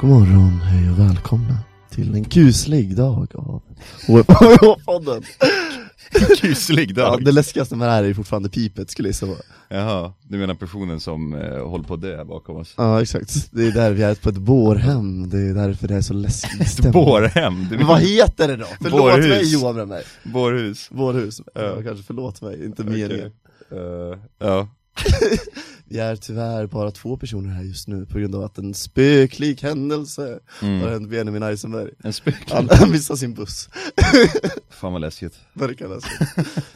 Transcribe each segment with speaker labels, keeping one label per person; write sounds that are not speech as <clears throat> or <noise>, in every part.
Speaker 1: God morgon, hej och välkomna till en kuslig dag av <laughs> HH-podden.
Speaker 2: <laughs> Kuslig
Speaker 1: Ja,
Speaker 2: dag.
Speaker 1: det läskigaste med det här är ju fortfarande pipet skulle jag gissa på.
Speaker 2: Jaha, du menar personen som eh, håller på att dö bakom oss?
Speaker 1: Ja, exakt. Det är där vi är på ett bårhem, det är därför det är så läskigt
Speaker 2: Ett bårhem, du
Speaker 1: Men
Speaker 2: menar
Speaker 1: vad heter det då? Förlåt
Speaker 2: Bårhus.
Speaker 1: mig Johan Brännberg.
Speaker 2: bårhus?
Speaker 1: Vårhus. Ja,
Speaker 2: Ja.
Speaker 1: kanske förlåt mig, inte
Speaker 2: Okej.
Speaker 1: meningen.
Speaker 2: Eh, ja,
Speaker 1: Vi är tyvärr bara två personer här just nu på grund av att en spöklik händelse
Speaker 2: Mm.
Speaker 1: har hänt Benjamin Eisenberg.
Speaker 2: en spöklig.
Speaker 1: Han, han <laughs> missar sin buss.
Speaker 2: Fan vad läskigt.
Speaker 1: Verkar läskigt.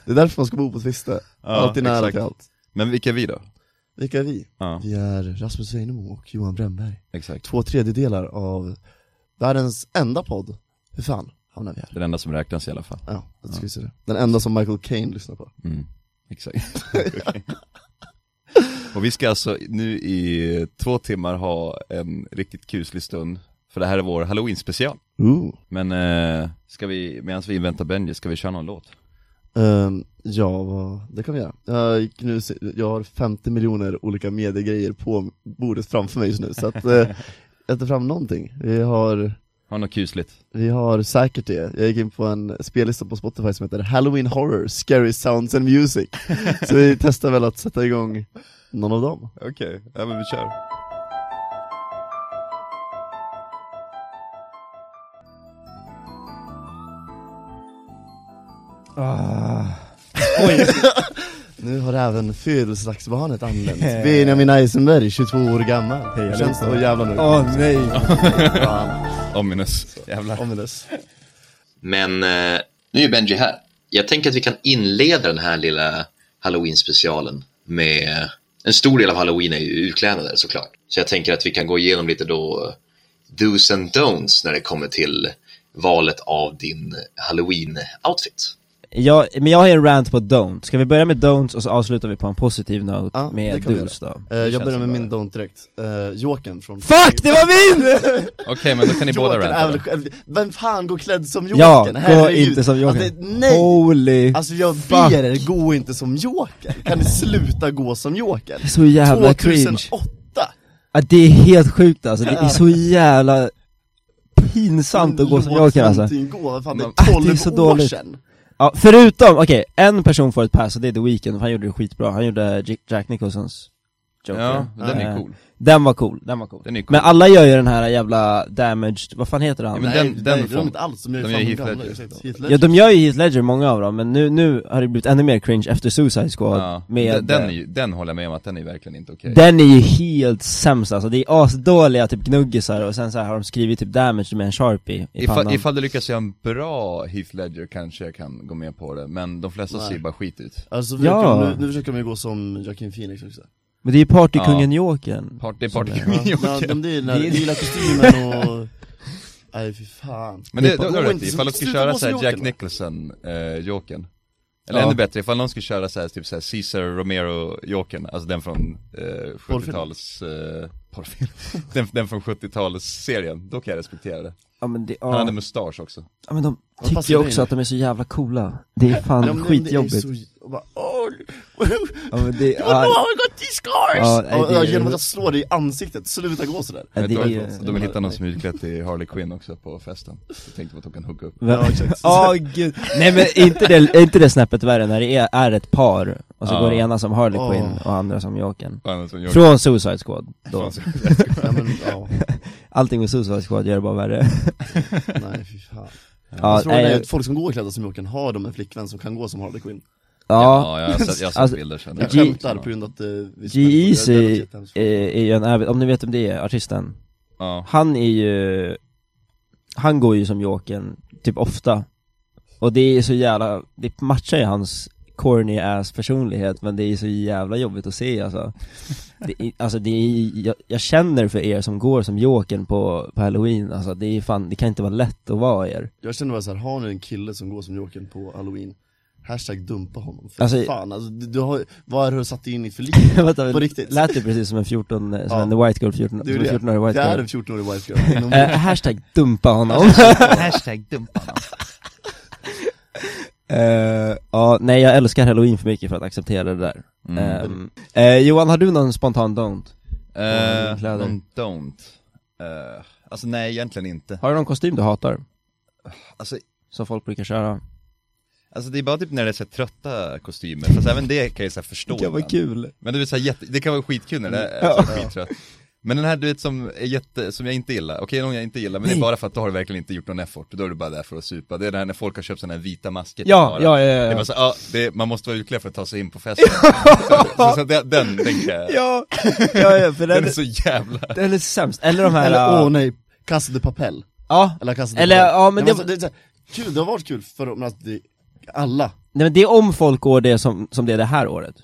Speaker 1: Det är därför man ska bo på Tviste.
Speaker 2: Ja,
Speaker 1: Alltid nära
Speaker 2: exakt.
Speaker 1: till allt.
Speaker 2: Men vilka är vi då?
Speaker 1: Vilka är vi?
Speaker 2: Ja,
Speaker 1: Vi är Rasmus Weinemo och Johan Brännberg.
Speaker 2: exakt.
Speaker 1: Två tredjedelar av världens enda podd. Hur fan hamnar vi här?
Speaker 2: Den enda som räknas i alla fall.
Speaker 1: Ja, jag skulle säga det. Den enda som Michael Caine lyssnar på.
Speaker 2: Mm.
Speaker 1: <laughs>
Speaker 2: Exakt. Okej. Och vi ska alltså nu i två timmar ha en riktigt kuslig stund, för det här är vår halloween special.
Speaker 1: Ooh.
Speaker 2: Men eh, ska vi, medan vi inväntar Benji, ska vi köra någon låt?
Speaker 1: Ehm, ja, vad- det kan vi göra. Jag, gick nu, jag har 50 miljoner olika mediegrejer på bordet framför mig just nu, så att eh, jag tar fram någonting. Vi har,
Speaker 2: Har något kusligt?
Speaker 1: vi har säkert det. Jag gick in på en spellista på Spotify som heter Halloween Horror, Scary Sounds and Music. Så vi testar väl att sätta igång någon av dem.
Speaker 2: Okej, ja men vi kör.
Speaker 1: Nu har även födelsedagsbarnet
Speaker 3: <laughs>
Speaker 1: anlänt, Benjamin Eisenberg, 22 år gammal Hur känns det? Åh jävlar nu
Speaker 3: Åh nej!
Speaker 1: Fan,
Speaker 2: Ominous, <laughs> jävlar.
Speaker 1: ominous
Speaker 4: Men eh, nu är ju Benji här. Jag tänker att vi kan inleda den här lilla halloween-specialen med... eh, En stor del av halloween är ju utklädnader såklart. Så jag tänker att vi kan gå igenom lite då eh, dos and don'ts när det kommer till valet av din halloween-outfit.
Speaker 3: Jag, men jag har en rant på don't, ska vi börja med don'ts och så avslutar vi på en positiv note
Speaker 1: Ja, det
Speaker 3: med
Speaker 1: kan vi
Speaker 3: dos då?
Speaker 1: Eh, Jag börjar med min don't direkt, uh, Jokern från
Speaker 3: FUCK DET VAR
Speaker 1: <laughs>
Speaker 3: MIN!
Speaker 2: Okej men då kan
Speaker 3: <laughs>
Speaker 2: ni båda
Speaker 1: Jokern är
Speaker 2: ranta
Speaker 1: väl
Speaker 2: då.
Speaker 1: själv- Vem fan går klädd som Jokern?
Speaker 3: ja, gå
Speaker 1: Herregud.
Speaker 3: inte som Joker
Speaker 1: Alltså, nej!
Speaker 3: Holy
Speaker 1: Alltså jag
Speaker 3: fuck.
Speaker 1: ber er, gå inte som Jokern! Kan ni sluta gå som Jokern?
Speaker 3: Så jävla cringe
Speaker 1: 2008!
Speaker 3: ja, Det är helt sjukt alltså, det är så jävla pinsamt att gå som
Speaker 1: Låt
Speaker 3: Joker alltså
Speaker 1: någonting gå, vad fan det
Speaker 3: Ah, det
Speaker 1: är
Speaker 3: är
Speaker 1: 12
Speaker 3: så
Speaker 1: år
Speaker 3: dåligt.
Speaker 1: sedan!
Speaker 3: ja, Förutom, okej, en person får ett pass och det är The Weeknd, han gjorde det skitbra, han gjorde J- Jack Nicholsons Joker
Speaker 2: Ja, den är
Speaker 3: Eh,
Speaker 2: cool.
Speaker 3: Den var cool, den var cool
Speaker 2: Den är cool.
Speaker 3: Men alla gör ju den här jävla damaged, vad fan heter han?
Speaker 2: Ja, men
Speaker 1: Nej,
Speaker 2: den- den
Speaker 1: nej, det är
Speaker 2: får-
Speaker 1: inte alls, de är ju
Speaker 2: de
Speaker 1: fan
Speaker 2: är Heath
Speaker 1: gamla
Speaker 2: Ledger.
Speaker 1: ursäkta, Heath
Speaker 3: Ja
Speaker 1: Ledger.
Speaker 3: de gör ju Heath Ledger, många av dem, men nu, nu har det blivit ännu mer cringe efter Suicide Squad
Speaker 2: Ja.
Speaker 3: med,
Speaker 2: Den, den, är ju, den håller jag med om att den är verkligen inte okej.
Speaker 3: den är ju helt sämst alltså, det är asdåliga typ gnuggisar och sen så här har de skrivit typ damage med en sharpie i pannan
Speaker 2: Ifall, ifall du lyckas göra en bra Heath Ledger kanske jag kan gå med på det, men de flesta
Speaker 1: Nej.
Speaker 2: ser ju bara skit ut.
Speaker 1: Alltså
Speaker 3: Ja.
Speaker 1: försöker, nu, nu försöker de ju gå som Joaquin Phoenix
Speaker 2: <laughs>
Speaker 1: också
Speaker 3: Men det är ju partykungen Jokern
Speaker 2: Part, det är <laughs>
Speaker 3: Som
Speaker 2: partykungen
Speaker 1: Ja,
Speaker 2: Joker.
Speaker 1: de, det är den där lila kostymen
Speaker 3: <laughs>
Speaker 1: och... Nej fy fan
Speaker 2: Men det, det,
Speaker 1: Gå
Speaker 2: har du rätt
Speaker 1: inte
Speaker 2: i.
Speaker 1: som-
Speaker 2: ifall de ska
Speaker 1: sluta
Speaker 2: köra
Speaker 1: gå som
Speaker 2: såhär Jack
Speaker 1: Joker.
Speaker 2: Nicholson, eh, Jokern. Eller
Speaker 3: Ja.
Speaker 2: ännu bättre, ifall någon ska köra såhär, typ såhär Cesar Romero Jokern, alltså den från eh, 70-tals, eh, porrfilm. <laughs> den, den från 70-talsserien, då kan jag respektera det.
Speaker 3: Ja men det,
Speaker 2: Han
Speaker 3: ja,
Speaker 2: hade mustasch också.
Speaker 3: ja men de
Speaker 1: Vad
Speaker 3: tycker
Speaker 1: passar
Speaker 3: ju
Speaker 1: det in?
Speaker 3: också att de är så jävla coola Det är fan
Speaker 1: Men om- om det är
Speaker 3: skitjobbigt
Speaker 1: så- och bara, åh, du
Speaker 3: Ja men det,
Speaker 1: <laughs> har
Speaker 3: ja,
Speaker 1: nog got these scars!
Speaker 3: Ja, nej,
Speaker 1: Och-
Speaker 3: det
Speaker 1: och
Speaker 3: är-
Speaker 1: Genom att jag slår dig i ansiktet, sluta gå sådär
Speaker 3: ja, det
Speaker 2: de,
Speaker 3: är
Speaker 2: vill,
Speaker 3: ju...
Speaker 2: de vill hitta någon som är utklädd till Harley Quinn också på festen. Jag tänkte på att de kan hooka upp.
Speaker 1: <laughs> Ja, exakt.
Speaker 3: Åh gud, nej men är inte det, är inte det snäppet värre när det är, är ett par och så
Speaker 2: Ja.
Speaker 3: går det ena som Harley
Speaker 1: Åh.
Speaker 3: Quinn och andra som Jokern
Speaker 2: Annars som Joker.
Speaker 3: Från Suicide Squad
Speaker 2: <laughs>
Speaker 3: då.
Speaker 2: Från-
Speaker 1: ja, men, ja,
Speaker 3: Allting med Suicide Squad gör det bara värre
Speaker 1: nej fy fan
Speaker 3: Ja,
Speaker 1: Frågan Alltså, är
Speaker 3: nej,
Speaker 1: att folk som går klädda som Jokern, har de en flickvän som kan gå som Harley Quinn?
Speaker 2: Ja,
Speaker 3: ja,
Speaker 2: jag har sett, jag har sett
Speaker 3: Alltså,
Speaker 2: bilder sen.
Speaker 1: Jag
Speaker 3: G-
Speaker 1: skämtar på grund av att eh, vissa människor är
Speaker 3: G-Eazy
Speaker 1: relativt hemskt.
Speaker 3: eh, är ju en även, om ni vet om det är, artisten <laughs>
Speaker 2: Ja.
Speaker 3: Han är ju, han går ju som Jokern, typ ofta Och det är så jävla, det matchar ju hans corny ass personlighet men det är så jävla jobbigt att
Speaker 1: <laughs>
Speaker 3: se alltså det är, Alltså det är, jag, jag känner för er som går som Jokern på, på halloween alltså det är fan, det kan inte vara lätt att vara er
Speaker 1: Jag känner bara såhär, har ni en kille som går som Jokern på halloween, hashtag dumpa honom, för
Speaker 3: Alltså-
Speaker 1: fan alltså, du, du har, vad är det du har satt in i för liv? <laughs>
Speaker 3: Vänta,
Speaker 1: På riktigt.
Speaker 3: Lät det precis som en 14, som
Speaker 1: Ja.
Speaker 3: en white girl 14,
Speaker 1: Det är
Speaker 3: som en
Speaker 1: det.
Speaker 3: 14-årig
Speaker 1: Det
Speaker 3: white
Speaker 1: är
Speaker 3: girl
Speaker 1: en 14-årig white girl
Speaker 3: <laughs>
Speaker 1: inom
Speaker 3: Eh, hashtag
Speaker 1: <laughs>
Speaker 3: dumpa honom
Speaker 2: Hashtag dumpa
Speaker 3: Eh, Ja, nej jag älskar halloween för mycket för att acceptera det där
Speaker 2: Mm.
Speaker 3: Ehm, eh, Johan, har du någon spontan don't?
Speaker 2: Eh,
Speaker 3: kläder.
Speaker 2: någon don't. Eh, Alltså nej, egentligen inte.
Speaker 3: Har du någon kostym du hatar?
Speaker 2: Alltså,
Speaker 3: Som folk brukar köra?
Speaker 2: alltså det är bara typ när det är så här trötta kostymer, fast även det kan jag så här förstå. ibland.
Speaker 3: kul Mm.
Speaker 2: Men du vet, så här, jätte, det kan vara skitkul när det är ja. skittrött. Men den här du vet som, är jätte, som jag inte gillar, okej någon jag inte gillar, men det är bara för att då har du verkligen inte gjort någon effort, då är du bara där för att supa. Det är det här när folk har köpt sådana här vita masker till
Speaker 3: Ja,
Speaker 2: bara.
Speaker 3: ja, ja,
Speaker 2: Det är
Speaker 3: ja,
Speaker 2: bara
Speaker 3: ja.
Speaker 2: så, ja, det, man måste vara utklädd för att ta sig in på festen.
Speaker 3: <laughs>
Speaker 2: så, så den, den, den kan jag,
Speaker 3: Ja, <laughs> ja, ja för
Speaker 2: den
Speaker 3: den,
Speaker 2: är så jävla,
Speaker 3: den är sämst, eller de här...
Speaker 1: Eller
Speaker 3: äh,
Speaker 1: åh nej, Casa de Papel
Speaker 3: ja,
Speaker 1: Eller Casa de
Speaker 3: Eller,
Speaker 1: Papel
Speaker 3: ja, men
Speaker 1: Nej,
Speaker 3: det-
Speaker 1: alltså, det, är så här, kul, det har varit kul för men alltså, det, alla
Speaker 3: nej men det är om folk går det som, som det är det här året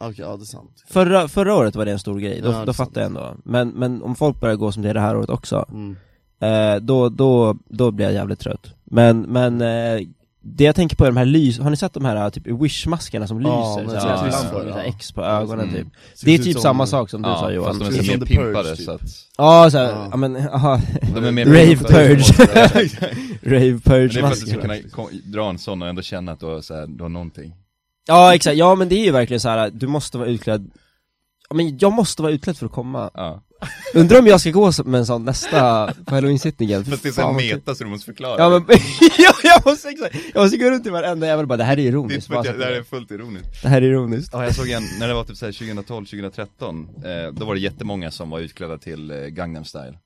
Speaker 1: Ah, Okej, ja det är sant
Speaker 3: Förra, förra året var det en stor grej, då,
Speaker 1: Ja, det är
Speaker 3: då
Speaker 1: sant.
Speaker 3: fattar jag ändå men, men om folk börjar gå som det är det här året också,
Speaker 1: mm.
Speaker 3: eh, då, då, då blir jag jävligt trött Men, men eh, det jag tänker på är de här lys, har ni sett de här typ Wish-maskerna som
Speaker 1: Ja,
Speaker 3: lyser?
Speaker 1: men
Speaker 3: så
Speaker 1: det
Speaker 3: här,
Speaker 1: ser ut
Speaker 3: lampor
Speaker 1: som-
Speaker 3: med så här
Speaker 1: ja.
Speaker 3: X på ögonen
Speaker 2: Mm.
Speaker 3: typ
Speaker 1: Ser
Speaker 3: Det är
Speaker 1: ut
Speaker 3: typ
Speaker 1: som-
Speaker 3: samma sak som du sa
Speaker 2: ja,
Speaker 3: Johan
Speaker 2: fast de är
Speaker 1: Det
Speaker 2: så
Speaker 1: är som
Speaker 2: mer
Speaker 1: The Purge,
Speaker 2: pimpade
Speaker 1: typ.
Speaker 2: så att,
Speaker 3: Ja, såhär,
Speaker 1: Ja.
Speaker 3: ja men, <laughs> aha,
Speaker 2: de är mer
Speaker 3: Rave
Speaker 2: pimpade, <laughs> så
Speaker 3: <laughs>
Speaker 2: att-
Speaker 3: rave
Speaker 2: Men det är för att du ska
Speaker 3: purge-maskerna
Speaker 2: kunna ko- dra en sån och ändå känna att du har, så här, du har någonting.
Speaker 3: Ja exakt, ja men det är ju verkligen så här. du måste vara utklädd Ja, men jag måste vara utklädd för att komma <laughs>
Speaker 2: Ja.
Speaker 3: Undrar om jag ska gå som- med en sån nästa, på halloween-sittningen
Speaker 2: Fast det är så
Speaker 3: Fan,
Speaker 2: här
Speaker 3: vad kul.
Speaker 2: meta så du måste förklara.
Speaker 3: Ja men, <laughs> ja, jag måste exakt, jag måste gå runt i varenda jävel och bara det här är
Speaker 2: det, är
Speaker 3: ironiskt,
Speaker 2: för
Speaker 3: bara,
Speaker 2: att jag, det här är
Speaker 3: det
Speaker 2: fullt ironiskt.
Speaker 3: här är ironiskt
Speaker 2: Ja, jag såg en, när det var typ så här 2012, 2013, eh, då var det jättemånga som var utklädda till eh, Gangnam style.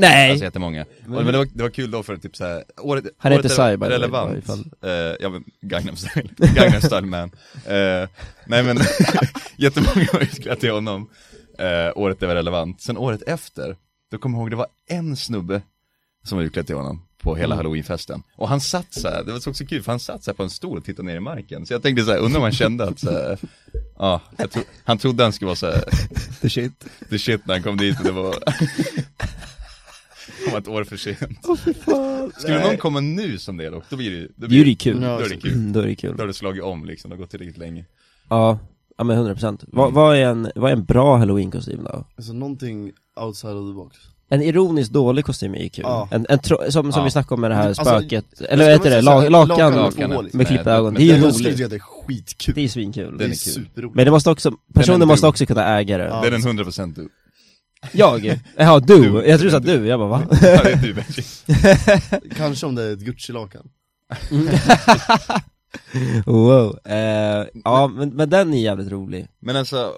Speaker 3: Nej!
Speaker 2: Alltså jättemånga. Och, men det var, det var kul då för att typ så här, året,
Speaker 3: Han
Speaker 2: året
Speaker 3: heter Psy, by the way, bara
Speaker 2: relevant.
Speaker 3: ifall-
Speaker 2: Eh, ja men Gangnam style, <laughs> Gangnam style man. Eh, nej men, <laughs> jättemånga var utklädda till honom. Eh, året det var relevant. Sen året efter, då kommer jag ihåg det var en snubbe som var utklädd till honom på hela
Speaker 3: Mm.
Speaker 2: halloweenfesten. Och han satt så här, det var så också kul, för han satt så här på en stol och tittade ner i marken. Så jag tänkte så här, undrar om han kände att så här, ja, jag tro, han trodde han skulle vara så här, the shit, the shit när han kom dit, men det var, <laughs> han var ett år för sent. Skulle någon komma nu som det dock, då blir det ju, då
Speaker 3: Då är
Speaker 2: blir
Speaker 3: det kul,
Speaker 2: då är det kul.
Speaker 3: Mm, <clears throat> då är det kul
Speaker 2: Då har du slagit om liksom, det har gått tillräckligt länge.
Speaker 3: Ja, ja men 100% Vad vad är en, vad är en bra halloween-kostym då?
Speaker 1: Alltså någonting outside of the box
Speaker 3: En ironiskt dålig kostym är ju kul,
Speaker 1: Ja.
Speaker 3: en, en tro, som, som
Speaker 2: Ja.
Speaker 3: vi snackade om med det här
Speaker 1: Alltså,
Speaker 3: spöket, eller vad heter det? La, lakan,
Speaker 2: lakan.
Speaker 1: Lakanet.
Speaker 3: med
Speaker 2: Nej,
Speaker 3: klippta ögon,
Speaker 2: men
Speaker 3: det är
Speaker 2: den
Speaker 3: ju
Speaker 1: Jag skulle
Speaker 3: roligt,
Speaker 1: tycka att det är skitkul,
Speaker 3: det är svinkul
Speaker 1: det är
Speaker 2: den är kul.
Speaker 1: superroligt
Speaker 3: Men det måste också,
Speaker 2: Den är
Speaker 3: personen måste
Speaker 2: du.
Speaker 3: också kunna äga det
Speaker 1: Ja.
Speaker 2: Det är den 100% du.
Speaker 3: <laughs> Jag? Jaha, du?
Speaker 2: Du.
Speaker 3: Jag tror du sa du, jag bara va?
Speaker 2: Ja, det är typ- du Benji.
Speaker 1: Kanske om det är ett Gucci-lakan
Speaker 3: <laughs> Wow, eh, ja men, men den är jävligt rolig
Speaker 2: Men alltså,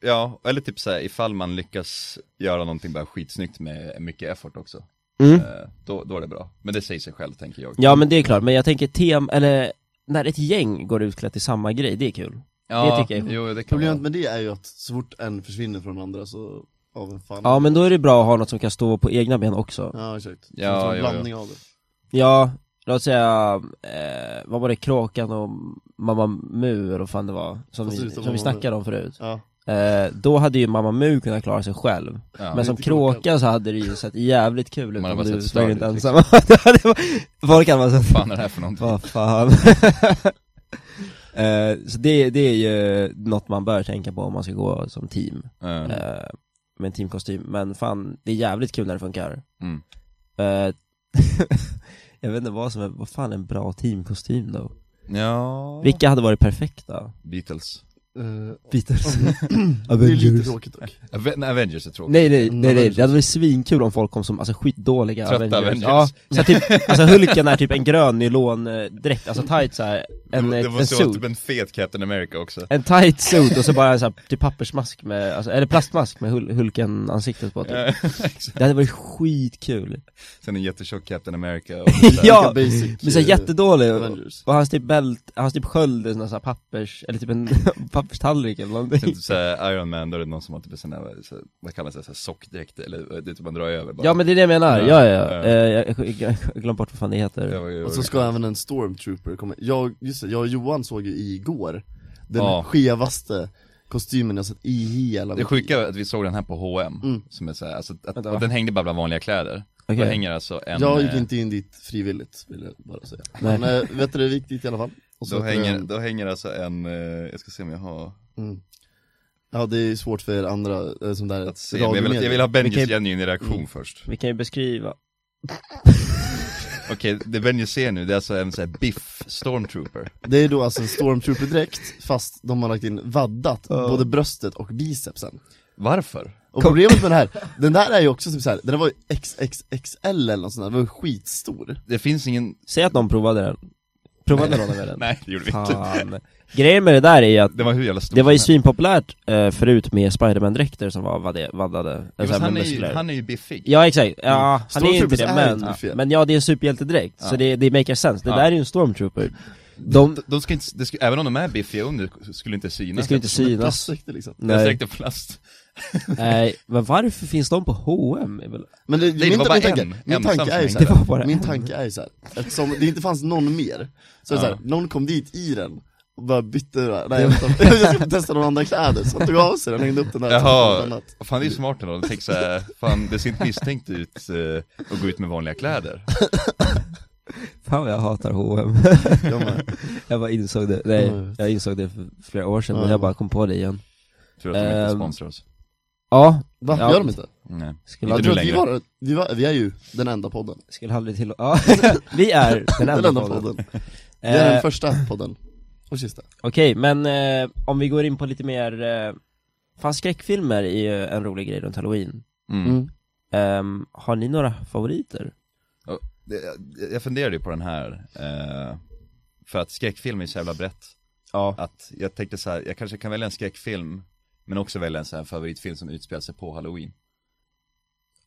Speaker 2: ja, eller typ såhär ifall man lyckas göra någonting bara skitsnyggt med mycket effort också,
Speaker 3: mm.
Speaker 2: eh, då, då är det bra. Men det säger sig själv tänker jag.
Speaker 3: Ja men det är klart, men jag tänker tem, eller när ett gäng går utklätt till samma grej, det är kul
Speaker 2: Ja,
Speaker 3: det tycker jag.
Speaker 2: Jo, det kan
Speaker 1: Problemet
Speaker 2: vara.
Speaker 1: med det är ju att så fort en försvinner från den andra så, ja vem fan
Speaker 3: Ja men då är det bra att ha något som kan stå på egna ben också
Speaker 1: Ja exakt,
Speaker 2: Ja,
Speaker 1: Så en
Speaker 2: ja,
Speaker 1: blandning av det
Speaker 3: Ja, låt säga, eh, vad var det, Kråkan och Mamma Mu eller vad fan det var, som,
Speaker 1: Fast
Speaker 3: vi,
Speaker 1: utan
Speaker 3: som vi
Speaker 1: Mamma Mu.
Speaker 3: snackade om förut
Speaker 1: Ja,
Speaker 3: <clears throat> eh, Då hade ju Mamma Mu kunnat klara sig själv
Speaker 2: Ja.
Speaker 3: Men
Speaker 1: det är
Speaker 3: som
Speaker 1: inte Kråkan.
Speaker 3: Kråkan så hade det ju sett jävligt kul ut
Speaker 2: Man hade
Speaker 3: om
Speaker 2: bara
Speaker 3: du
Speaker 2: sett
Speaker 3: sprang runt
Speaker 2: stadigt,
Speaker 3: ensam <laughs> Det hade varit- Folk hade bara sett
Speaker 2: fan är det här för någonting?
Speaker 3: Vad fan. Eh, så det, det är ju något man bör tänka på om man ska gå som team,
Speaker 2: Eh,
Speaker 3: eh, med en teamkostym. Men fan, det är jävligt kul när det funkar.
Speaker 2: Mm.
Speaker 3: Eh, <laughs> jag vet inte vad som är, vad fan är en bra teamkostym då?
Speaker 2: ja,
Speaker 3: Vilka hade varit perfekta?
Speaker 2: Beatles.
Speaker 1: Eh,
Speaker 3: Beatles?
Speaker 1: det är lite
Speaker 3: Avengers?
Speaker 1: tråkigt dock
Speaker 2: Ave- nej, Avengers är tråkigt.
Speaker 3: Nej nej, nej nej,
Speaker 1: Avengers.
Speaker 3: det hade varit svinkul om folk kom som, alltså skitdåliga
Speaker 2: Trötta Avengers.
Speaker 3: Ja, så här typ, alltså Hulken är typ en grön nylondräkt, alltså tight såhär, en,
Speaker 2: det
Speaker 3: en
Speaker 2: måste vara
Speaker 3: suit
Speaker 2: typ en fet Captain America också.
Speaker 3: En tight suit och så bara en sån här, typ pappersmask med, alltså, eller plastmask med hul hulken ansiktet på typ.
Speaker 2: Ja, exakt.
Speaker 3: Det hade varit skitkul
Speaker 2: <laughs> Sen en jättetjock Captain America och
Speaker 3: Ja!
Speaker 1: basic,
Speaker 3: Men såhär
Speaker 1: eh,
Speaker 3: jättedålig, och-
Speaker 1: Avengers
Speaker 3: och hans typ bält, hans typ sköld är sån här pappers, eller typ en <laughs> papperstallrik eller
Speaker 2: sen
Speaker 3: någonting
Speaker 2: typ såhär Iron Man, då är det någon som har typ en sån här, så, vad kallas det, så här sockdräkt eller eh, det är typ man drar över bara.
Speaker 3: Ja men det är det jag menar,
Speaker 2: Ja,
Speaker 3: ja ja, ja.
Speaker 2: ja.
Speaker 3: Eh, Jag, jag, jag, jag glömde bort vad fan det
Speaker 2: Det
Speaker 3: heter
Speaker 2: var ju-
Speaker 1: Och så ska även en stormtrooper komma Jag, just det, jag och Johan såg ju igår Den
Speaker 2: Ja.
Speaker 1: skevaste kostymen jag sett i hela
Speaker 2: Det
Speaker 1: mitt
Speaker 2: sjuka är att vi såg den här på H&M
Speaker 1: Mm.
Speaker 2: som är så här, alltså, att,
Speaker 3: Vänta,
Speaker 2: och
Speaker 3: va?
Speaker 2: den hängde bara bland vanliga kläder. Då
Speaker 3: Okej.
Speaker 2: hänger alltså en,
Speaker 1: Jag gick
Speaker 2: eh,
Speaker 1: inte in dit frivilligt, vill jag bara säga
Speaker 3: Nej.
Speaker 1: Men eh, vet du, det gick dit i alla fall och
Speaker 2: då,
Speaker 1: vet du,
Speaker 2: hänger,
Speaker 1: eh,
Speaker 2: då hänger alltså en, eh, jag ska se om jag har,
Speaker 1: mm. Ja det är ju svårt för er andra eh, som där
Speaker 2: att se, men jag, vill, jag vill ha
Speaker 3: Vi kan
Speaker 2: Benjis
Speaker 3: ju-
Speaker 2: genuina reaktion först.
Speaker 3: Vi kan ju beskriva
Speaker 2: Okej, det Benji ser nu det är alltså en sån här biff stormtrooper.
Speaker 1: Det är då alltså en stormtrooper-dräkt fast de har lagt in vaddat både bröstet och bicepsen
Speaker 2: Varför?
Speaker 1: Och problemet med den här, den där är ju också typ så här, den där var ju XXXL eller något sånt där, den var ju skitstor
Speaker 2: Det finns ingen,
Speaker 3: Säg att någon provade den Provade någon av er
Speaker 2: <laughs>
Speaker 3: den?
Speaker 2: nej det gjorde vi inte
Speaker 3: Fan. Grejen med det där är ju att
Speaker 2: Det var hur jävla stor
Speaker 3: det var
Speaker 2: som
Speaker 3: ju
Speaker 2: helst.
Speaker 3: svinpopulärt eh, förut med Spiderman-dräkter som var vadde- vaddade,
Speaker 2: Jo,
Speaker 3: alltså
Speaker 2: fast han,
Speaker 3: med
Speaker 2: är ju,
Speaker 3: muskler
Speaker 2: han Mm. är ju biffig
Speaker 3: Ja exakt, ja, han är ju inte
Speaker 1: Stormtroopers
Speaker 3: det
Speaker 1: är ju
Speaker 3: men,
Speaker 1: inte fel.
Speaker 3: men ja det är en superhjältedräkt, så
Speaker 2: Ja.
Speaker 3: det, det makes sense, det
Speaker 2: Ja.
Speaker 3: där är ju en stormtrooper De,
Speaker 2: de ska inte, det ska, Även om de är biffiga under, skulle inte synas
Speaker 3: det ska ju inte synas
Speaker 1: Plastdräkter liksom
Speaker 2: Jag
Speaker 3: Nej,
Speaker 2: sträckte plast
Speaker 3: nej, men varför finns de på H&M? Är väl-
Speaker 1: Men det,
Speaker 2: det
Speaker 1: min,
Speaker 2: var bara
Speaker 1: min, tanke,
Speaker 2: en
Speaker 1: min
Speaker 2: ensam
Speaker 1: tanke är ju
Speaker 2: som
Speaker 1: så
Speaker 3: Det
Speaker 1: här,
Speaker 2: <laughs>
Speaker 3: var bara
Speaker 1: min
Speaker 3: en.
Speaker 1: tanke är ju så här, eftersom det inte fanns någon mer, så, är det så här,
Speaker 2: Ja.
Speaker 1: någon kom dit i den och bara bytte, det
Speaker 2: <laughs>
Speaker 1: där. nej jag, vet inte, <laughs> jag ska testa några andra kläder, så han tog av sig den, hängde upp den där
Speaker 2: Jaha,
Speaker 1: något annat.
Speaker 2: fan det är ju smart ändå, de tänker såhär, fan det ser inte misstänkt ut eh, att gå ut med vanliga kläder
Speaker 3: Fan vad jag hatar <laughs> H&M
Speaker 1: Jag med.
Speaker 3: Jag bara insåg det, nej,
Speaker 1: Mm.
Speaker 3: jag insåg det för flera år sedan, men
Speaker 1: Ja.
Speaker 3: jag bara kom på det igen
Speaker 2: Tror att de inte
Speaker 3: Ehm.
Speaker 2: sponsrar oss
Speaker 3: Ja,
Speaker 1: Va,
Speaker 3: Ja.
Speaker 1: gör de inte?
Speaker 2: Nej,
Speaker 3: skulle,
Speaker 2: Inte
Speaker 1: Jag tror
Speaker 2: nu
Speaker 1: att vi
Speaker 2: längre.
Speaker 1: var, vi, var, vi är ju den enda podden,
Speaker 3: skulle aldrig till ja, <laughs> vi är den enda, podden,
Speaker 1: Vi är
Speaker 3: Eh,
Speaker 1: den första podden, och sista
Speaker 3: Okej, men eh, om vi går in på lite mer, eh, fan skräckfilmer är ju en rolig grej runt halloween
Speaker 2: mm.
Speaker 1: mm.
Speaker 3: Ehm, Har ni några favoriter?
Speaker 2: Det- jag- Jag funderade ju på den här, eh, för att skräckfilm är så jävla brett
Speaker 3: Ja
Speaker 2: Att jag tänkte så här, jag kanske kan välja en skräckfilm, men också välja en så här favoritfilm som utspelar sig på halloween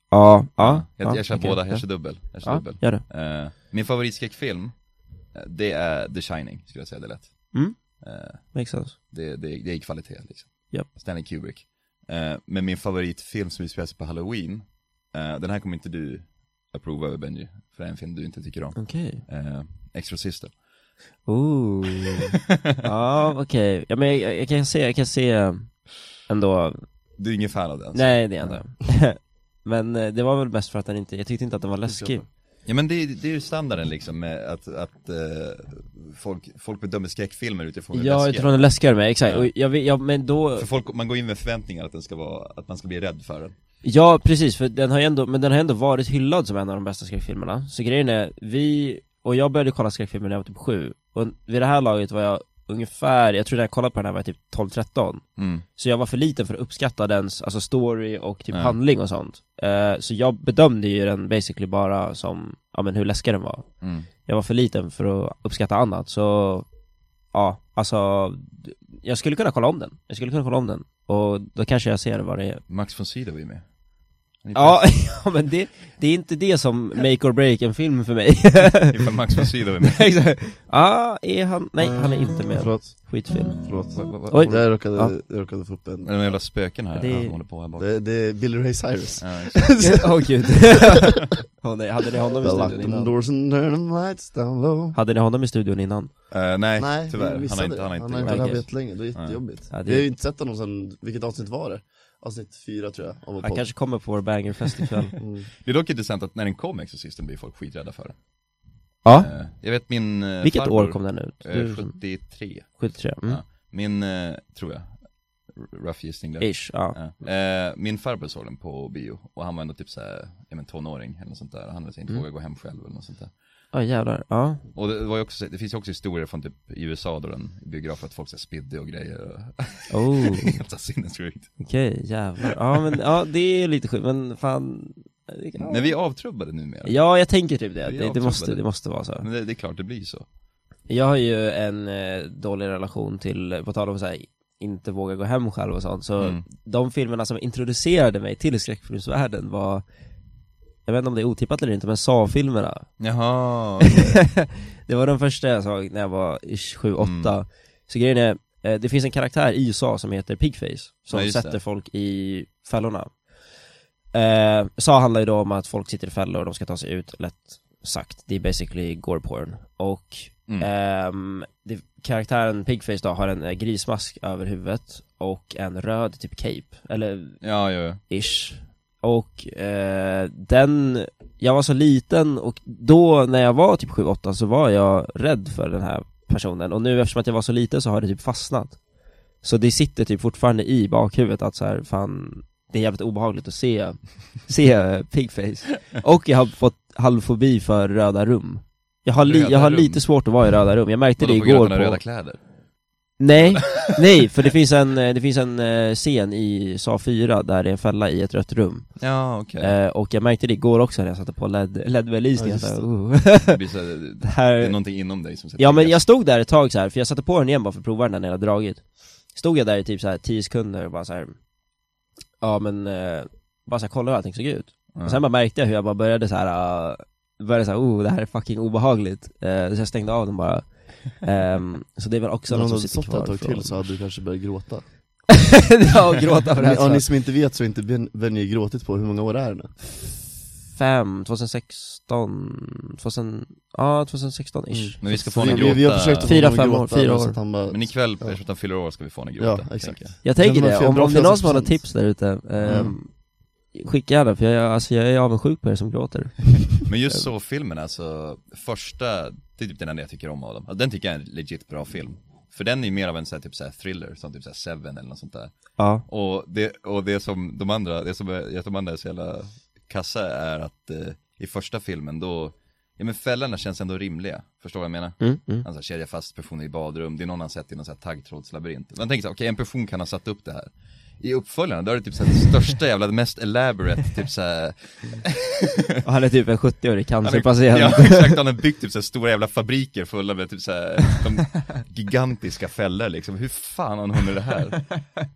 Speaker 3: Ja, ja
Speaker 2: Jag, jag kör
Speaker 3: okej.
Speaker 2: båda, jag kör dubbel, jag kör
Speaker 3: Ja,
Speaker 2: dubbel
Speaker 3: gör det
Speaker 2: Eh, Min favoritskräckfilm, eh, det är The Shining, skulle jag säga det är lätt
Speaker 3: Mm.
Speaker 2: Eh,
Speaker 3: Makes sense
Speaker 2: Det, det, det är kvalitet liksom.
Speaker 3: Japp.
Speaker 2: Stanley Kubrick. Eh, men min favoritfilm som utspelar sig på halloween, eh, den här kommer inte du approva över Benji, för det är en film du inte tycker om.
Speaker 3: Okej
Speaker 2: Eh, Exorcisten.
Speaker 3: Ooh. ja, okej. Ja, men jag, jag kan se, jag kan se eh, ändå,
Speaker 2: Du är ingen fan av den? alltså.
Speaker 3: nej det är jag inte. <laughs> men eh, det var väl mest för att den inte, jag tyckte inte att den var läskig.
Speaker 2: Ja men det, det är ju standarden liksom, med att, att eh, folk, folk bedömer skräckfilmer utifrån hur
Speaker 3: Ja,
Speaker 2: läskiga
Speaker 3: utifrån den läskigare med, exakt.
Speaker 2: Ja.
Speaker 3: Och jag, vet- ja, men då,
Speaker 2: För folk, man går in med förväntningar att den ska vara, att man ska bli rädd för den.
Speaker 3: ja precis, för den har ju ändå, men den har ändå varit hyllad som en av de bästa skräckfilmerna. Så grejen är, vi, och jag började kolla skräckfilmer när jag var typ sju, och vid det här laget var jag ungefär, jag tror när jag kollade på den här var jag typ 12-13.
Speaker 2: Mm.
Speaker 3: Så jag var för liten för att uppskatta dens, alltså story och typ
Speaker 2: Ja.
Speaker 3: handling och sånt Eh, Så jag bedömde ju den basically bara som, ja men hur läskig den var
Speaker 2: Mm.
Speaker 3: Jag var för liten för att uppskatta annat så, ja alltså d- Jag skulle kunna kolla om den, jag skulle kunna kolla om den Och då kanske jag ser vad det är
Speaker 2: Max von Sydow är ju med. Han är
Speaker 3: Ja, <laughs> ja men det, det är inte det som make or break en film för mig <laughs>
Speaker 2: perfekt. Ifall Max von Sydow är med.
Speaker 3: Exakt. Ja, är han, nej han är inte med,
Speaker 1: Förlåt,
Speaker 3: skitfilm
Speaker 1: förlåt
Speaker 3: Oj.
Speaker 1: Jag råkade,
Speaker 3: Ja.
Speaker 1: jag råkade få upp en,
Speaker 2: De jävla spöken här,
Speaker 3: Det är-
Speaker 2: han håller på här bakom.
Speaker 1: det, det är Billy Ray Cyrus
Speaker 2: Ja, just det.
Speaker 3: <laughs> Åh gud <laughs> Åh nej, hade ni honom i
Speaker 1: Lock
Speaker 3: studion
Speaker 1: them
Speaker 3: innan?
Speaker 1: doors and turn them lights down low
Speaker 3: Hade ni honom i studion innan?
Speaker 2: Eh, nej,
Speaker 1: Nej, vi
Speaker 2: tyvärr. Han
Speaker 1: missade
Speaker 2: har inte, han har
Speaker 1: det.
Speaker 2: inte
Speaker 1: han har
Speaker 3: varit
Speaker 1: inte
Speaker 3: med.
Speaker 1: arbetat länge, det är jättejobbigt
Speaker 3: Ja, det-
Speaker 1: Vi har ju inte sett honom sen, vilket avsnitt var det? Avsnitt fyra tror jag, av vår
Speaker 3: Han
Speaker 1: podd
Speaker 3: kanske kommer på vår bangerfest ikväll
Speaker 1: mm.
Speaker 2: Det är dock intressant att när den kom Exorcisten blev folk skiträdda för den.
Speaker 3: <laughs> Ja,
Speaker 2: Eh, Jag vet min eh,
Speaker 3: vilket
Speaker 2: farbror,
Speaker 3: år kom den ut?
Speaker 2: eh,
Speaker 3: Du,
Speaker 2: 73
Speaker 3: 73? Mm.
Speaker 2: Ja. Min, eh, tror jag, R- rough gissning där
Speaker 3: Ish, ja.
Speaker 2: Ja. Eh, Min farbror såg den på bio och han var ändå typ såhär, ja men tonåring eller något sånt där Han hade inte
Speaker 3: Mm.
Speaker 2: vågat gå hem själv eller något sånt där
Speaker 3: Ja jävlar, ja.
Speaker 2: Och det, var ju också, så- det finns ju också historier från typ i USA då den i biografer att folk så här spydde och grejer och
Speaker 3: Oh,
Speaker 2: helt så här sinnessjukt
Speaker 3: okej jävlar. Ja men ja, det är lite sjukt, men fan. Ja.
Speaker 2: Men vi är avtrubbade numera
Speaker 3: Ja, jag tänker typ det.
Speaker 2: Vi är
Speaker 3: Det, det, måste,
Speaker 2: avtrubbade.
Speaker 3: det måste vara så.
Speaker 2: Men det, det är klart det blir så
Speaker 3: Jag har ju en eh, dålig relation till, på tal om så här, inte våga gå hem själv och sånt, så
Speaker 2: Mm.
Speaker 3: de filmerna som introducerade mig till skräckfilmsvärlden var, jag vet inte om det är otippat eller inte, men Saw-filmerna.
Speaker 2: Jaha,
Speaker 3: Det var den första jag såg när jag var ish, 7-8
Speaker 2: Mm.
Speaker 3: Så grejen är, eh, det finns en karaktär i USA som heter Pigface Som
Speaker 2: Ja, just
Speaker 3: sätter
Speaker 2: det.
Speaker 3: folk i fällorna eh, Sa handlar ju då om att folk sitter i fällor och de ska ta sig ut, lätt sagt Det är basically gore porn Och
Speaker 2: Mm.
Speaker 3: ehm, det, karaktären Pigface då har en eh, grismask över huvudet Och en röd typ cape, eller
Speaker 2: ja ja, ja.
Speaker 3: ish Och eh, den, jag var så liten och då när jag var typ 7-8 så var jag rädd för den här personen och nu eftersom att jag var så liten så har det typ fastnat Så det sitter typ fortfarande i bakhuvudet att så här, fan det är jävligt obehagligt
Speaker 2: <laughs>
Speaker 3: att se, se eh, Pigface Och jag har fått halvfobi för röda rum Jag har, li,
Speaker 2: Röda
Speaker 3: jag har
Speaker 2: rum?
Speaker 3: lite svårt att vara i röda rum, jag märkte
Speaker 2: Vadå,
Speaker 3: det
Speaker 2: på grund av
Speaker 3: igår
Speaker 2: dina
Speaker 3: på
Speaker 2: röda kläder?
Speaker 3: Nej, <laughs> nej, för det finns en, eh, det finns en eh, scen i Sa 4 där det är en fälla i ett rött rum
Speaker 2: Ja, okej.
Speaker 3: eh, Och jag märkte det igår också när jag satte på LED LED-belysning,
Speaker 1: Ja,
Speaker 3: jag
Speaker 1: just
Speaker 3: sa,
Speaker 1: det.
Speaker 3: "Oh." <laughs>
Speaker 2: Det, blir så här, det-
Speaker 3: det
Speaker 2: det är
Speaker 3: här...
Speaker 2: någonting inom dig som sätter
Speaker 3: äh, Ja men
Speaker 2: igång.
Speaker 3: jag stod där ett tag så här för jag satte på den igen bara för att prova den när jag hade dragit Stod jag där i typ så här 10 sekunder och bara så här. Ja men, eh, bara så här, kollade hur allting såg ut
Speaker 2: Ja.
Speaker 3: Och sen bara märkte jag hur jag bara började så här. eh, började så här, oh det här är fucking obehagligt Eh, Så jag stängde av den bara Ehm, Så det är väl också
Speaker 1: Om
Speaker 3: något
Speaker 1: du hade
Speaker 3: som sitter
Speaker 1: stått
Speaker 3: kvar
Speaker 1: där ett tag
Speaker 3: från-
Speaker 1: till
Speaker 3: <laughs>
Speaker 1: så hade du kanske börjat gråta
Speaker 3: ja, och gråta för det här
Speaker 1: Ja,
Speaker 3: så.
Speaker 1: ni som inte vet så har inte Ben- Benny gråtit på hur många år är det nu?
Speaker 3: Fem, 2016, 2000, ja
Speaker 1: Mm.
Speaker 3: 2016-ish
Speaker 2: Men vi ska få
Speaker 1: Så
Speaker 2: honom
Speaker 1: vi,
Speaker 2: att
Speaker 1: vi,
Speaker 2: gråta.
Speaker 1: vi har försökt att få
Speaker 3: Fyra,
Speaker 1: honom att
Speaker 3: fem år,
Speaker 1: gråta,
Speaker 3: fyra
Speaker 1: men
Speaker 3: år.
Speaker 1: så att han bara,
Speaker 2: Men ikväll, eftersom han fyller år, ska vi få honom att
Speaker 1: Ja,
Speaker 2: gråta.
Speaker 1: exakt.
Speaker 2: tänker jag.
Speaker 3: Jag tänker
Speaker 1: Men man
Speaker 3: det,
Speaker 1: får
Speaker 3: om,
Speaker 1: dra
Speaker 3: om det är någon som
Speaker 1: 400%.
Speaker 3: har några tips där ute, ehm, skicka gärna för jag, alltså, jag är avundsjuk på er som gråter
Speaker 2: Men just så filmen alltså, första, det är typ den enda jag tycker om av dem. Alltså, den tycker jag är en legit bra film. För den är ju mer av en sån här, typ så här thriller, som typ så här Seven eller något sånt där.
Speaker 3: Ja,
Speaker 2: Och det, och det som de andra, det som är, de andra är så jävla kassa är att eh, i första filmen då, ja men fällorna känns ändå rimliga, förstår vad jag menar?
Speaker 3: mm, mm.
Speaker 2: Han så här, kedjar fast personer i badrum, det är någon han sett i någon så här taggtrådslabyrint. Man tänker så här, okej en person kan ha satt upp det här. I uppföljarna, då är det typ så här, det största jävla, det mest elaborate, typ så
Speaker 3: <laughs>
Speaker 2: här,
Speaker 3: Och han är typ en 70-årig cancerpatient
Speaker 2: Ja <laughs> exakt, han har byggt typ så här stora jävla fabriker fulla med typ så här,
Speaker 3: <laughs>
Speaker 2: de gigantiska fällor liksom. Hur fan har han hunnit det här?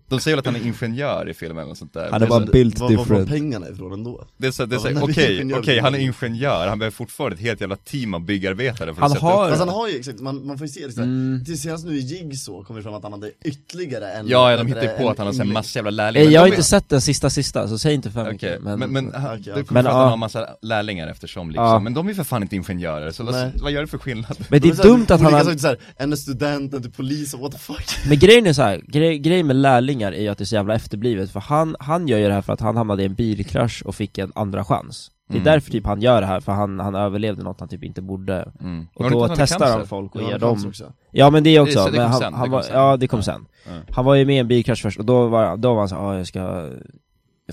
Speaker 2: De säger väl att han är ingenjör i filmen och sånt där.
Speaker 3: Han
Speaker 2: Det
Speaker 3: är
Speaker 2: så
Speaker 3: bara
Speaker 2: här-
Speaker 3: typ built
Speaker 1: var, var var
Speaker 3: different
Speaker 1: pengarna ifrån ändå?
Speaker 2: det är så, det är så,
Speaker 1: Ja,
Speaker 2: här,
Speaker 1: men han är
Speaker 2: okej,
Speaker 1: ingenjör.
Speaker 2: okej, han är ingenjör, han behöver fortfarande ett helt jävla team av byggarbetare för att
Speaker 3: Han
Speaker 2: sätta
Speaker 3: har-
Speaker 2: upp
Speaker 1: Fast
Speaker 2: det.
Speaker 1: han har ju exakt, man, man får ju se det såhär,
Speaker 2: Mm.
Speaker 1: till senast nu i Jig så kommer det fram att han hade ytterligare en
Speaker 2: Ja, ja, de hittar ju
Speaker 1: en-
Speaker 2: på att han har så här
Speaker 1: en-
Speaker 2: massa jävla
Speaker 3: Eh,
Speaker 2: lärlingar.
Speaker 3: Jag har
Speaker 2: Men de
Speaker 3: inte
Speaker 2: är-
Speaker 3: sett den sista sista, så säg inte för
Speaker 2: Okej,
Speaker 3: mycket
Speaker 2: men, men, han,
Speaker 1: Okej,
Speaker 2: du
Speaker 1: ja.
Speaker 2: kommer
Speaker 3: Men,
Speaker 2: att
Speaker 3: ja.
Speaker 2: han har en massa lärlingar eftersom liksom,
Speaker 3: Ja.
Speaker 2: men de är ju för fan inte ingenjörer, så
Speaker 1: Nej.
Speaker 2: vad, vad gör det för skillnad?
Speaker 3: Men det
Speaker 1: De
Speaker 3: är dumt att han
Speaker 1: olika
Speaker 3: har,
Speaker 1: saker, så här, en är student, en till polis, och what the <laughs> fuck?
Speaker 3: men grejen är så här, grej, grejen med lärlingar är ju att det är så jävla efterblivet för han, han gör ju det här för att han hamnade i en bilkrasch och fick en andra chans Det är
Speaker 2: Mm.
Speaker 3: därför typ han gör det här, för han, han överlevde något han typ inte borde
Speaker 2: Mm.
Speaker 3: Och
Speaker 2: Har du inte
Speaker 3: då
Speaker 2: haft någon
Speaker 3: testar han
Speaker 2: cancer?
Speaker 3: folk och
Speaker 1: Ja,
Speaker 3: ger
Speaker 1: det fanns
Speaker 3: dem
Speaker 1: också.
Speaker 3: Ja men det är också,
Speaker 2: Det- det
Speaker 3: men
Speaker 2: kom
Speaker 3: han,
Speaker 2: sen, det
Speaker 3: han
Speaker 2: kom
Speaker 3: var,
Speaker 2: sen.
Speaker 3: ja det kom
Speaker 2: Ja.
Speaker 3: sen
Speaker 2: Ja.
Speaker 3: Han var ju med i en bilkrasch först och då var, då var han såhär, ah, jag ska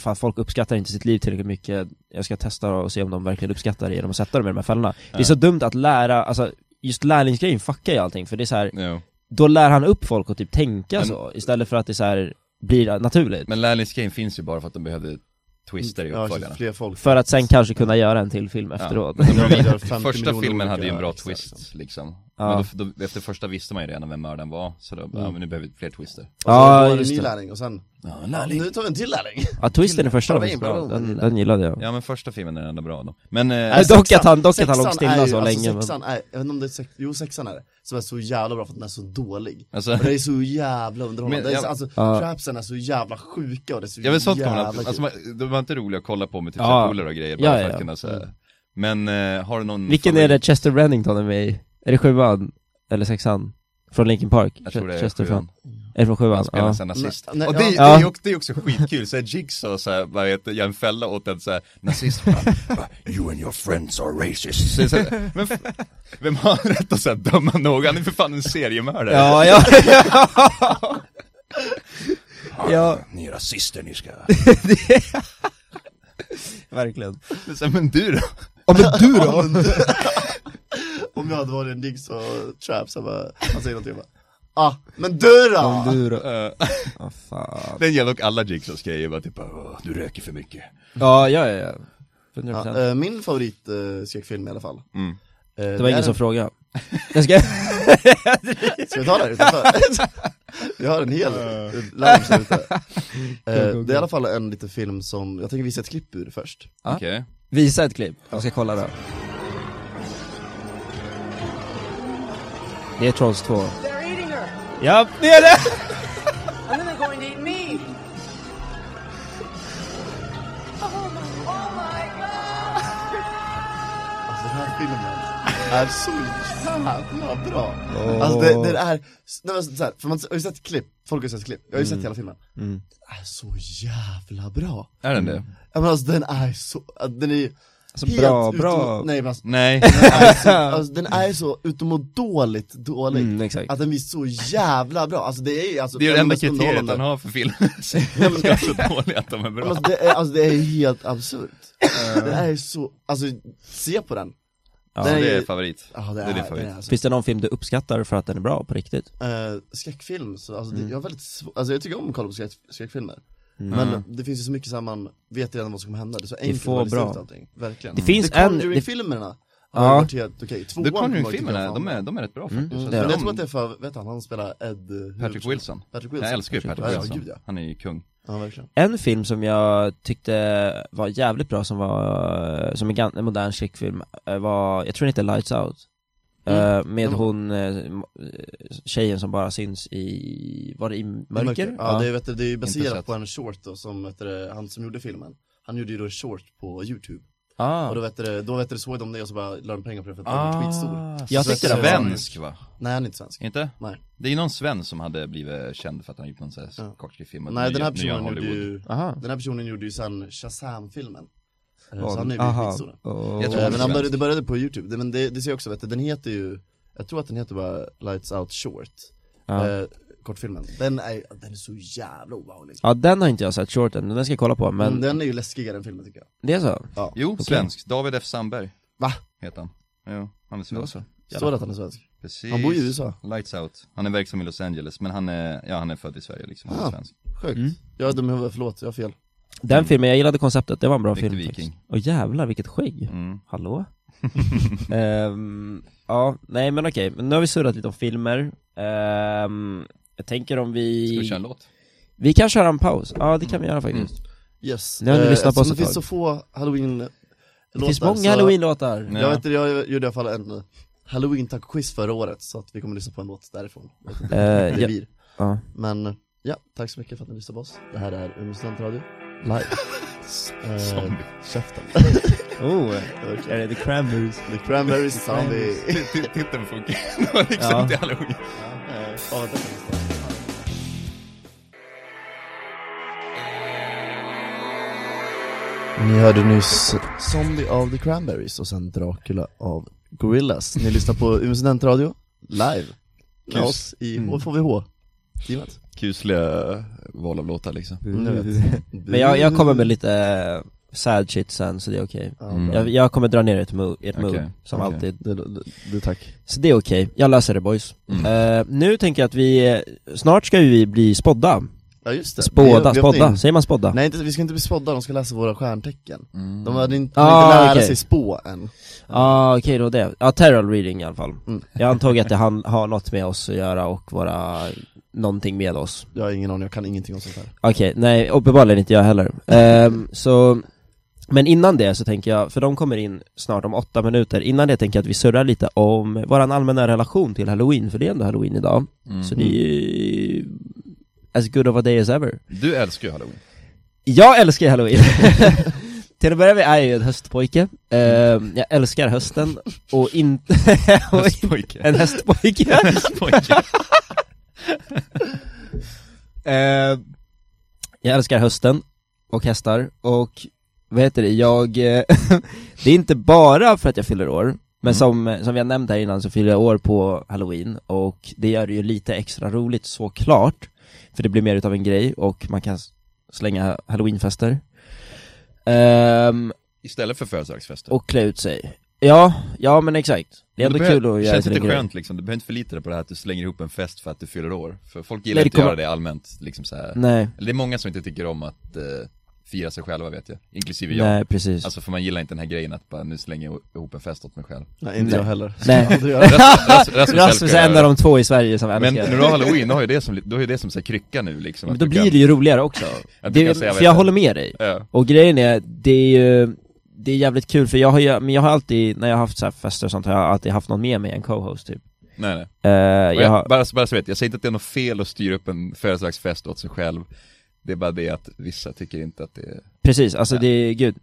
Speaker 3: Fan folk uppskattar inte sitt liv tillräckligt mycket Jag ska testa och se om de verkligen uppskattar det genom att sätta dem i de här fällorna Det är
Speaker 2: Ja.
Speaker 3: så dumt att lära, alltså Just lärlingsgrejen fuckar ju allting för det är så här,
Speaker 2: Jo.
Speaker 3: då lär han upp folk att typ tänka
Speaker 2: Men-
Speaker 3: så istället för att det så här blir naturligt
Speaker 2: Men lärlingsgrejen finns ju bara för att de behövde twister i
Speaker 1: Ja,
Speaker 2: uppföljarna.
Speaker 1: så fler folk
Speaker 3: För att sen kanske kunna göra en till film efteråt
Speaker 2: Men de-
Speaker 1: Ja, det är 50
Speaker 2: första
Speaker 1: miljoner
Speaker 2: filmen
Speaker 1: olika
Speaker 2: hade ju en bra
Speaker 1: extra,
Speaker 2: twist liksom.
Speaker 3: Ja. Mm.
Speaker 2: Men då, då, efter första visste man ju redan vem mördaren var, så då, ja, men nu behöver vi fler twister.
Speaker 1: Ja,
Speaker 3: Ja
Speaker 1: var det en
Speaker 3: just
Speaker 1: ny
Speaker 3: det,
Speaker 1: lärling och sen,
Speaker 2: Ja,
Speaker 1: ja, nu tar vi en till <laughs> lärling!
Speaker 3: ja twisten i första var
Speaker 1: Ja, det är
Speaker 3: faktiskt
Speaker 1: bra.
Speaker 3: bra, den, den gillade jag
Speaker 2: Ja men första filmen är den enda bra av dem. Men, eh,
Speaker 1: Äh,
Speaker 3: Nej, dock att han- dock att
Speaker 1: Sexan-
Speaker 3: han låg
Speaker 1: sexan
Speaker 3: stilla
Speaker 1: är ju-
Speaker 3: så länge, men-
Speaker 1: alltså, sexan är, jag vet inte om det är sex, jo sexan är det, som är så jävla bra för att den är så dålig
Speaker 2: alltså,
Speaker 1: Och det är så jävla underhållande,
Speaker 2: Men
Speaker 1: det är,
Speaker 2: jag-
Speaker 1: så- alltså
Speaker 3: Ja.
Speaker 1: trapsen är så jävla sjuka och det är så
Speaker 2: <laughs> jag vet sånt kommer
Speaker 1: jävla
Speaker 2: man, alltså,
Speaker 1: kul.
Speaker 2: man, de var inte roliga att kolla på med typ
Speaker 3: Ja.
Speaker 2: ja. och grejer bara
Speaker 3: Ja,
Speaker 2: för att
Speaker 3: ja. Mm.
Speaker 2: kunna säga. Men eh, har du någon
Speaker 3: Vilken är
Speaker 2: favorit?
Speaker 3: det Chester Bennington är med i? Är det sjuan? Eller sexan? Från Linkin Park?
Speaker 2: Jag tror det är
Speaker 3: Chester
Speaker 2: sjuan.
Speaker 3: Är det från sjuan?
Speaker 2: Han spelar
Speaker 3: Ja.
Speaker 2: sen nazist.
Speaker 1: Nej, nej,
Speaker 2: och
Speaker 1: ja.
Speaker 2: det, det, är ju
Speaker 3: Ja.
Speaker 2: också, det är också skitkul, såhär Jigsaw såhär, vad heter, gör en fälla åt en såhär
Speaker 3: <laughs>
Speaker 2: nazist bara, You and your friends are racist. Så, det är så, här, men, f- vem har rätt att såhär döma någon? Han är för fan en seriemördare.
Speaker 3: Ja,
Speaker 2: <laughs>
Speaker 3: ja, <laughs> ja,
Speaker 2: Ni är rasister ni ska.
Speaker 3: <laughs> verkligen
Speaker 2: Det är så här, men du då?
Speaker 3: Ja men du
Speaker 2: <laughs>
Speaker 3: då?
Speaker 1: Om jag hade varit en digg så trap så bara, han säger någonting och bara Ah, men du då!
Speaker 3: Om du då?
Speaker 2: Eh,
Speaker 3: Ja, fan
Speaker 2: Den gäller dock alla Jigsaws grejer, bara typ "Åh, du röker för mycket.
Speaker 3: Ja, ja, ja, ja. 100%.
Speaker 1: Ja, eh, min favorit eh, skräckfilm i alla fall
Speaker 2: Mm.
Speaker 1: Eh,
Speaker 3: Det var
Speaker 1: är
Speaker 3: ingen
Speaker 1: en-
Speaker 3: som frågade Jag
Speaker 1: Ska
Speaker 3: ska... <laughs>
Speaker 1: vi ta det här utanför? Vi har en hel larm här ute Eh,
Speaker 3: go,
Speaker 1: Det är i alla fall en liten film som, jag tänker visa ett klipp ur först
Speaker 3: Ja.
Speaker 2: Okej.
Speaker 3: Visa ett klipp, jag ska kolla då Det är Trolls 2
Speaker 5: They're eating her,
Speaker 3: Ja, det är det!
Speaker 5: and then they're going to eat me.
Speaker 1: Alltså den här filmen
Speaker 3: <laughs>
Speaker 1: är så jävla bra! Alltså det, det är, nej men så här, för man har ju sett klipp, folk har ju sett klipp, jag har ju sett hela filmen
Speaker 3: Mm.
Speaker 1: Den är så jävla bra!
Speaker 2: Är den det?
Speaker 1: Ja, Men alltså den är så, den är
Speaker 3: Alltså
Speaker 1: helt
Speaker 3: bra,
Speaker 1: utom-
Speaker 3: bra
Speaker 1: nej men alltså,
Speaker 3: <laughs>
Speaker 2: Nej.
Speaker 1: den är så, alltså, den är så utomordentligt dålig
Speaker 3: Mm, exakt
Speaker 1: Att den blir så jävla bra, alltså det är ju alltså
Speaker 2: Det är det
Speaker 1: den
Speaker 2: enda
Speaker 1: mest
Speaker 2: kriteriet
Speaker 1: underhållande-
Speaker 2: han har för <laughs> filmen. De ska vara så dåliga att de är bra.
Speaker 1: Alltså
Speaker 3: <laughs>
Speaker 1: det, är, alltså det är helt absurt. Den är ju så, alltså se på den.
Speaker 3: Ja.
Speaker 2: Så
Speaker 1: Nej.
Speaker 2: <laughs> det är favorit.
Speaker 1: Ja, det
Speaker 2: Det är
Speaker 1: är,
Speaker 2: din
Speaker 1: det
Speaker 2: favorit.
Speaker 1: är alltså.
Speaker 3: Finns det någon film du uppskattar för att den är bra på riktigt?
Speaker 1: Eh, skräckfilm, så, alltså, det, jag är väldigt svår, alltså jag tycker om att kolla på skräck, skräckfilmer
Speaker 3: Mm.
Speaker 1: Men det finns ju så mycket så här, man vet redan vad som kommer hända, det är så enkelt
Speaker 3: få
Speaker 1: att lista
Speaker 3: bra.
Speaker 1: ut allting, verkligen
Speaker 3: Mm. Det finns
Speaker 1: The
Speaker 3: en... Det,
Speaker 1: Conjuring-filmerna
Speaker 3: Ja.
Speaker 1: har varit helt okej, tvåan
Speaker 2: The
Speaker 1: kommer jag tycka
Speaker 2: Conjuring-filmerna,
Speaker 1: fan
Speaker 2: de
Speaker 1: typ bra.
Speaker 2: är, de är rätt bra
Speaker 3: Mm,
Speaker 2: faktiskt.
Speaker 3: det
Speaker 2: Alltså,
Speaker 3: är
Speaker 1: Men
Speaker 2: de,
Speaker 1: jag tror att det är för, vet han, han spelar Ed eh,
Speaker 2: Patrick
Speaker 1: huvudperson-
Speaker 2: Wilson.
Speaker 1: Patrick Wilson
Speaker 2: Jag älskar ju Patrick
Speaker 1: Ja, ja,
Speaker 2: Wilson.
Speaker 1: gud ja.
Speaker 2: Han är ju kung.
Speaker 1: Ja, verkligen
Speaker 3: en film som jag tyckte var jävligt bra som var, som en, gan- en modern skräckfilm eh, var, jag tror den heter Lights Out
Speaker 1: Mm.
Speaker 3: Eh, Med
Speaker 1: Den var-
Speaker 3: hon, eh, m- eh, tjejen som bara syns i, var det i mörker?
Speaker 1: Ja, Det, är, vet du, det är ju
Speaker 2: Inte
Speaker 1: baserat
Speaker 2: sett.
Speaker 1: på en short då, som vet du, han som gjorde filmen Han gjorde ju då en short på youtube,
Speaker 3: Ah.
Speaker 1: och då vet du, då vet du, såg de det och så bara la de pengar på det för att
Speaker 2: Ah.
Speaker 1: den var skitstor
Speaker 3: Jag
Speaker 1: Så
Speaker 3: tyckte
Speaker 1: att-
Speaker 3: det var-
Speaker 2: Svensk va?
Speaker 1: Nej han är inte svensk
Speaker 2: Inte?
Speaker 1: Nej.
Speaker 2: Det är ju någon svensk som hade blivit känd för att han gjort någon sån här
Speaker 1: Ja.
Speaker 2: kortfilm
Speaker 1: Nej den här
Speaker 2: nya- nya
Speaker 1: personen gjorde
Speaker 2: Hollywood.
Speaker 1: ju,
Speaker 3: Aha.
Speaker 1: den här personen gjorde ju sen Shazam-filmen Eh, Så han är ju blivit
Speaker 3: Aha.
Speaker 1: skitstor
Speaker 3: Och-
Speaker 2: Jag
Speaker 1: Eh,
Speaker 2: tror-
Speaker 1: Men han
Speaker 2: svensk.
Speaker 1: började, det började på youtube, Det- men det, det ser jag också vet du, den heter ju Jag tror att den heter bara Lights Out Short
Speaker 3: Ja.
Speaker 1: eh, Kortfilmen, den är, den är så jävla obehaglig
Speaker 3: ja, den har inte jag sett shorten, den ska jag kolla på, men
Speaker 1: Men den är ju läskigare än filmen tycker jag
Speaker 3: det är så?
Speaker 2: Jo, svensk. David F Sandberg.
Speaker 1: Va?
Speaker 2: Heter han. Jo, han är svensk.
Speaker 1: Står det att han är svensk?
Speaker 2: Precis.
Speaker 1: Han bor i USA.
Speaker 2: Lights out. Han är verksam i Los Angeles, men han är, ja han är född i Sverige liksom, han är
Speaker 1: Ah,
Speaker 2: svensk.
Speaker 1: Sjukt,
Speaker 3: Mm.
Speaker 1: jag är dum i huvudet, förlåt, jag har fel
Speaker 3: Den filmen, jag gillade konceptet, det var en bra
Speaker 2: Viktor
Speaker 3: film
Speaker 2: Mm. Viking.
Speaker 3: faktiskt. Och jävlar vilket skägg!
Speaker 2: Mm. <laughs>
Speaker 3: Hallå? Ehm, ja, nej men okej, men nu har vi surrat lite om filmer Ehm, Jag tänker om
Speaker 2: Ska
Speaker 3: vi...
Speaker 2: vi köra en låt? Mm.
Speaker 3: Vi kan köra en paus, ja det kan vi göra faktiskt
Speaker 1: Yes,
Speaker 3: Nu har ni
Speaker 1: Eh,
Speaker 3: lyssnat på oss
Speaker 1: eftersom
Speaker 3: ett
Speaker 1: det finns
Speaker 3: tag.
Speaker 1: så få halloween
Speaker 3: Det finns många halloween-låtar
Speaker 1: Jag vet inte, jag gjorde i alla fall en halloween taco-quiz förra året, så att vi kommer lyssna på en låt därifrån
Speaker 3: Eh,
Speaker 1: Det är
Speaker 3: ja,
Speaker 1: vi.
Speaker 3: ja.
Speaker 1: Men ja, tack så mycket för att ni lyssnade på oss. Det här är Umeå studentradio, <laughs> live. Eh,
Speaker 2: Zombie.
Speaker 1: käften.
Speaker 3: Oh, är det The Cranberries?
Speaker 1: <laughs> The Cranberries Zombie.
Speaker 2: Titeln funkar. Det var liksom
Speaker 3: Ja.
Speaker 2: inte halloween.
Speaker 1: Ja, vänta, vänta. <laughs> Ni hörde nyss Zombie av The Cranberries och sen Dracula av Gorillas. Ni lyssnar på Umeå studentradio, live. Mm. Med
Speaker 2: Kus.
Speaker 1: oss i HVH. Teamet.
Speaker 2: Kusliga val av låtar liksom.
Speaker 3: Mm.
Speaker 1: Mm.
Speaker 3: Men jag, jag kommer med lite eh, sad shit sen så det är okej
Speaker 2: Mm.
Speaker 3: jag, jag kommer dra ner ert mood, ert
Speaker 2: Okej,
Speaker 3: mood som
Speaker 2: okej.
Speaker 3: alltid
Speaker 1: Du, du, du tack.
Speaker 3: Så det är okej, jag löser det boys
Speaker 1: Mm.
Speaker 3: Eh, Nu tänker jag att vi, eh, snart ska ju vi bli spodda
Speaker 1: Ja just det.
Speaker 3: Spåda,
Speaker 1: Vi- vi öppnar
Speaker 3: spodda,
Speaker 1: in.
Speaker 3: säger man spodda?
Speaker 1: Nej inte, vi ska inte bli spådda, de ska läsa våra stjärntecken.
Speaker 2: Mm.
Speaker 1: De hade inte, de
Speaker 3: Ah,
Speaker 1: hade inte lära
Speaker 3: okej.
Speaker 1: sig spå än.
Speaker 3: Ja ah, okej då det, ja terror reading i alla fall
Speaker 1: Mm.
Speaker 3: Jag antog att det han, har något med oss att göra och våra, någonting med oss
Speaker 1: Jag har ingen aning, jag kan ingenting om sånt här.
Speaker 3: Okej, nej uppenbarligen inte jag heller Ehm, Så, men innan det så tänker jag, för de kommer in snart om åtta minuter Innan det tänker jag att vi surrar lite om våran allmänna relation till halloween, för det är ändå halloween idag
Speaker 2: Mm.
Speaker 3: Så det är ju as good of a day as ever
Speaker 2: Du älskar ju halloween.
Speaker 3: Jag älskar halloween! Till att börja med är jag ju en höstpojke, Ehm, jag älskar hösten och inte... <laughs> och in-
Speaker 2: Pojke.
Speaker 3: en hästpojke?
Speaker 2: Pojke.
Speaker 3: Ehm, jag älskar hösten och hästar och vad heter det, jag... eh, <laughs> det är inte bara för att jag fyller år, men
Speaker 2: Mm.
Speaker 3: som, som vi har nämnt här innan så fyller jag år på halloween och det gör det ju lite extra roligt såklart, för det blir mer utav en grej och man kan s- slänga halloweenfester. Ehm,
Speaker 2: Istället för födelsedagsfester.
Speaker 3: och klä ut sig. Ja, ja men exakt. Det är
Speaker 2: Men
Speaker 3: ändå
Speaker 2: behöver-
Speaker 3: kul att göra
Speaker 2: känns
Speaker 3: till en
Speaker 2: lite
Speaker 3: grej.
Speaker 2: skönt liksom, du behöver inte förlita dig på det här att du slänger ihop en fest för att du fyller år. För folk gillar
Speaker 3: Nej, det
Speaker 2: inte att göra
Speaker 3: kommer- Mm.
Speaker 2: det allmänt, liksom så här.
Speaker 3: Nej,
Speaker 2: Eller Det är många som inte tycker om att eh, fira sig själva vet jag, inklusive jag.
Speaker 3: nej precis.
Speaker 2: Alltså för man gillar inte den här grejen att bara, nu slänger jag ihop en fest åt mig
Speaker 3: <laughs>
Speaker 2: själv.
Speaker 1: Nej inte
Speaker 3: Nej.
Speaker 1: jag heller.
Speaker 3: nej.
Speaker 1: Aldrig
Speaker 2: <laughs>
Speaker 1: göra.
Speaker 2: Rasmus, Rasmus
Speaker 3: Rasmus
Speaker 2: älskar
Speaker 3: är
Speaker 2: det
Speaker 3: en
Speaker 2: här.
Speaker 3: av de två i Sverige som
Speaker 2: Men
Speaker 3: älskar
Speaker 2: när
Speaker 3: det.
Speaker 2: du har halloween, då har ju det som, då har ju det som så här krycka nu liksom.
Speaker 3: Men då blir det ju roligare också.
Speaker 2: Att du
Speaker 3: Det,
Speaker 2: kan säga,
Speaker 3: för
Speaker 2: vet
Speaker 3: jag
Speaker 2: du.
Speaker 3: håller med dig.
Speaker 2: Ja.
Speaker 3: Och grejen är, det är ju, det är jävligt kul för jag har ju, men jag har alltid, när jag har haft så här fester och sånt har jag alltid haft någon med mig, en co-host typ.
Speaker 2: Nej, nej.
Speaker 3: Eh,
Speaker 2: Och
Speaker 3: jag
Speaker 2: jag,
Speaker 3: har,
Speaker 2: bara, så- bara så vet, jag säger inte att det är något fel att styra upp en födelsedagsfest åt sig själv. Det är bara det att vissa tycker inte att det är...
Speaker 3: precis, alltså det är, gud.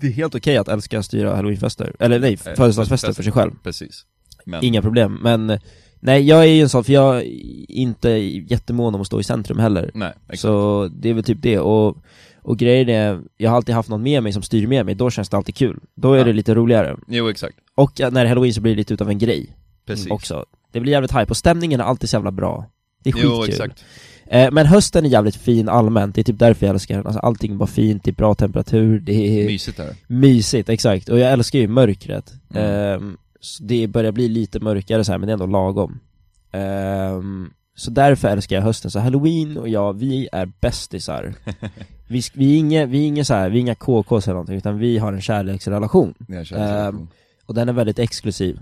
Speaker 3: Det är helt okej att älska att styra halloweenfester, eller nej, födelsedagsfester för sig själv.
Speaker 2: Precis. Men,
Speaker 3: Inga problem, men nej jag är ju en sån, för jag är inte jättemån om att stå i centrum heller.
Speaker 2: nej. Exakt.
Speaker 3: Så det är väl typ det, och, och grejen är, jag har alltid haft någon med mig som styr med mig, då känns det alltid kul. Då är
Speaker 2: Ja.
Speaker 3: det lite roligare.
Speaker 2: Jo, exakt.
Speaker 3: Och ja, när det är halloween så blir det lite utav en grej
Speaker 2: Precis.
Speaker 3: också. Det blir jävligt hype, och stämningen är alltid så jävla bra. Det är skitkul.
Speaker 2: Jo, exakt.
Speaker 3: Eh, men hösten är jävligt fin allmänt, det är typ därför jag älskar den. Alltså allting är bara fint, det är bra temperatur, det är
Speaker 2: Mysigt där.
Speaker 3: mysigt, exakt. Och jag älskar ju mörkret.
Speaker 2: Mm.
Speaker 3: Ehm, så det börjar bli lite mörkare så här, men det är ändå lagom. Ehm, så därför älskar jag hösten. Så halloween och jag, vi är
Speaker 2: <laughs>
Speaker 3: bästisar. vi, sk- vi är inga, vi är inga så här, vi är inga KKs eller någonting, utan vi har en kärleksrelation.
Speaker 2: när jag känner så här.
Speaker 3: Ehm, Och den är väldigt exklusiv.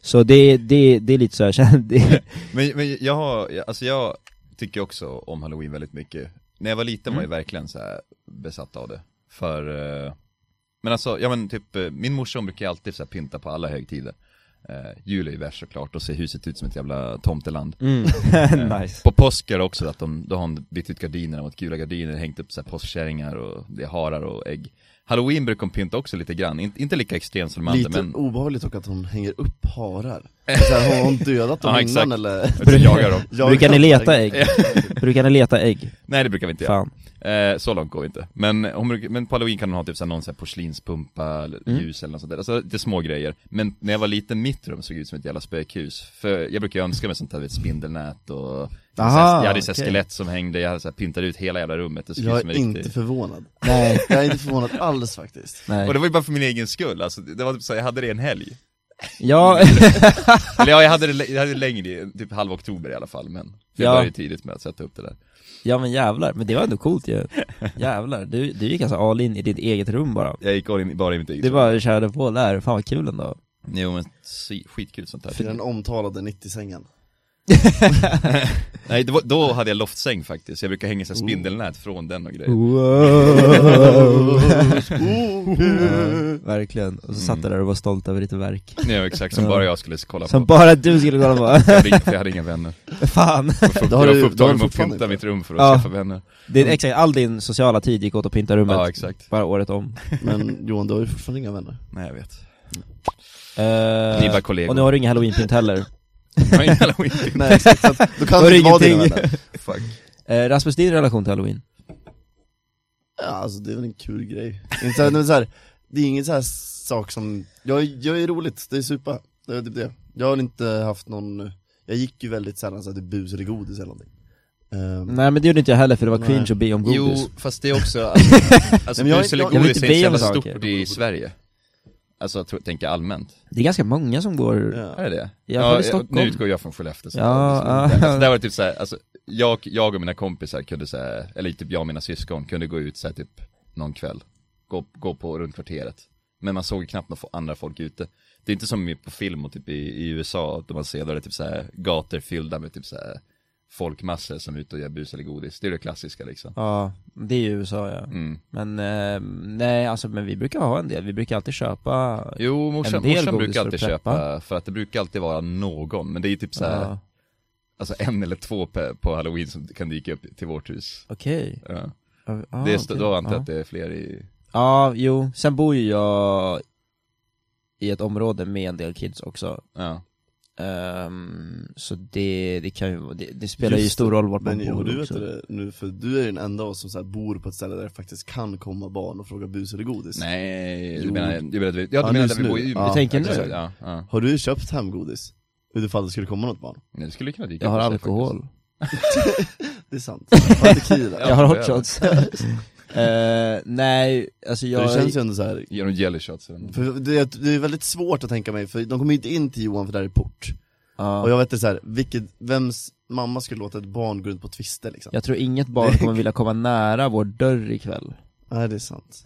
Speaker 3: Så det, det, det är lite så <laughs> jag känner, det,
Speaker 2: Men, men jag har, alltså jag tycker också om halloween väldigt mycket. När jag var liten var jag
Speaker 3: Mm.
Speaker 2: verkligen så här besatt av det. För, eh, men alltså, ja men typ, eh, min morsa hon brukar ju alltid så här pynta på alla högtider. Eh, jul är ju värst såklart, och ser huset ut som ett jävla tomteland.
Speaker 3: <laughs> mm. nice.
Speaker 2: På påsk är det också att de, då har de bytt ut gardinerna mot gula gardiner, hängt upp så här påskkärringar och det är harar och ägg. Halloween brukar de pynta också lite grann, inte, inte lika extremt som de andra
Speaker 1: Lite
Speaker 2: men
Speaker 1: obehagligt och att hon hänger upp
Speaker 2: <laughs>
Speaker 1: harar. Så här, har hon dödat dem
Speaker 2: Ja, exakt.
Speaker 1: innan eller?
Speaker 2: <laughs> jag Alltså, jagar dem.
Speaker 1: Jag-
Speaker 3: Brukar ni leta ägg? Brukar ni leta ägg?
Speaker 2: Nej det brukar vi inte göra.
Speaker 3: Fan.
Speaker 2: Eh, så långt går vi inte. Men, hon brukar, men på halloween kan hon ha typ såhär någon såhär porslinspumpa, eller
Speaker 1: Mm.
Speaker 2: ljus eller något sånt där. Alltså det är små grejer. Men när jag var liten, mitt rum såg ut som ett jävla spökhus. För jag brukar ju önska mig sånt här, vet, spindelnät och
Speaker 3: Aha,
Speaker 2: såhär- Jag hade ju såhär
Speaker 3: okej.
Speaker 2: skelett som hängde, jag hade såhär pyntade ut hela jävla rummet. Det såg ut
Speaker 1: Jag
Speaker 2: som
Speaker 1: är
Speaker 2: en riktig-
Speaker 1: inte förvånad.
Speaker 3: Nej,
Speaker 1: <laughs> Jag är inte förvånad alls faktiskt.
Speaker 3: nej.
Speaker 2: Och det var ju bara för min egen skull, alltså det var typ såhär, jag hade det en helg.
Speaker 3: Ja,
Speaker 2: Eller ja, jag hade det, lä- jag hade det längre, typ halv oktober i alla fall, men. För jag
Speaker 3: Ja.
Speaker 2: började ju tidigt med att sätta upp det där.
Speaker 3: ja men jävlar, men det var ändå coolt ju Jävlar, du, du gick alltså all in i ditt eget rum bara
Speaker 2: Jag gick all in, bara i mitt eget
Speaker 3: Du
Speaker 2: rum.
Speaker 3: bara körde på där, fan vad kul ändå
Speaker 2: Jo men, si- skitkul sånt
Speaker 1: Till
Speaker 2: där.
Speaker 1: den omtalade
Speaker 3: <laughs>
Speaker 1: 90-sängen.
Speaker 2: Nej, det var, då hade jag loftsäng faktiskt, jag brukar hänga så här spindelnät från den och grejer.
Speaker 1: <laughs>
Speaker 3: Wow.
Speaker 1: Oh.
Speaker 3: Verkligen, och så satt du där och var stolt över ditt verk
Speaker 2: Ja exakt, som bara jag skulle kolla
Speaker 3: Mm. Som
Speaker 2: på.
Speaker 3: bara du skulle kolla på,
Speaker 2: Jag hade, inga- för jag hade inga vänner.
Speaker 3: <laughs> fan
Speaker 1: Det har
Speaker 2: jag
Speaker 1: du-
Speaker 2: var
Speaker 1: det
Speaker 2: för
Speaker 1: har du
Speaker 2: upptagen med att
Speaker 1: fortfarande
Speaker 2: pynta
Speaker 1: inte.
Speaker 2: mitt rum för att
Speaker 3: Ja.
Speaker 2: skaffa vänner.
Speaker 3: det är, Exakt, all din sociala tid gick åt att pynta rummet
Speaker 2: Ja exakt.
Speaker 3: Bara året om
Speaker 1: Men Johan, du har ju fortfarande inga
Speaker 2: <laughs>
Speaker 1: vänner.
Speaker 2: Nej jag vet.
Speaker 3: Eh,
Speaker 2: Ni är bara
Speaker 3: Och nu
Speaker 2: kollegor.
Speaker 3: har du ingen halloweenpynt heller
Speaker 2: <laughs> Jag har ingen halloween.
Speaker 1: Nej exakt, så att, då kan
Speaker 3: Då
Speaker 1: du
Speaker 3: är det
Speaker 1: inte vara dina
Speaker 3: ingenting.
Speaker 1: vänner.
Speaker 2: Fuck.
Speaker 3: Eh, Rasmus, din relation till halloween?
Speaker 1: Ja, alltså det är väl en kul grej. Det är,
Speaker 3: <laughs>
Speaker 1: så här, det, är så här, det är ingen så här sak som, jag, jag är roligt, det är supa. Det är typ det. Jag har inte haft någon, jag gick ju väldigt sällan så att det är bus eller godis eller någonting. Ehm,
Speaker 3: Nej men det gjorde inte jag heller för det var
Speaker 1: Nej.
Speaker 3: cringe att be om godis
Speaker 2: Jo, fast det är också, alltså, alltså
Speaker 1: Men jag-
Speaker 2: bus eller
Speaker 1: jag- jag
Speaker 3: vill
Speaker 2: godis är inte
Speaker 3: inte be
Speaker 2: så jävla
Speaker 3: om saker.
Speaker 2: stort i Sverige. Alltså jag tror, tänker allmänt.
Speaker 3: Det är ganska många som går
Speaker 1: ja.
Speaker 2: Är det det?
Speaker 3: I alla fall i Stockholm.
Speaker 2: nu utgår jag från Skellefteå så
Speaker 3: Ja,
Speaker 2: alltså,
Speaker 3: ja.
Speaker 2: där var det typ såhär, alltså, jag, jag och mina kompisar kunde såhär, eller typ jag och mina syskon kunde gå ut såhär typ någon kväll, gå, gå på runt kvarteret. Men man såg ju knappt några fo- andra folk ute. Det är inte som på film och typ i, i USA, då man ser då det är typ såhär gator fyllda med typ såhär folkmassor som är ute och gör bus eller godis. Det är det klassiska liksom.
Speaker 3: Ja, det är ju USA ja.
Speaker 2: Mm.
Speaker 3: Men eh, nej, alltså men vi brukar ha en del, vi brukar alltid köpa
Speaker 2: Jo, morsan,
Speaker 3: En del
Speaker 2: morsan
Speaker 3: godis
Speaker 2: brukar
Speaker 3: för
Speaker 2: alltid
Speaker 3: att preppa.
Speaker 2: köpa, för att det brukar alltid vara någon, men det är typ såhär,
Speaker 3: Ja,
Speaker 2: alltså en eller två på, på halloween som kan dyka upp till vårt hus.
Speaker 3: Okej
Speaker 2: Ja. det
Speaker 3: Ja,
Speaker 2: är,
Speaker 3: Ah, okej.
Speaker 2: st- Då antar jag
Speaker 3: ja.
Speaker 2: att det är fler i...
Speaker 3: ja, jo, sen bor ju jag i ett område med en del kids också
Speaker 2: Ja.
Speaker 3: Ehm, Så det, det kan ju, det, det spelar ju
Speaker 1: Just
Speaker 3: stor roll vart man
Speaker 1: Men
Speaker 3: bor
Speaker 1: och du vet
Speaker 3: också.
Speaker 1: det nu, för du är ju den enda av oss som så här bor på ett ställe där det faktiskt kan komma barn och fråga bus eller godis
Speaker 2: Nej, du
Speaker 1: Jo.
Speaker 2: menar, du menar, att vi- ja, du
Speaker 1: Ja,
Speaker 2: menar
Speaker 1: nu-
Speaker 2: att vi bor
Speaker 1: nu.
Speaker 2: i Umeå?
Speaker 1: Du
Speaker 3: tänker
Speaker 2: exakt,
Speaker 3: nu?
Speaker 2: Ja, ja.
Speaker 1: Har du köpt hem godis? Utifall det skulle komma något barn?
Speaker 2: Nej, det skulle kunna dyka
Speaker 3: Jag har
Speaker 2: upp sig
Speaker 3: alkohol,
Speaker 2: faktiskt.
Speaker 1: Det är sant, har inte
Speaker 3: <laughs>
Speaker 1: tequila?
Speaker 2: Ja,
Speaker 3: jag har
Speaker 2: det
Speaker 3: hot
Speaker 2: är
Speaker 3: shots <laughs> Eh, Nej, alltså
Speaker 1: För
Speaker 3: jag
Speaker 1: Det känns ju ändå så här.
Speaker 2: Genom jelly shots
Speaker 3: Mm.
Speaker 2: eller något.
Speaker 1: För det, är- det är väldigt svårt att tänka mig, för de kommer ju inte in till Johan för där är port
Speaker 3: Ja.
Speaker 1: Och jag vet inte så här, vilket, vems mamma skulle låta ett barn gå runt på Twister liksom?
Speaker 3: Jag tror inget barn kommer vilja komma nära vår dörr ikväll
Speaker 1: Nej det är sant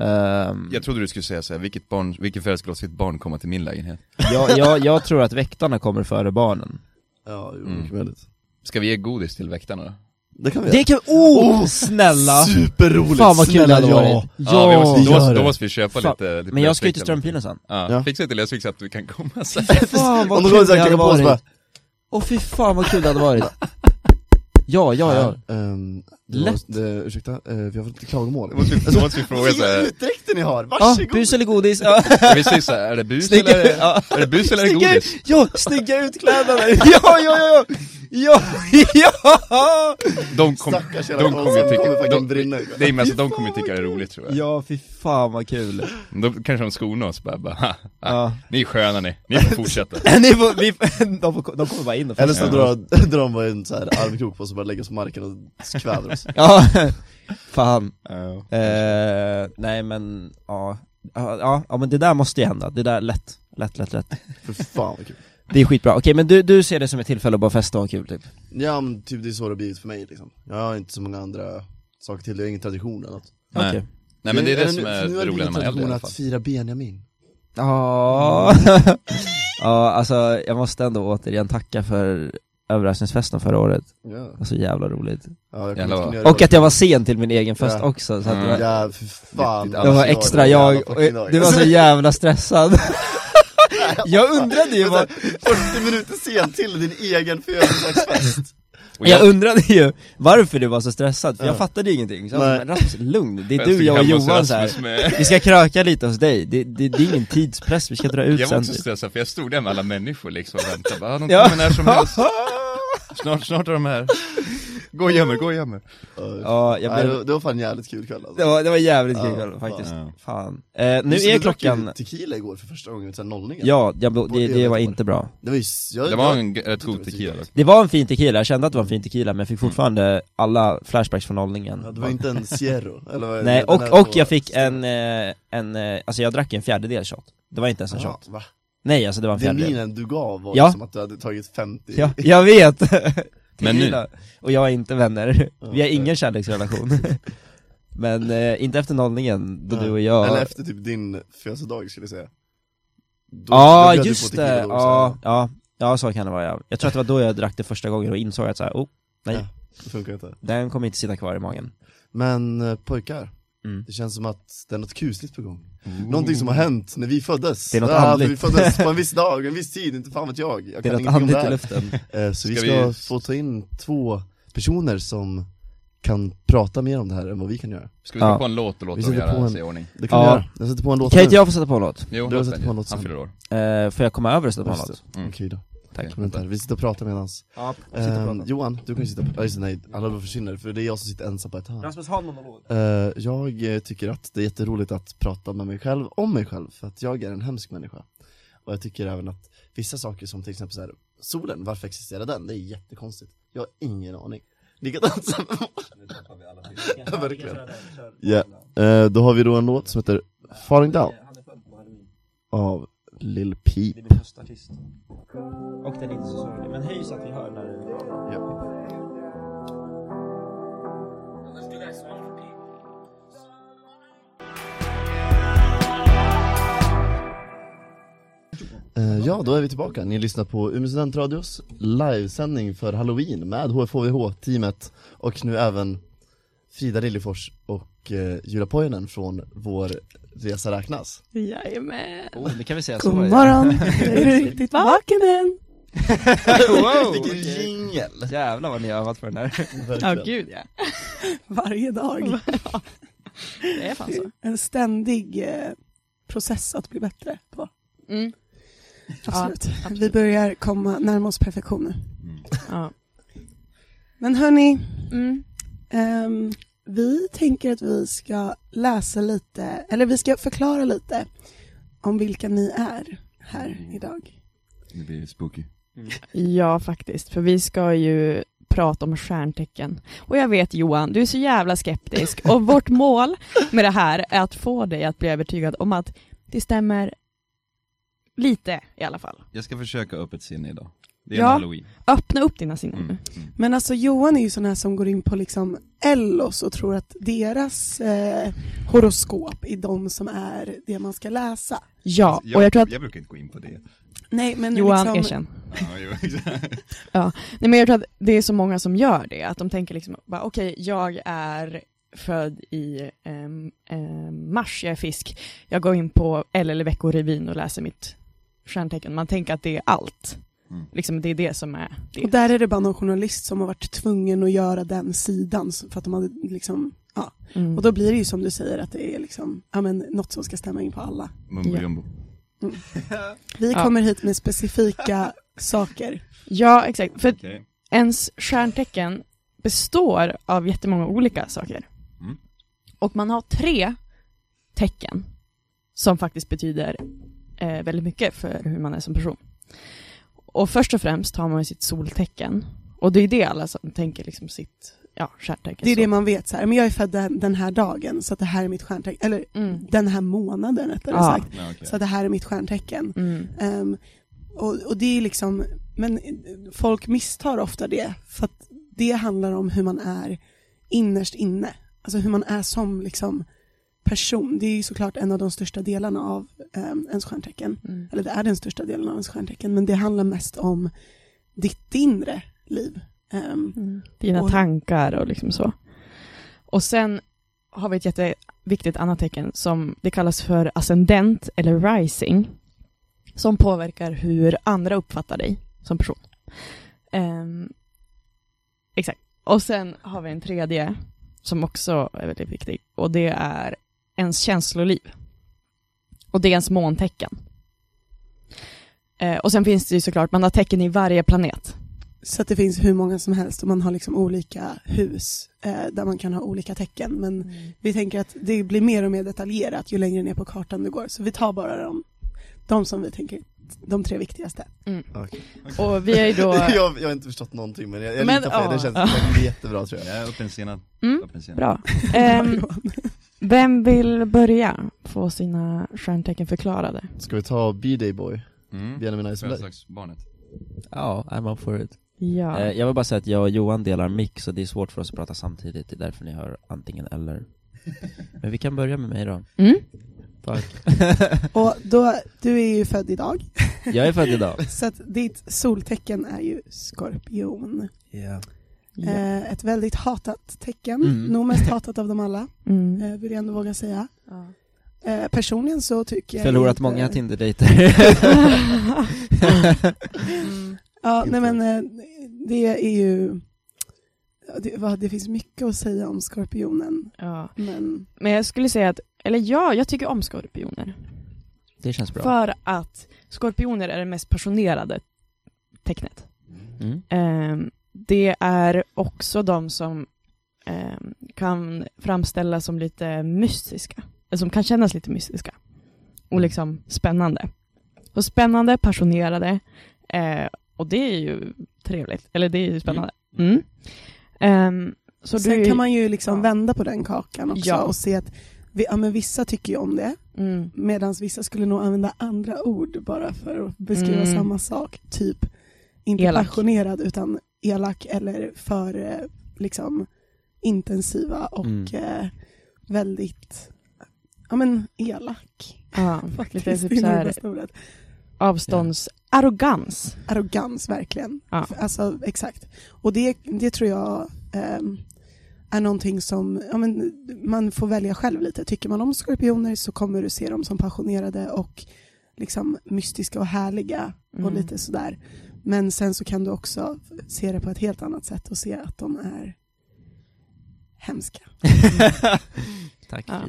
Speaker 3: Ehm,
Speaker 2: Jag trodde du skulle säga såhär, vilket barn, vilken förälder skulle låta sitt barn komma till min lägenhet?
Speaker 3: jag, jag, jag tror att väktarna kommer före barnen
Speaker 1: Ja, jo,
Speaker 2: Mm.
Speaker 1: mycket möjligt
Speaker 2: Ska vi ge godis till väktarna då?
Speaker 1: Det kan vi
Speaker 3: Det
Speaker 1: göra
Speaker 3: kan, oh, snälla!
Speaker 1: Superroligt,
Speaker 3: Fan vad kul det
Speaker 1: snälla
Speaker 3: hade
Speaker 1: ja!
Speaker 3: varit! Ja,
Speaker 2: vi måste,
Speaker 1: vi
Speaker 2: då, måste,
Speaker 1: gör
Speaker 2: då
Speaker 1: det.
Speaker 2: måste vi köpa
Speaker 3: Fan.
Speaker 2: lite, lite
Speaker 3: men jag ska ju till
Speaker 2: present.
Speaker 3: Strömpina sen
Speaker 2: Ja,
Speaker 1: Ja.
Speaker 2: fixa till Lesvik så att du kan komma sen
Speaker 3: <laughs> Fan
Speaker 1: Om de
Speaker 3: vad kul
Speaker 1: kommer
Speaker 3: det
Speaker 1: såhär
Speaker 3: hade
Speaker 1: knacka på oss bara
Speaker 3: varit! Åh fy fan vad kul det hade varit! <laughs> Ja, ja, ja
Speaker 1: Ehm, det var-
Speaker 3: Lätt.
Speaker 1: det, ursäkta, eh, vi har fått lite klagomål
Speaker 2: Då måste vi-
Speaker 1: <laughs>
Speaker 2: då måste vi fråga
Speaker 1: Vilka
Speaker 2: såhär,
Speaker 1: utdräkter ni har,
Speaker 3: Ah,
Speaker 1: varsågod!
Speaker 3: bus eller <laughs> godis? Ja,
Speaker 2: vi säger såhär, är det bus
Speaker 3: Snygga-
Speaker 2: eller,
Speaker 3: ja.
Speaker 2: är det bus eller är det
Speaker 3: snygga,
Speaker 2: godis?
Speaker 3: ut- <laughs> ja, snygga utklädnader! Ja, ja, ja, ja! Ja, ja!
Speaker 2: De kommer
Speaker 1: Stackars jävla
Speaker 2: de kommer ju
Speaker 1: koncept kommer
Speaker 2: tycka,
Speaker 1: fucking
Speaker 2: de,
Speaker 1: brinna
Speaker 2: det är mest att de kommer ju tycka det är roligt tror jag.
Speaker 3: Ja, fy fan vad kul.
Speaker 2: Då kanske de skonar oss bara, bara ha, ha,
Speaker 3: Ja.
Speaker 2: ni är sköna ni, ni får
Speaker 1: <laughs>
Speaker 2: fortsätta.
Speaker 3: <laughs> Ni får, vi, de, får, de kommer bara in och
Speaker 1: Eller så
Speaker 2: Ja.
Speaker 1: drar, drar <laughs> de bara en så här armkrok på oss och bara lägger oss på marken och kväver
Speaker 3: <laughs>
Speaker 1: oss
Speaker 3: Ja, fan.
Speaker 2: Ja.
Speaker 3: Eh, nej men, ja. Ja, ja. ja men det där måste ju hända, det där lätt, lätt, lätt, lätt
Speaker 1: För fan vad kul
Speaker 3: Det är skitbra, okej men du, du ser det som ett tillfälle att bara festa och ha kul typ?
Speaker 1: Ja men typ det är så det har blivit för mig liksom Jag har inte så många andra saker till, jag har ingen tradition eller något
Speaker 2: Nej.
Speaker 3: Okej.
Speaker 2: Nej men det är det
Speaker 1: Eller
Speaker 2: som
Speaker 1: nu-
Speaker 2: är
Speaker 1: för nu
Speaker 2: det
Speaker 1: har
Speaker 2: roliga när man är äldre i
Speaker 1: tradition
Speaker 2: alla
Speaker 1: att
Speaker 2: fall.
Speaker 1: fira Benjamin
Speaker 3: Ja, <laughs> ja alltså jag måste ändå återigen tacka för överraskningsfesten förra året,
Speaker 1: Ja,
Speaker 3: alltså jävla roligt
Speaker 1: ja jag
Speaker 2: Jävlar
Speaker 1: kommer
Speaker 2: vad-
Speaker 1: inte kunna göra
Speaker 3: Och att jag var sen till min egen fest
Speaker 1: Ja.
Speaker 3: också, så att det
Speaker 2: Mm.
Speaker 3: var,
Speaker 1: Ja, för fan
Speaker 2: Riktigt
Speaker 3: det var
Speaker 1: Alltså,
Speaker 3: extra
Speaker 1: det var
Speaker 3: jag,
Speaker 1: jävla fucking
Speaker 3: och,
Speaker 1: dag.
Speaker 3: du var så
Speaker 1: <laughs>
Speaker 3: jävla stressad Jag undrade
Speaker 1: Men så
Speaker 3: ju vad,
Speaker 1: här, 40 minuter sen till din egen födelsedagsfest
Speaker 2: Och
Speaker 3: jag undrade ju varför du var så stressad, för jag
Speaker 1: Ja.
Speaker 3: fattade ju ingenting, så jag bara,
Speaker 1: Nej.
Speaker 3: men Rasmus lugn, det är
Speaker 2: stod
Speaker 3: du, jag och
Speaker 2: hemma hos
Speaker 3: Johan så här.
Speaker 2: Rasmus med-
Speaker 3: Vi ska kröka lite hos dig, det, det, det är ingen tidspress, vi ska dra ut
Speaker 2: Jag var
Speaker 3: sen
Speaker 2: också
Speaker 3: <laughs>
Speaker 2: stressad för jag stod där med alla människor liksom och väntade, bara, de
Speaker 3: Ja.
Speaker 2: kommer när
Speaker 3: <laughs>
Speaker 2: som helst. Snart, snart är de här. Gå och göm er, gå och göm er.
Speaker 3: <laughs> Ja, jag
Speaker 1: Nej,
Speaker 3: blev,
Speaker 1: det, var- det var fan en jävligt kul kväll alltså.
Speaker 3: det, var, det var jävligt
Speaker 1: Ja,
Speaker 3: kul kväll faktiskt,
Speaker 2: fan.
Speaker 3: fan eh, Nu
Speaker 1: Just det,
Speaker 3: är
Speaker 1: du drack ju
Speaker 3: klockan,
Speaker 1: tequila igår för första gången sen nollningen
Speaker 3: ja, jag, blo- det, det
Speaker 1: ölet
Speaker 3: var
Speaker 1: var det.
Speaker 3: inte bra
Speaker 1: Det var ju, s- jag,
Speaker 2: Det var
Speaker 1: jag-
Speaker 2: en g- rätt god tequila dock.
Speaker 3: Det var en fin tequila, jag kände att det var en fin tequila men jag fick fortfarande alla flashbacks från nollningen
Speaker 1: Mm. Ja, det var inte en Sierro, eller vad
Speaker 3: Nej,
Speaker 1: den här
Speaker 3: och, och
Speaker 1: på-
Speaker 3: jag fick en, eh, en, eh, alltså jag drack en fjärdedel shot Det var inte ens en
Speaker 1: Ja,
Speaker 3: shot
Speaker 1: va?
Speaker 3: Nej alltså det var en
Speaker 1: Den
Speaker 3: fjärdedel
Speaker 1: minen du gav var
Speaker 3: Ja.
Speaker 1: som att du hade tagit 50
Speaker 3: Ja,
Speaker 1: <laughs>
Speaker 3: jag vet!
Speaker 2: Men
Speaker 3: Men
Speaker 2: nu-
Speaker 3: nu. Och jag är inte vänner, vi har
Speaker 1: Ja. <laughs>
Speaker 3: ingen kärleksrelation Men eh, inte efter nollningen, då
Speaker 1: Nej.
Speaker 3: du och jag
Speaker 1: Eller efter typ din födelsedag skulle jag säga Då- då
Speaker 3: Ja
Speaker 1: bjöd du
Speaker 3: just
Speaker 1: på
Speaker 3: det,
Speaker 1: tequila då också.
Speaker 3: ja, ja, ja så kan det vara ja. Jag tror att det var då jag drack det första gången och insåg att så här, oh, nej,
Speaker 1: Ja. Det funkar inte
Speaker 3: den kommer inte sitta kvar i magen
Speaker 1: Men eh, pojkar,
Speaker 3: Mm.
Speaker 1: det känns som att det är något kusligt på gång Någonting som har hänt när vi föddes
Speaker 3: Det är något
Speaker 1: Ja, för
Speaker 3: andligt.
Speaker 1: Vi föddes
Speaker 3: <laughs>
Speaker 1: på en viss dag, en viss tid, inte fan vet jag, jag
Speaker 3: Det är
Speaker 1: kan
Speaker 3: något
Speaker 1: ingenting om det
Speaker 3: andligt i
Speaker 1: här
Speaker 3: luften
Speaker 1: <laughs> Eh, Så vi
Speaker 2: Ska
Speaker 1: ska
Speaker 2: vi-
Speaker 1: få ta in två personer som kan prata mer om det här än vad vi kan göra
Speaker 2: Ska vi sätta
Speaker 3: Ja.
Speaker 2: på en låt och låta
Speaker 1: Vi
Speaker 2: dem
Speaker 1: sätter på
Speaker 2: göra
Speaker 1: en-
Speaker 2: sig i ordning?
Speaker 1: Det kan
Speaker 3: Ja.
Speaker 1: vi göra, jag sätter på en låt
Speaker 3: Kan
Speaker 1: nu
Speaker 3: inte jag få sätta på en låt?
Speaker 2: Jo,
Speaker 1: Du har
Speaker 2: låt
Speaker 1: satt
Speaker 2: den
Speaker 1: på
Speaker 2: ju.
Speaker 1: en låt
Speaker 2: Han
Speaker 1: sen.
Speaker 2: fyller år.
Speaker 3: Eh, får jag komma över och sätta på en
Speaker 1: Just det.
Speaker 3: låt?
Speaker 2: Mm.
Speaker 1: Okej då,
Speaker 3: Tack.
Speaker 1: kan vi inte här. vi sitter och pratar medans
Speaker 3: Ja,
Speaker 1: Ehm, Johan, du kan ju sitta på, ja, just det, nej, alla bara försvinner för det är jag som sitter ensam på ett hörn
Speaker 3: Rasmus, ha en monolog
Speaker 1: Eh, Jag eh, tycker att det är jätteroligt att prata med mig själv, om mig själv, för att jag är en hemsk människa Och jag tycker även att vissa saker som till exempel så här, solen, varför existerar den? Det är jättekonstigt, jag har ingen aning Likadant som... <laughs> Ja, verkligen Ja, eh, då har vi då en låt som heter Falling Down
Speaker 3: Eh,
Speaker 1: av Lil Peep
Speaker 3: min höstartist Och den är inte så sorglig, men höj så att vi hör när det är bra
Speaker 1: ja. Eh, Ja, då är vi tillbaka. Ni lyssnar på Umeå Studentradios livesändning för Halloween med HFHVH-teamet och nu även Frida Liljefors och eh, Julia Pojonen från Vår Resa Räknas.
Speaker 6: <laughs> Jajamän.
Speaker 3: oh, Det kan vi säga så
Speaker 6: God
Speaker 3: ja.
Speaker 6: morgon. Är du riktigt vaken än?
Speaker 3: <laughs>
Speaker 1: <laughs>
Speaker 3: wow.
Speaker 1: Vilken jingel!
Speaker 3: Jävlar vad ni har övat för den här
Speaker 6: Ja,
Speaker 1: Verkligen.
Speaker 6: gud ja.
Speaker 7: varje dag.
Speaker 6: Det er är fan så.
Speaker 7: En ständig eh, process att bli bättre på.
Speaker 6: Mm.
Speaker 7: Absolut.
Speaker 6: absolut.
Speaker 7: Vi börjar komma närma oss perfektion nu.
Speaker 6: Ja.
Speaker 7: Men hörni,
Speaker 6: Mm.
Speaker 7: ehm, vi tänker att vi ska läsa lite, eller vi ska förklara lite om vilka ni är här idag.
Speaker 2: Det blir spooky.
Speaker 6: ja, faktiskt. För vi ska ju prata om stjärntecken. Och jag vet Johan, du är så
Speaker 2: <laughs>
Speaker 6: jävla skeptisk. Och vårt mål med det här är att få dig att bli övertygad om att det stämmer lite i alla fall.
Speaker 2: Jag ska försöka öppet sinne idag. Det är
Speaker 6: är Ja.
Speaker 2: en
Speaker 6: en
Speaker 2: halloween.
Speaker 6: Öppna upp dina sinnen
Speaker 2: Mm.
Speaker 6: nu.
Speaker 7: Men alltså Johan är ju sån här som går in på liksom Ellos och tror att deras eh, horoskop är de som är det man ska läsa.
Speaker 6: Ja, och jag tror att
Speaker 2: Alltså, jag brukar inte gå in på
Speaker 6: <laughs>
Speaker 2: det.
Speaker 7: Nej men
Speaker 6: Johan,
Speaker 7: liksom,
Speaker 6: erkänn.
Speaker 2: Ja, jo, exakt.
Speaker 6: Nej men jag tror att det är så många som gör det, att de tänker liksom bara okej, jag är född i ehm, ehm, mars, jag är fisk, jag går in på LL Veckorevyn och läser mitt stjärntecken. Man tänker att det är allt.
Speaker 2: Mm.
Speaker 6: Liksom det är det som är
Speaker 7: Och
Speaker 6: det.
Speaker 7: där är det bara någon journalist som har varit tvungen att göra den sidan så- för att de hade liksom, ja.
Speaker 6: Mm.
Speaker 7: Och då blir det ju som du säger att det är liksom, ja men något som ska stämma in på alla.
Speaker 2: Mumbo
Speaker 6: Ja. <laughs>
Speaker 2: jumbo.
Speaker 7: Vi
Speaker 2: <laughs>
Speaker 6: Ja.
Speaker 7: kommer hit med specifika saker.
Speaker 6: Ja, exakt. För
Speaker 2: Okej.
Speaker 6: ens stjärntecken består av jättemånga olika saker.
Speaker 2: Mm.
Speaker 6: Och man har tre tecken som faktiskt betyder eh, väldigt mycket för hur man är som person. Och först och främst har man ju sitt soltecken. Och det är det alla som tänker liksom sitt ja, stjärntecken.
Speaker 7: Det är
Speaker 6: så.
Speaker 7: det man vet så här, men jag är född den, den här dagen så att det här är mitt stjärntecken, eller
Speaker 6: Mm.
Speaker 7: den här månaden rättare
Speaker 6: Ja.
Speaker 7: sagt,
Speaker 2: Ja, okej.
Speaker 7: så att det här är mitt stjärntecken.
Speaker 6: Mm.
Speaker 7: Ehm, och, och det är liksom, men folk misstar ofta det för att det handlar om hur man är innerst inne. Alltså hur man är som liksom person. Det är ju såklart en av de största delarna av um, ens stjärntecken.
Speaker 6: Mm.
Speaker 7: Eller det är den största delen av ens stjärntecken men det handlar mest om ditt inre liv. Ehm,
Speaker 6: Mm. Dina
Speaker 7: Och-
Speaker 6: tankar och liksom så. Och sen har vi ett jätteviktigt annat tecken som det kallas för ascendent eller rising. Som påverkar hur andra uppfattar dig som person. Ehm, exakt. Och sen har vi en tredje som också är väldigt viktig och det är ens känsloliv. Och det är ens måntecken. Eh, och sen finns det ju såklart, man har tecken i varje planet.
Speaker 7: Så att det finns hur många som helst och man har liksom olika hus eh, där man kan ha olika tecken. Men vi tänker att det blir mer och mer detaljerat ju längre ner på kartan du går. Så vi tar bara de, de som vi tänker, de tre viktigaste.
Speaker 6: Och vi är ju då...
Speaker 1: <laughs> jag, jag har inte förstått någonting men jag, jag
Speaker 6: Men,
Speaker 1: litar på er,
Speaker 6: ja.
Speaker 1: det känns det blir jättebra tror jag
Speaker 2: Jag är uppe i en sena.
Speaker 6: Mm,
Speaker 2: Upp i en sena.
Speaker 6: Bra.
Speaker 7: <laughs>
Speaker 6: Ehm,
Speaker 7: Johan.
Speaker 6: vem vill börja få sina stjärntecken förklarade?
Speaker 1: Ska vi ta B-Day Boy,
Speaker 2: Mm.
Speaker 1: Benjamin Iceberg?
Speaker 2: Födelsedagsbarnet.
Speaker 3: Ja, I'm up for it.
Speaker 6: Ja.
Speaker 3: Eh, jag vill bara säga att jag och Johan delar mick så det är svårt för oss att prata samtidigt, det är därför ni hör antingen eller. Men vi kan börja med mig då.
Speaker 6: Mm?
Speaker 3: Tack.
Speaker 7: Och då, du är ju född <laughs> idag,
Speaker 3: <laughs> jag är född idag.
Speaker 7: så att ditt soltecken är ju skorpion.
Speaker 3: Yeah.
Speaker 6: Ja.
Speaker 7: Eh, ett väldigt hatat tecken,
Speaker 3: Mm.
Speaker 7: nog mest hatat av dem alla,
Speaker 6: Mm.
Speaker 7: eh, vill jag ändå våga säga.
Speaker 6: <laughs> Ja.
Speaker 7: Eh, personligen så tycker jag
Speaker 3: Förlorat
Speaker 7: inte-
Speaker 3: många Tinder-dejter.
Speaker 6: Mm.
Speaker 7: Ja,
Speaker 1: Inte
Speaker 7: nej men eh, det är ju, ja, det, vad, det finns mycket att säga om skorpionen,
Speaker 6: ja.
Speaker 7: men
Speaker 6: Men jag skulle säga att, eller ja, jag tycker om skorpioner.
Speaker 3: <laughs> det känns bra.
Speaker 6: För att skorpioner är det mest passionerade tecknet.
Speaker 3: Mm.
Speaker 6: Ehm, det är också de som ehm, kan framställas som lite mystiska, eller som kan kännas lite mystiska och liksom spännande. Och spännande, passionerade eh, och det är ju trevligt, eller det är ju spännande. Mm. Ehm, så
Speaker 7: Sen
Speaker 6: du,
Speaker 7: kan man ju liksom
Speaker 6: ja.
Speaker 7: vända på den kakan också
Speaker 6: Ja.
Speaker 7: och se att vi, ja, men vissa tycker ju om det
Speaker 6: mm,
Speaker 7: medan vissa skulle nog använda andra ord bara för att beskriva
Speaker 6: Mm.
Speaker 7: samma sak. Typ inte
Speaker 6: Elak.
Speaker 7: passionerad utan elak eller för eh, liksom intensiva och
Speaker 3: Mm.
Speaker 7: eh, väldigt ja men elak <laughs>
Speaker 6: ja,
Speaker 7: faktiskt.
Speaker 6: lite typ
Speaker 7: det
Speaker 6: så
Speaker 7: är nog det
Speaker 6: här
Speaker 7: bästa ordet.
Speaker 6: avståndsarrogans.
Speaker 7: Arrogans verkligen.
Speaker 6: Ja.
Speaker 7: Alltså exakt. Och det, det tror jag ehm, är någonting som, ja, men, man får välja själv lite. Tycker man om skorpioner så kommer du se dem som passionerade och liksom mystiska och härliga och
Speaker 6: Mm.
Speaker 7: lite sådär. Men sen så kan du också se det på ett helt annat sätt och se att de är hemska.
Speaker 3: <laughs> Tack
Speaker 6: Ja.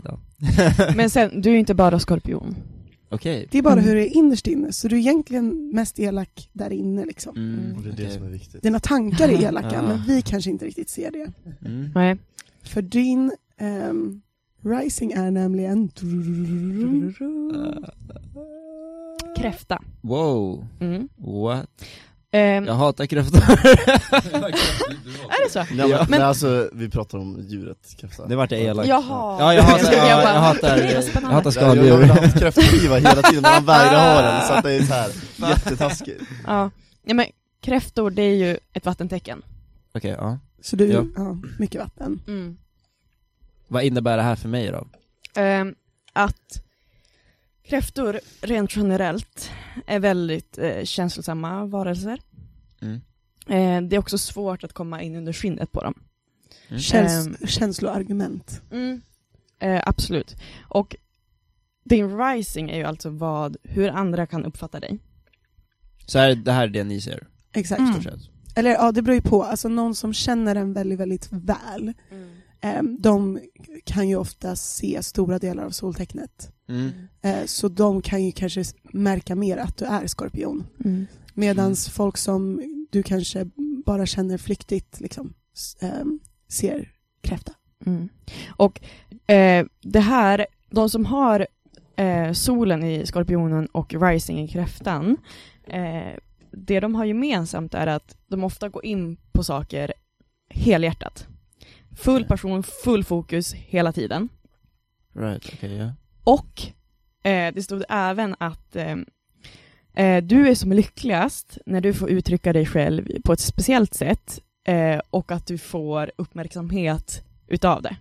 Speaker 3: Frida.
Speaker 6: Men sen, du är ju inte bara skorpion.
Speaker 3: <laughs> Okej.
Speaker 7: Det är bara
Speaker 6: Mm.
Speaker 7: hur det är innerst inne, så du är egentligen mest elak där inne liksom.
Speaker 3: Mm,
Speaker 1: Och det är
Speaker 3: okej.
Speaker 1: det som är viktigt
Speaker 7: Dina tankar
Speaker 6: <laughs>
Speaker 7: är elaka,
Speaker 3: Ja.
Speaker 7: men vi kanske inte riktigt ser det.
Speaker 3: Mm.
Speaker 6: Nej.
Speaker 7: För din ehm, Rising är nämligen
Speaker 3: Eh,
Speaker 6: Kräfta.
Speaker 3: Wow,
Speaker 6: Mm.
Speaker 3: what?
Speaker 6: Ehm,
Speaker 1: Mm.
Speaker 3: Jag hatar kräftor.
Speaker 6: Ah! Är det så?
Speaker 1: Nej, men,
Speaker 3: Ja.
Speaker 1: men alltså, vi pratar om djuret kräfta
Speaker 3: Det vart elakt.
Speaker 6: Jaha.
Speaker 3: Ja, jag
Speaker 6: <laughs>
Speaker 3: hatar,
Speaker 6: skulle
Speaker 3: ja,
Speaker 6: bara,
Speaker 3: jag hatar,
Speaker 6: okej, vad
Speaker 3: jag
Speaker 6: spännande.
Speaker 3: hatar
Speaker 1: Jag, jag vill
Speaker 3: skaldjur.
Speaker 1: ha haft kräftskiva hela tiden men han vägrade
Speaker 7: <laughs>
Speaker 1: ha den så att det är så här
Speaker 3: <laughs>
Speaker 1: jättetaskigt
Speaker 6: Ja. ja, men kräftor det är ju ett vattentecken.
Speaker 3: Okej, ja.
Speaker 7: Så du,
Speaker 3: Ja.
Speaker 7: ja. mycket vatten.
Speaker 3: Mm. Vad innebär det här för mig då?
Speaker 6: Ehm, att kräftor rent generellt är väldigt eh, känslosamma varelser.
Speaker 3: Mm.
Speaker 6: Eh, det är också svårt att komma in under skinnet på dem.
Speaker 3: Mm.
Speaker 7: Käns-
Speaker 6: Ehm.
Speaker 7: Känsloargument.
Speaker 6: Eh, absolut. Och din rising är ju alltså vad, hur andra kan uppfatta dig.
Speaker 3: Så här, det här är det ni ser?
Speaker 7: Exakt.
Speaker 6: Mm.
Speaker 3: stort sett.
Speaker 7: Eller ja, det beror ju på. Alltså någon som känner en väldigt, väldigt väl,
Speaker 3: Mm.
Speaker 7: ehm, de kan ju ofta se stora delar av soltecknet.
Speaker 3: Mm.
Speaker 7: Eh, så de kan ju kanske
Speaker 6: Mm.
Speaker 3: Mm.
Speaker 7: s- märka mer att du är skorpion. Medan folk som du kanske bara känner flyktigt liksom, s- ehm, ser kräfta.
Speaker 6: Mm. Och eh, det här, de som har eh, solen i skorpionen och rising i kräftan, eh, det de har gemensamt är att de ofta går in på saker helhjärtat. Full passion, full fokus hela tiden.
Speaker 3: Right, okej ja.
Speaker 6: Och eh, det stod även att eh, eh, du är som lyckligast när du får uttrycka dig själv på ett speciellt sätt eh, och att du får uppmärksamhet utav det.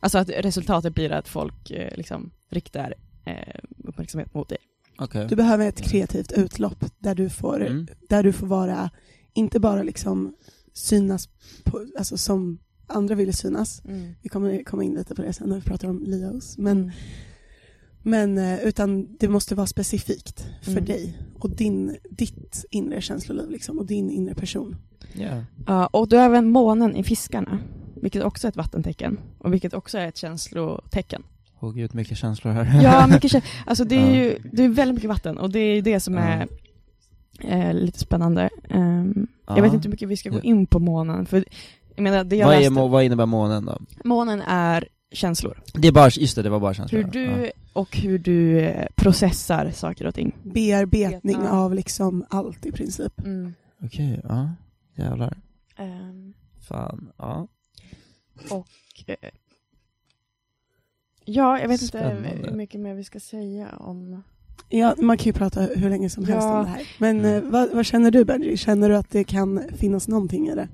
Speaker 6: Alltså att resultatet blir att folk eh, liksom riktar eh, uppmärksamhet mot dig.
Speaker 3: Okej.
Speaker 7: Du behöver ett kreativt utlopp där du får,
Speaker 3: Mm.
Speaker 7: där du får vara, inte bara liksom synas på, alltså som andra ville synas. Vi kommer komma in lite på det sen när vi pratar om Leos. Men,
Speaker 6: Mm.
Speaker 7: men eh, utan det måste vara specifikt för
Speaker 6: Mm.
Speaker 7: dig och din, ditt inre känsloliv liksom, och din inre person.
Speaker 3: Ja.
Speaker 6: Ja, och du har även månen i fiskarna, vilket också är ett vattentecken och vilket också är ett känslotecken.
Speaker 3: Åh gud, mycket känslor här. <laughs>
Speaker 6: Ja, mycket kä- Alltså det är
Speaker 3: Ja.
Speaker 6: ju det är väldigt mycket vatten och det är ju det som
Speaker 3: Ja.
Speaker 6: är eh, lite spännande. Ehm,
Speaker 3: Ja.
Speaker 6: Jag vet inte hur mycket vi ska gå
Speaker 3: Ja.
Speaker 6: in på månen, för jag menar, det jag
Speaker 3: vad, är,
Speaker 6: läste,
Speaker 3: må- vad innebär månen då?
Speaker 6: månen är känslor.
Speaker 3: Det är bara, just det, det var bara känslor.
Speaker 6: Hur du
Speaker 3: Ja.
Speaker 6: och hur du eh, processar saker och ting.
Speaker 7: Bearbetning
Speaker 6: Ja.
Speaker 7: av liksom allt i princip.
Speaker 3: Okej, ja. Jävlar.
Speaker 6: Ehm,
Speaker 3: Fan, ja.
Speaker 6: och, eh, ja, jag vet inte
Speaker 3: Spännande.
Speaker 6: hur mycket mer vi ska säga
Speaker 3: <laughs>
Speaker 6: om...
Speaker 7: Ja, man kan ju prata hur länge som helst
Speaker 6: Ja.
Speaker 7: om det här. Men
Speaker 3: Mm.
Speaker 7: eh, vad, vad känner du Benji? Känner du att det kan finnas någonting i det?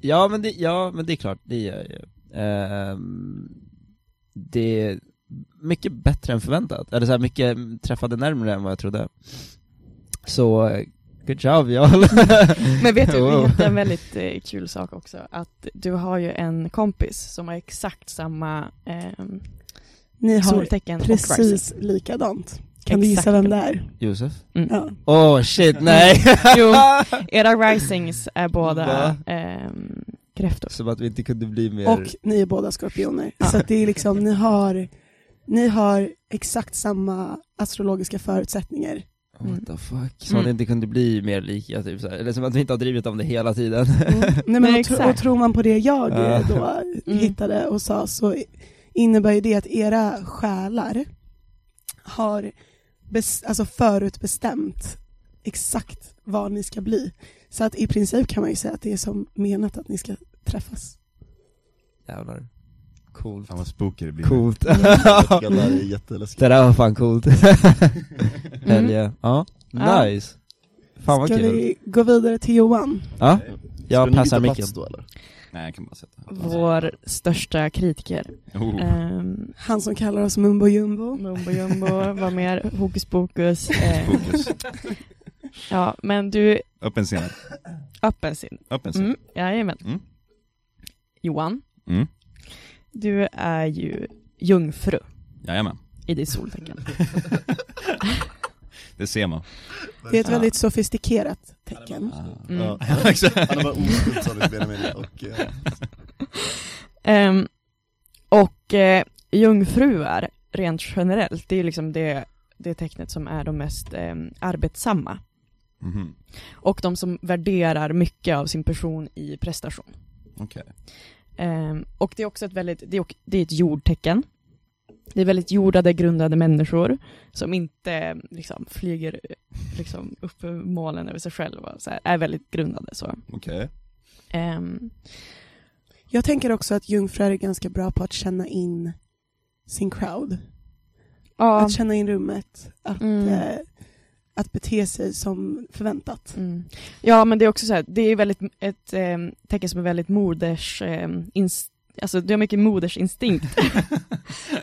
Speaker 3: Ja men det, ja, men det är klart, det gör jag ju. Ehm, det är mycket bättre än förväntat, eller så här, mycket träffade närmare än vad jag trodde. Så, eh, good job y'all! <laughs>
Speaker 6: Men vet du, vi
Speaker 3: Wow.
Speaker 6: hette en väldigt eh, kul sak också, att du har ju en kompis som har exakt samma ehm,
Speaker 7: Ni har
Speaker 6: soltecken och rising.
Speaker 7: precis likadant. Kan du
Speaker 6: Exakt.
Speaker 7: gissa vem det är?
Speaker 3: Josef?
Speaker 6: Mm.
Speaker 7: Ja.
Speaker 3: Oh shit, nej!
Speaker 6: <laughs>
Speaker 7: <laughs>
Speaker 6: Jo, era risings är båda
Speaker 3: Va?
Speaker 6: ehm, kräftor.
Speaker 3: <laughs> Som att vi inte kunde bli mer...
Speaker 7: Och ni är båda skorpioner. Så att det är liksom, ni har, ni har exakt samma astrologiska
Speaker 6: <laughs>
Speaker 7: förutsättningar.
Speaker 3: Oh, What the fuck? Som
Speaker 6: Mm.
Speaker 3: att vi inte kunde bli mer lika, typ så här. eller som att vi inte har drivit om det hela tiden. <laughs>
Speaker 7: Nej, men
Speaker 6: Nej,
Speaker 7: och, tro,
Speaker 6: exakt.
Speaker 7: och tror man på det jag eh, då
Speaker 6: <laughs> Mm.
Speaker 7: hittade och sa så i- innebär ju det att era själar har bes, alltså förutbestämt exakt vad ni ska bli. Så att i princip kan man ju säga att det är som menat att ni ska träffas.
Speaker 3: Jävlar. Coolt.
Speaker 2: Fan vad spooky det blir.
Speaker 1: <laughs>
Speaker 3: Coolt.
Speaker 1: Det där är jätteläskigt
Speaker 3: <laughs> det där var fan coolt. <laughs>
Speaker 6: Mm.
Speaker 3: Helge. Ja,
Speaker 6: Ja.
Speaker 3: nice. Fan vad
Speaker 7: Ska
Speaker 3: kul.
Speaker 7: vi gå vidare till Johan?
Speaker 3: Ja, jag
Speaker 1: Skulle ni byta
Speaker 3: passar micken.
Speaker 1: plats då eller?
Speaker 2: Nej jag kan bara sätta.
Speaker 6: Vår största kritiker.
Speaker 2: Oh.
Speaker 6: Ehm,
Speaker 7: Han som kallar oss Mumbo Jumbo.
Speaker 6: mumbo jumbo, vad mer? Hokus pokus. ehm,
Speaker 2: Fokus.
Speaker 6: ja, men du,
Speaker 2: Öppen scen.
Speaker 6: öppen sin.
Speaker 2: Öppen scen.
Speaker 6: Mm, jajamän.
Speaker 2: Mm.
Speaker 6: Johan,
Speaker 2: Mm.
Speaker 6: du är ju jungfru <laughs>
Speaker 2: Jajamän.
Speaker 6: i ditt soltecken.
Speaker 2: Det ser man.
Speaker 7: Det är ett väldigt sofistikerat tecken.
Speaker 6: Mm.
Speaker 3: <laughs>
Speaker 1: Ja.
Speaker 2: Exakt.
Speaker 1: Han har bara oskuldsargat Benjamin och eh,
Speaker 6: Ehm, och eh, jungfruar rent generellt, det är ju liksom det, det tecknet som är de mest ehm, arbetsamma.
Speaker 2: Mhm.
Speaker 6: Och de som värderar mycket av sin person i prestation.
Speaker 2: Okej.
Speaker 6: Ehm, och det är också ett väldigt, det är, ock- det är ett jordtecken. Det är väldigt jordade, grundade människor som inte eh, liksom, flyger eh, liksom, upp i molnen över sig själva. Så här, är väldigt grundade. Så. <laughs>
Speaker 2: Okej.
Speaker 6: Ehm,
Speaker 7: Jag tänker också att jungfrur är ganska bra på att känna in sin crowd.
Speaker 6: ja,
Speaker 7: Att känna in rummet, att,
Speaker 6: Mm.
Speaker 7: eh, att bete sig som förväntat.
Speaker 6: Mm. Ja men det är också så här, det är väldigt ett ehm, tecken som är väldigt moders, ehm, ins- alltså du har
Speaker 2: <laughs>
Speaker 6: mycket modersinstinkt.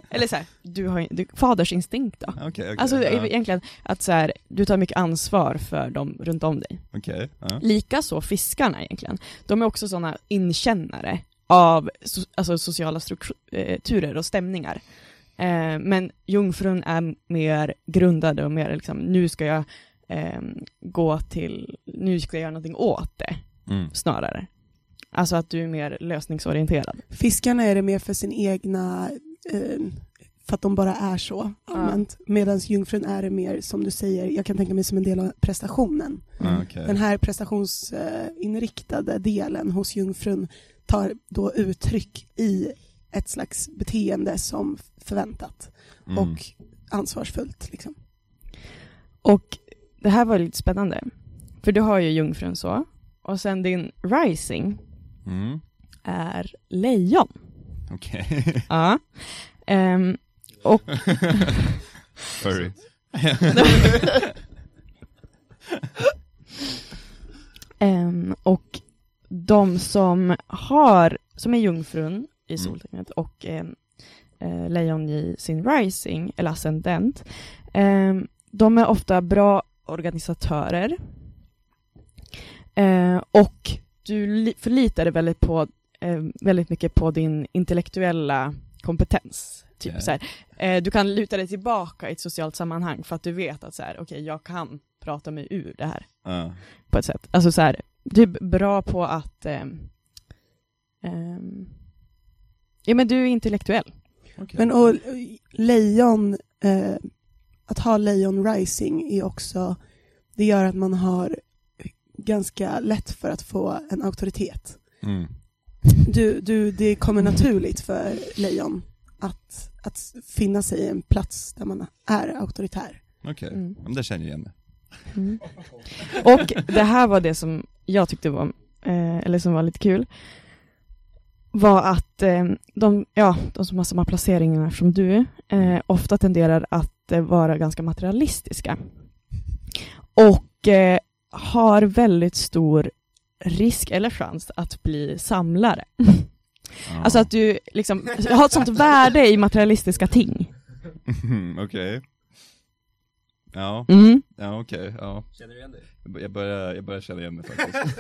Speaker 6: Eller så här, du har ju- du, fadersinstinkt då.
Speaker 2: Okej, okej.
Speaker 6: Alltså
Speaker 2: Ja,
Speaker 6: egentligen att så här, du tar mycket ansvar för dem runt om dig.
Speaker 2: Okej. ja.
Speaker 6: Likaså fiskarna egentligen. De är också sådana inkännare av so- alltså sociala strukturer och stämningar. Eh, men jungfrun är mer grundade och mer liksom, nu ska jag eh, gå till, nu ska jag göra någonting åt det
Speaker 2: Mm.
Speaker 6: snarare. Alltså att du är mer lösningsorienterad.
Speaker 7: Fiskarna är det mer för sin egna eh, för att de bara är så allmänt. Medan jungfrun är det mer, som du säger, jag kan tänka mig som en del av prestationen.
Speaker 6: Mm.
Speaker 2: Ah, okej.
Speaker 7: Den här prestationsinriktade delen hos jungfrun tar då uttryck i ett slags beteende som förväntat
Speaker 2: Mm.
Speaker 7: och ansvarsfullt. Liksom.
Speaker 6: Och det här var lite spännande. För du har ju jungfrun så. Och sen din rising
Speaker 2: Mm.
Speaker 6: är lejon.
Speaker 2: Okej. <laughs>
Speaker 6: Ja. Ehm, och
Speaker 2: Furry.
Speaker 6: Ehm, och de som har, som är jungfrun i soltecknet och ehm, eh, lejon i sin rising, eller ascendent, ehm, de är ofta bra organisatörer. Eh, och du li- förlitar dig väldigt, på, eh, väldigt mycket på din intellektuella kompetens. Typ
Speaker 2: Ja.
Speaker 6: så här. Eh, du kan luta dig tillbaka i ett socialt sammanhang för att du vet att så här, okej, jag kan prata mig ur det här
Speaker 2: Ah.
Speaker 6: på ett sätt. Alltså så här, du är bra på att... ehm, ehm, ja men du är intellektuell.
Speaker 7: Men och lejon, eh, att ha lejon rising är också, det gör att man har ganska lätt för att få en auktoritet.
Speaker 2: Mm.
Speaker 7: Du, du, det kommer naturligt för lejon att, att finna sig i en plats där man är auktoritär.
Speaker 2: Okej,
Speaker 6: Mm.
Speaker 2: men det känner jag igen mig.
Speaker 6: Mm. Och det här var det som jag tyckte var, eh, eller som var lite kul, var att eh, de, ja, de som har samma placeringar som du eh, ofta tenderar att eh, vara ganska materialistiska. Och eh, har väldigt stor risk eller chans att bli samlare.
Speaker 2: Ah.
Speaker 6: Alltså att du liksom har ett sånt värde i materialistiska ting.
Speaker 2: Mm, <laughs> Okej. Ja,
Speaker 6: Mm.
Speaker 2: ja okej, ja. Känner du igen dig? Jag börjar, jag börjar känna igen mig
Speaker 6: <laughs>
Speaker 2: faktiskt.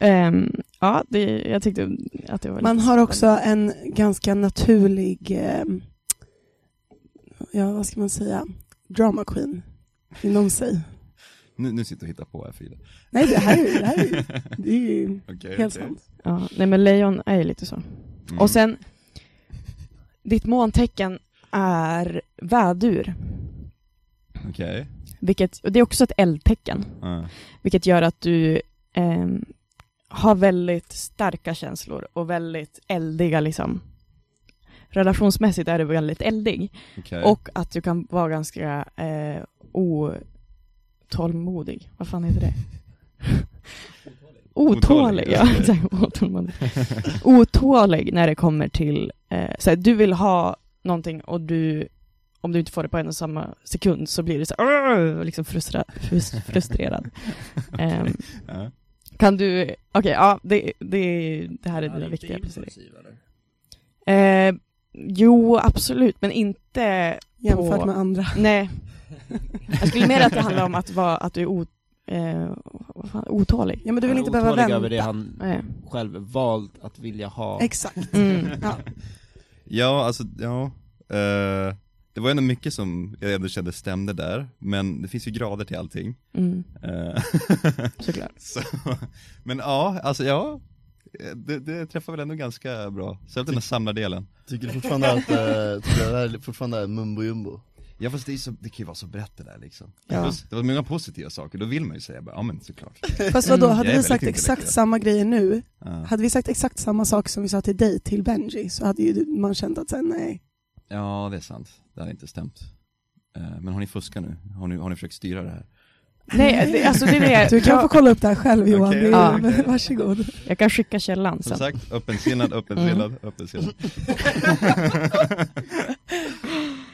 Speaker 6: Ehm, ja, det, jag tyckte att det var
Speaker 7: Man
Speaker 6: lite
Speaker 7: har också
Speaker 6: spännande.
Speaker 7: en ganska naturlig, eh, ja vad ska man säga, drama queen inom sig.
Speaker 2: nu, nu sitter du och hittar på här Frida.
Speaker 7: Nej det här är, det här är, det är
Speaker 2: <laughs>
Speaker 7: ju
Speaker 2: Okej,
Speaker 7: helt
Speaker 2: okej.
Speaker 7: sant.
Speaker 6: Ja, nej men lejon är ju lite så.
Speaker 2: Mm.
Speaker 6: Och sen, ditt måntecken är vädur,
Speaker 2: Okej.
Speaker 6: vilket, och det är också ett eldtecken,
Speaker 2: Ah.
Speaker 6: vilket gör att du ehm, har väldigt starka känslor och väldigt eldiga liksom. Relationsmässigt är du väldigt eldig.
Speaker 2: Okej.
Speaker 6: Och att du kan vara ganska eh, otålmodig. Vad fan heter det? Otålig,
Speaker 2: <laughs> Otålig,
Speaker 6: ja.
Speaker 2: just det.
Speaker 6: exakt, Otålmodig. Otålig när det kommer till, eh, så här, du vill ha någonting och du, om du inte får det på en och samma sekund så blir du så här, "Åh!" liksom frustra, frus-
Speaker 2: <laughs>
Speaker 6: frustrerad. Ehm,
Speaker 2: Ja.
Speaker 6: kan du, okej, ja, det, det, det här är dina viktiga precis. Eh, jo, absolut, men inte
Speaker 7: Jämfört
Speaker 6: På-
Speaker 7: med andra.
Speaker 6: Nej. Jag skulle mer att det handlar om att, vara, att du är o, eh, vad fan, otålig.
Speaker 7: Ja men du vill
Speaker 3: Han är
Speaker 7: inte behöva
Speaker 3: otålig
Speaker 7: vänta.
Speaker 3: över det han
Speaker 6: Nej.
Speaker 3: själv valt att vilja
Speaker 2: <laughs>
Speaker 3: ha.
Speaker 7: Exakt.
Speaker 6: Mm.
Speaker 7: Ja.
Speaker 2: Ja, alltså, ja. Eh, det var ändå mycket som jag ändå kände stämde där, men det finns ju grader till allting.
Speaker 6: Mm,
Speaker 2: Eh, <laughs>
Speaker 6: såklart.
Speaker 2: så, men ja, alltså ja, eh, det, det träffar väl ändå ganska bra, särskilt den här samlardelen.
Speaker 1: Tycker du fortfarande att, eh, tycker du det här fortfarande är mumbo jumbo?
Speaker 2: Ja fast det, är så, det kan ju vara så brett det där liksom.
Speaker 6: Ja.
Speaker 2: Det, var, det var många positiva saker, då vill man ju säga bara, ja men <laughs> såklart.
Speaker 7: Fast vadå,
Speaker 2: Mm, Jag är
Speaker 7: hade vi
Speaker 2: väldigt
Speaker 7: sagt
Speaker 2: intellektuell.
Speaker 7: exakt samma grejer nu,
Speaker 2: Ja.
Speaker 7: hade vi sagt exakt samma sak som vi sa till dig, till Benji, så hade ju du- man känt att sen nej.
Speaker 2: ja det är sant, det hade inte stämt. Eh, Men har ni fuskat nu? Har ni, har ni försökt styra det här?
Speaker 6: Nej, det, alltså det är det.
Speaker 7: Du kan få
Speaker 6: jag,
Speaker 7: kolla upp det här själv Johan,
Speaker 2: Okej,
Speaker 7: det är,
Speaker 6: ja.
Speaker 7: <laughs> varsågod.
Speaker 6: jag kan skicka källan
Speaker 2: Som
Speaker 6: sen.
Speaker 2: sagt, Mm. öppensinnad, öppensinnad, <laughs> öppensinnad.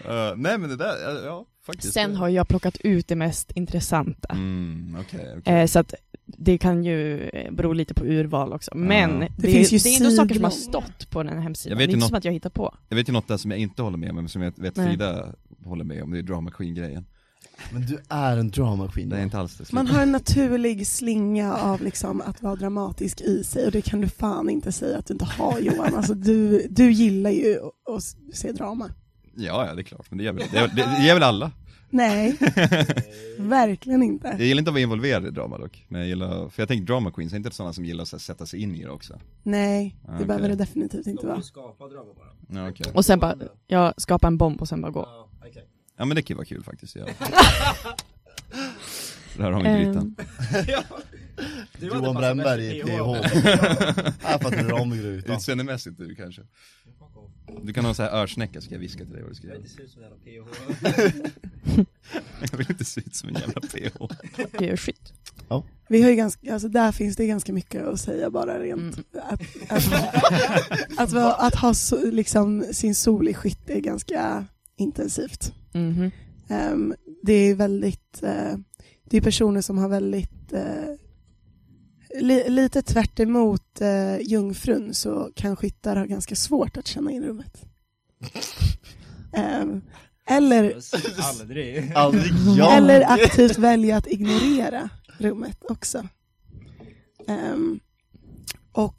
Speaker 2: Eh, nej men det där, eh, ja faktiskt.
Speaker 6: Sen har jag plockat ut det mest intressanta.
Speaker 2: Mm, okej, okej.
Speaker 6: Eh, så att det kan ju eh, bero lite på urval också. Men
Speaker 2: Det
Speaker 6: det,
Speaker 7: finns ju
Speaker 6: det är ändå saker som har
Speaker 7: sidlång.
Speaker 6: stått på den här
Speaker 2: Jag
Speaker 6: hemsidan. Det
Speaker 2: vet
Speaker 6: är
Speaker 2: ju
Speaker 6: inte
Speaker 2: något-
Speaker 6: som att jag hittar på.
Speaker 2: Jag vet ju något där som jag inte håller med om, men som jag vet
Speaker 6: Nej.
Speaker 2: Frida håller med om, det är drama queen-grejen.
Speaker 1: Men du är en drama queen
Speaker 2: Det är
Speaker 1: Johan.
Speaker 2: inte alls det.
Speaker 7: Man har en naturlig slinga av liksom att vara dramatisk i sig och det kan du fan inte säga att du inte har Johan. Alltså du, du gillar ju att- att se drama.
Speaker 2: Ja, ja det är klart, men det gör väl, det gör, det, det gör väl alla. <laughs>
Speaker 7: Nej, verkligen inte.
Speaker 2: Jag gillar inte att vara involverad i drama dock, men jag gillar, för jag tänker drama queens, är inte sådana som gillar att så här, sätta sig in i det också?
Speaker 7: Nej, det
Speaker 2: Ah, okej.
Speaker 7: behöver det definitivt inte vara.
Speaker 2: Ja, okej.
Speaker 6: Och sen bara, jag skapar en bomb och sen bara gå.
Speaker 2: ja men det kan ju vara kul faktiskt.
Speaker 7: <laughs>
Speaker 2: Ja. Där har vi
Speaker 6: Ehm,
Speaker 2: grytan.
Speaker 7: Ehm.
Speaker 1: Johan Brännberg i Äh, PH. Här fattar du ramen går ut.
Speaker 2: Utseendemässigt du kanske. Du kan ha så här örsnäcka så ska jag viska till dig vad du ska göra. <laughs> Jag vill inte se ut som en jävla PH.
Speaker 6: Det är skit.
Speaker 7: Vi har ju ganska, alltså där finns det ganska mycket att säga bara
Speaker 6: Mm,
Speaker 7: rent. Att, att, att, vara- att ha så, liksom, sin sol i skytt är ganska intensivt.
Speaker 6: Mhm.
Speaker 7: Ehm, det är väldigt, eh, det är personer som har väldigt, eh, li, lite tvärt emot eh, jungfrun så kan skyttar ha ganska svårt att känna in rummet. Ehm, eller,
Speaker 8: Aldrig.
Speaker 1: Aldrig jag.
Speaker 7: eller aktivt välja att ignorera rummet också. Ehm, och,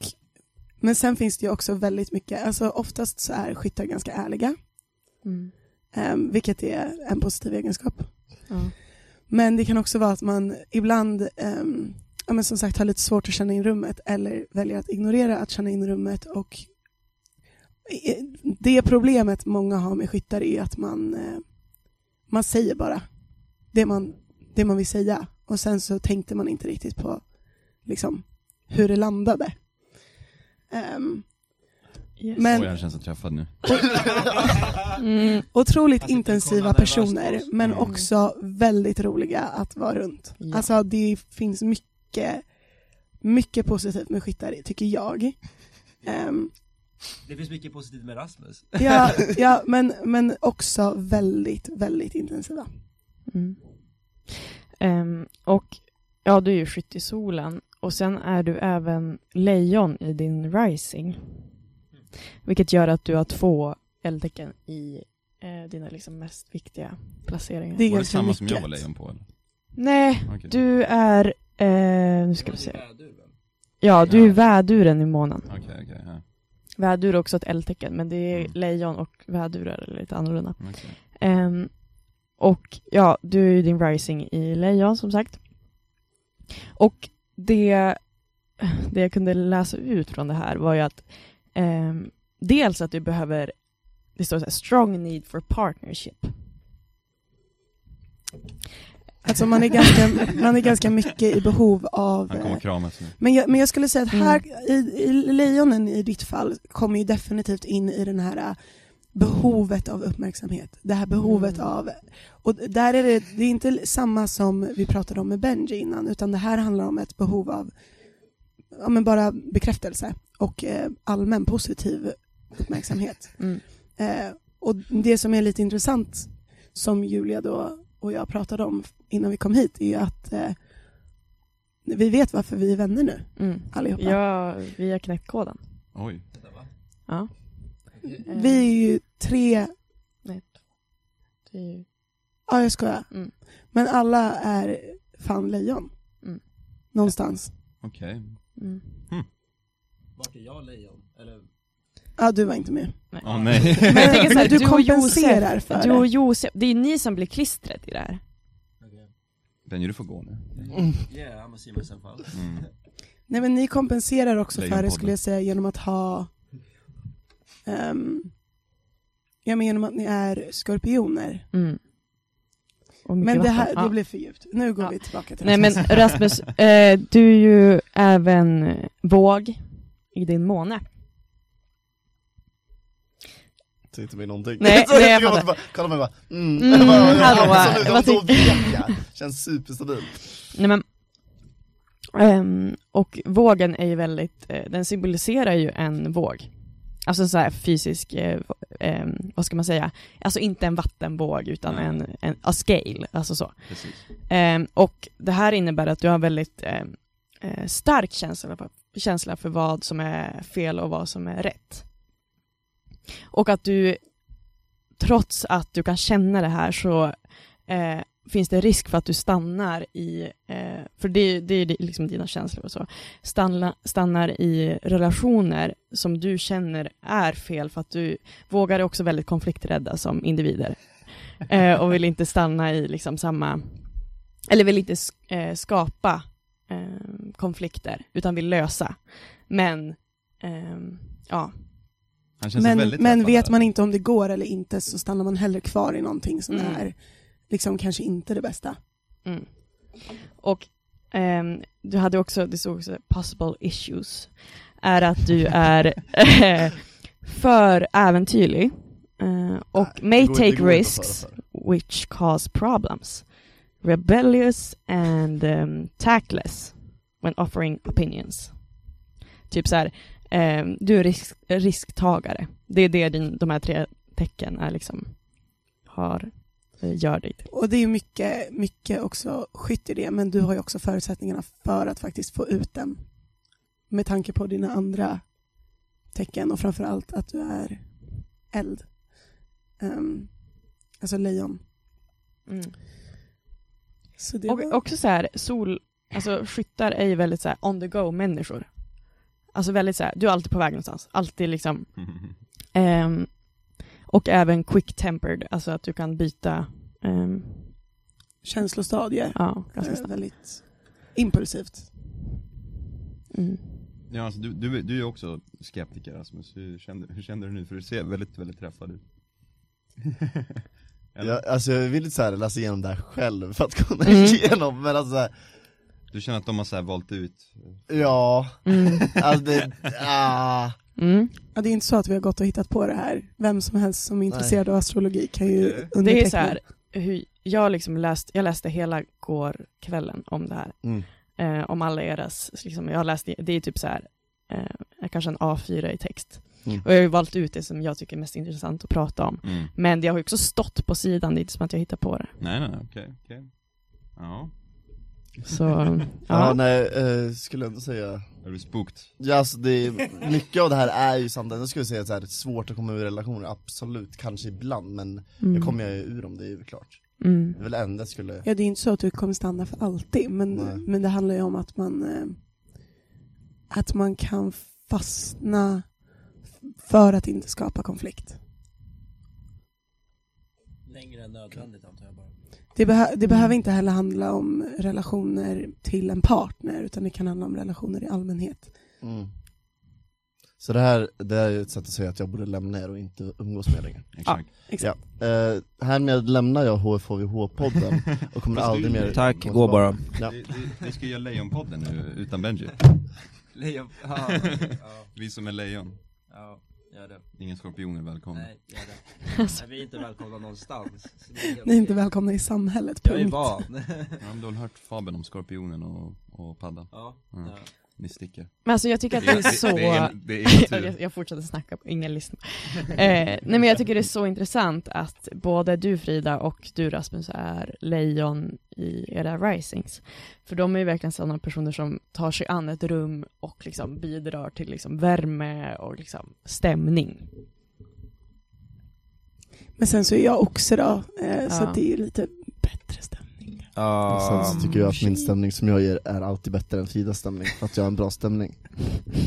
Speaker 7: men sen finns det ju också väldigt mycket, alltså oftast så är skyttar ganska ärliga,
Speaker 6: Mm.
Speaker 7: ehm, vilket är en positiv egenskap.
Speaker 6: Ja.
Speaker 7: Men det kan också vara att man ibland ehm, ja, men som sagt har lite svårt att känna in rummet eller väljer att ignorera att känna in rummet och eh, det problemet många har med skyttar är att man, eh, man säger bara det man, det man vill säga och sen så tänkte man inte riktigt på liksom, hur det landade. Ehm,
Speaker 6: Yes.
Speaker 7: Men-
Speaker 2: Oj, han känns så träffad nu.
Speaker 6: Mm.
Speaker 7: Otroligt
Speaker 8: Alltså, Tikon
Speaker 7: intensiva
Speaker 8: hade
Speaker 7: personer
Speaker 8: värst oss.
Speaker 7: men
Speaker 2: Mm.
Speaker 7: också väldigt roliga att vara runt.
Speaker 6: Ja.
Speaker 7: Alltså det finns mycket, mycket positivt med skyttar tycker jag. Ehm,
Speaker 8: Det finns mycket positivt med Rasmus.
Speaker 7: ja, ja men, men också väldigt, väldigt intensiva.
Speaker 6: Mm. Ehm, och ja, du är ju skytt i solen och sen är du även lejon i din rising. Vilket gör att du har två eldtecken i eh, dina liksom mest viktiga placeringar.
Speaker 7: Det är
Speaker 2: Var det
Speaker 7: ganska
Speaker 2: samma som jag var
Speaker 7: mycket.
Speaker 2: lejon på eller?
Speaker 6: Nej,
Speaker 2: Okej.
Speaker 6: du är... Eh, nu ska vi se. Ja, du är
Speaker 2: Ja.
Speaker 6: väduren i månen.
Speaker 2: Okej, okej, ja.
Speaker 6: Vädur är också ett eldtecken, men det är
Speaker 2: Mm.
Speaker 6: lejon och vädurar är lite annorlunda.
Speaker 2: okej.
Speaker 6: Ehm, och ja, du är ju din rising i lejon som sagt. Och det, det jag kunde läsa ut från det här var ju att ehm, dels att du behöver, det står så här, strong need for partnership.
Speaker 7: Alltså man är ganska, man är ganska mycket i behov av
Speaker 2: Han
Speaker 7: eh,
Speaker 2: kommer kramas nu.
Speaker 7: Men jag, men jag skulle säga att här, i, i lejonen i ditt fall, kommer ju definitivt in i den här eh, behovet av uppmärksamhet. Det här behovet
Speaker 6: Mm.
Speaker 7: av, och där är det, det är inte samma som vi pratade om med Benji innan, utan det här handlar om ett behov av ja, men bara bekräftelse och eh, allmän positiv uppmärksamhet.
Speaker 6: Mm.
Speaker 7: Eh, och det som är lite intressant som Julia då och jag pratade om innan vi kom hit är ju att eh, vi vet varför vi är vänner nu
Speaker 6: Mm.
Speaker 7: allihopa.
Speaker 6: Ja, vi har knäckt koden.
Speaker 2: Oj.
Speaker 6: Ja.
Speaker 7: Vi är ju tre,
Speaker 6: Nej, det är ju-
Speaker 7: ja jag skojar,
Speaker 6: Mm.
Speaker 7: men alla är fan lejon.
Speaker 6: Mm.
Speaker 7: Någonstans.
Speaker 2: Okej.
Speaker 6: mm.
Speaker 8: Vart är jag lejon? Eller?
Speaker 7: Ja du var inte med.
Speaker 2: Åh nej. <laughs>
Speaker 7: Men,
Speaker 6: jag tänker så
Speaker 7: men
Speaker 6: här,
Speaker 7: du
Speaker 6: du och Josef,
Speaker 7: kompenserar för
Speaker 6: Du och
Speaker 7: det.
Speaker 6: Josef, det är ju ni som blir klistret i det här.
Speaker 2: Benji du får gå nu.
Speaker 8: Yeah, I'm a see myself out.
Speaker 2: Mm.
Speaker 7: Nej men ni kompenserar också för det
Speaker 2: Lejonpodden.
Speaker 7: skulle jag säga genom att ha ehm, Ja men genom att ni är skorpioner.
Speaker 6: Mm. Och mycket
Speaker 7: Men det,
Speaker 6: vatten.
Speaker 7: här,
Speaker 6: Ja.
Speaker 7: det blev för djupt. Nu går
Speaker 6: Ja.
Speaker 7: vi tillbaka till
Speaker 6: Nej men
Speaker 7: Rasmus.
Speaker 6: Rasmus, eh, du är ju även våg i din måne.
Speaker 1: Säg inte mig någonting.
Speaker 6: Nej,
Speaker 1: <laughs> Så
Speaker 6: nej, jag
Speaker 1: jag
Speaker 6: fattar.
Speaker 1: bara, Kolla mig bara, mm. <laughs>
Speaker 6: Mm,
Speaker 1: Jag bara,
Speaker 6: hallå,
Speaker 1: ja, absolut,
Speaker 6: vad
Speaker 1: ja, då
Speaker 6: tycker-
Speaker 1: vet jag. Känns superstabil.
Speaker 6: Nej men, ehm, och vågen är ju väldigt, eh, den symboliserar ju en våg. Alltså en så här fysisk, eh, ehm, vad ska man säga, alltså inte en vattenvåg utan
Speaker 2: Nej.
Speaker 6: en, en a scale, alltså så.
Speaker 2: Precis.
Speaker 6: Ehm, och det här innebär att du har väldigt ehm, eh, stark känsla för, känsla för vad som är fel och vad som är rätt. Och att du, trots att du kan känna det här så eh, finns det risk för att du stannar i, eh, för det, det är liksom dina känslor och så, stanna, stannar i relationer som du känner är fel för att du vågar är också väldigt konflikträdda som individer eh, och vill inte stanna i liksom samma, eller vill inte sk- eh, skapa eh, konflikter utan vill lösa. Men, ehm, ja,
Speaker 2: Han känns
Speaker 7: Men,
Speaker 2: väldigt
Speaker 7: men
Speaker 2: träffad
Speaker 7: vet
Speaker 2: där.
Speaker 7: man inte om det går eller inte så stannar man hellre kvar i någonting som
Speaker 6: Mm.
Speaker 7: är liksom kanske inte det bästa.
Speaker 6: Mm. Och ehm, du hade också, det stod också possible issues, är att du
Speaker 1: <laughs>
Speaker 6: är eh, för äventyrlig eh, och may
Speaker 1: Det går- det går
Speaker 6: take
Speaker 1: inte att
Speaker 6: risks
Speaker 1: föra för.
Speaker 6: which cause problems, rebellious and um, tactless when offering opinions. Typ så här, ehm, du är risk, risktagare. Det är det din, de här tre tecken är liksom, har, eh, gör dig till.
Speaker 7: Och det är ju mycket, mycket också skytt i det, men du har ju också förutsättningarna för att faktiskt få ut den. Med tanke på dina andra tecken och framförallt att du är eld. Ehm, alltså lejon.
Speaker 6: Mm.
Speaker 7: Så det
Speaker 6: Och
Speaker 7: var...
Speaker 6: också så här, sol, alltså skyttar är ju väldigt så här on the go människor. Alltså väldigt så här, du är alltid på väg någonstans, alltid liksom. ehm, och även quick tempered, alltså att du kan byta, ehm,
Speaker 7: känslostadie.
Speaker 6: ja, ganska
Speaker 7: Eh,
Speaker 6: snabbt.
Speaker 7: väldigt impulsivt.
Speaker 6: Mm.
Speaker 2: <laughs> Ja, alltså, du, du, du är ju också skeptiker Rasmus, hur känner, hur känner du nu? För du ser väldigt, väldigt träffad <laughs> ut Eller?
Speaker 1: jag, Alltså jag vill såhär läsa igenom det här själv för att kunna
Speaker 6: Mm.
Speaker 1: igenom, men alltså så här,
Speaker 2: Du känner att de har så här valt ut
Speaker 1: ja,
Speaker 6: Mm.
Speaker 1: alltså
Speaker 6: <laughs>
Speaker 1: det, ah,
Speaker 6: Mm.
Speaker 7: Ja, det är inte så att vi har gått och hittat på det här. Vem som helst som är intresserad av astrologi kan ju
Speaker 2: Det är
Speaker 7: underteckna.
Speaker 6: Det är så här, hur jag liksom läst, jag läste hela gårkvällen om det här.
Speaker 1: mm.
Speaker 6: eh, om alla deras, liksom, jag har läst, det är typ så här, eh, kanske en A4 i text.
Speaker 1: Mm.
Speaker 6: Och jag har ju valt ut det som jag tycker är mest intressant att prata om. Men det har ju också stått på sidan, det är inte som att jag hittar på det.
Speaker 2: Mm. Nej nej, nej, okej, okej Ja,
Speaker 1: <laughs>
Speaker 6: Så,
Speaker 1: ja.
Speaker 6: ja.
Speaker 1: nej, eh, skulle jag ändå säga
Speaker 2: är du spooked?
Speaker 1: Ja, alltså det är, mycket av det här är ju samtidigt, jag skulle säga så här, svårt att komma ur relationer, absolut, kanske ibland, men
Speaker 6: Mm.
Speaker 1: jag kommer ju ur om det är ju klart.
Speaker 6: Mm.
Speaker 1: Det är väl det enda jag skulle,
Speaker 7: Ja, det är inte så att du kommer stanna för alltid, men,
Speaker 1: Nej.
Speaker 7: men det handlar ju om att man, eh, att man kan fastna f- för att inte skapa konflikt.
Speaker 8: Längre än nödvändigt antar jag bara.
Speaker 7: Det, behö- det behöver inte heller handla om relationer till en partner, utan det kan handla om relationer i allmänhet.
Speaker 1: mm. Så det här, det här är ju ett sätt att säga att jag borde lämna er och inte umgås med er längre.
Speaker 2: Exakt
Speaker 1: Ja, eh, härmed lämnar jag HFHVH-podden och kommer
Speaker 2: Fast du-
Speaker 1: aldrig mer
Speaker 3: Tack,
Speaker 1: komma
Speaker 3: gå bara.
Speaker 7: Ah.
Speaker 1: Ja.
Speaker 2: vi, vi, vi ska göra Lejonpodden nu utan Benji
Speaker 8: Lejon, <laughs> ja, ja,
Speaker 2: Vi som är lejon,
Speaker 8: ja, gör det.
Speaker 2: ingen skorpion är välkommen
Speaker 8: Nej, gör det. Nej, vi är inte välkomna någonstans. Så det helt
Speaker 7: Ni är inte
Speaker 8: okej.
Speaker 7: välkomna i samhället,
Speaker 8: Jag är
Speaker 7: punkt.
Speaker 8: van.
Speaker 2: Jag har väl hört fabeln om skorpionen och, och paddan,
Speaker 8: Ja,
Speaker 2: Mm.
Speaker 8: ja.
Speaker 2: ni sticker
Speaker 6: Men alltså jag tycker att det är så...
Speaker 2: det är, det
Speaker 6: <laughs>
Speaker 2: är
Speaker 6: jag,
Speaker 2: natur.
Speaker 6: jag fortsätter snacka, ingen lyssnar. Eh, nej men jag tycker det är så intressant att både du Frida och du Rasmus är lejon i era risings. För de är ju verkligen sådana personer som tar sig an ett rum och liksom bidrar till liksom värme och liksom stämning.
Speaker 7: Men sen så är jag också då, eh, så
Speaker 6: Ja.
Speaker 7: att det är ju lite bättre stämning.
Speaker 1: Och Sen Alltså, så tycker jag att min stämning som jag ger är alltid bättre än Fridas stämning, för att jag har en bra stämning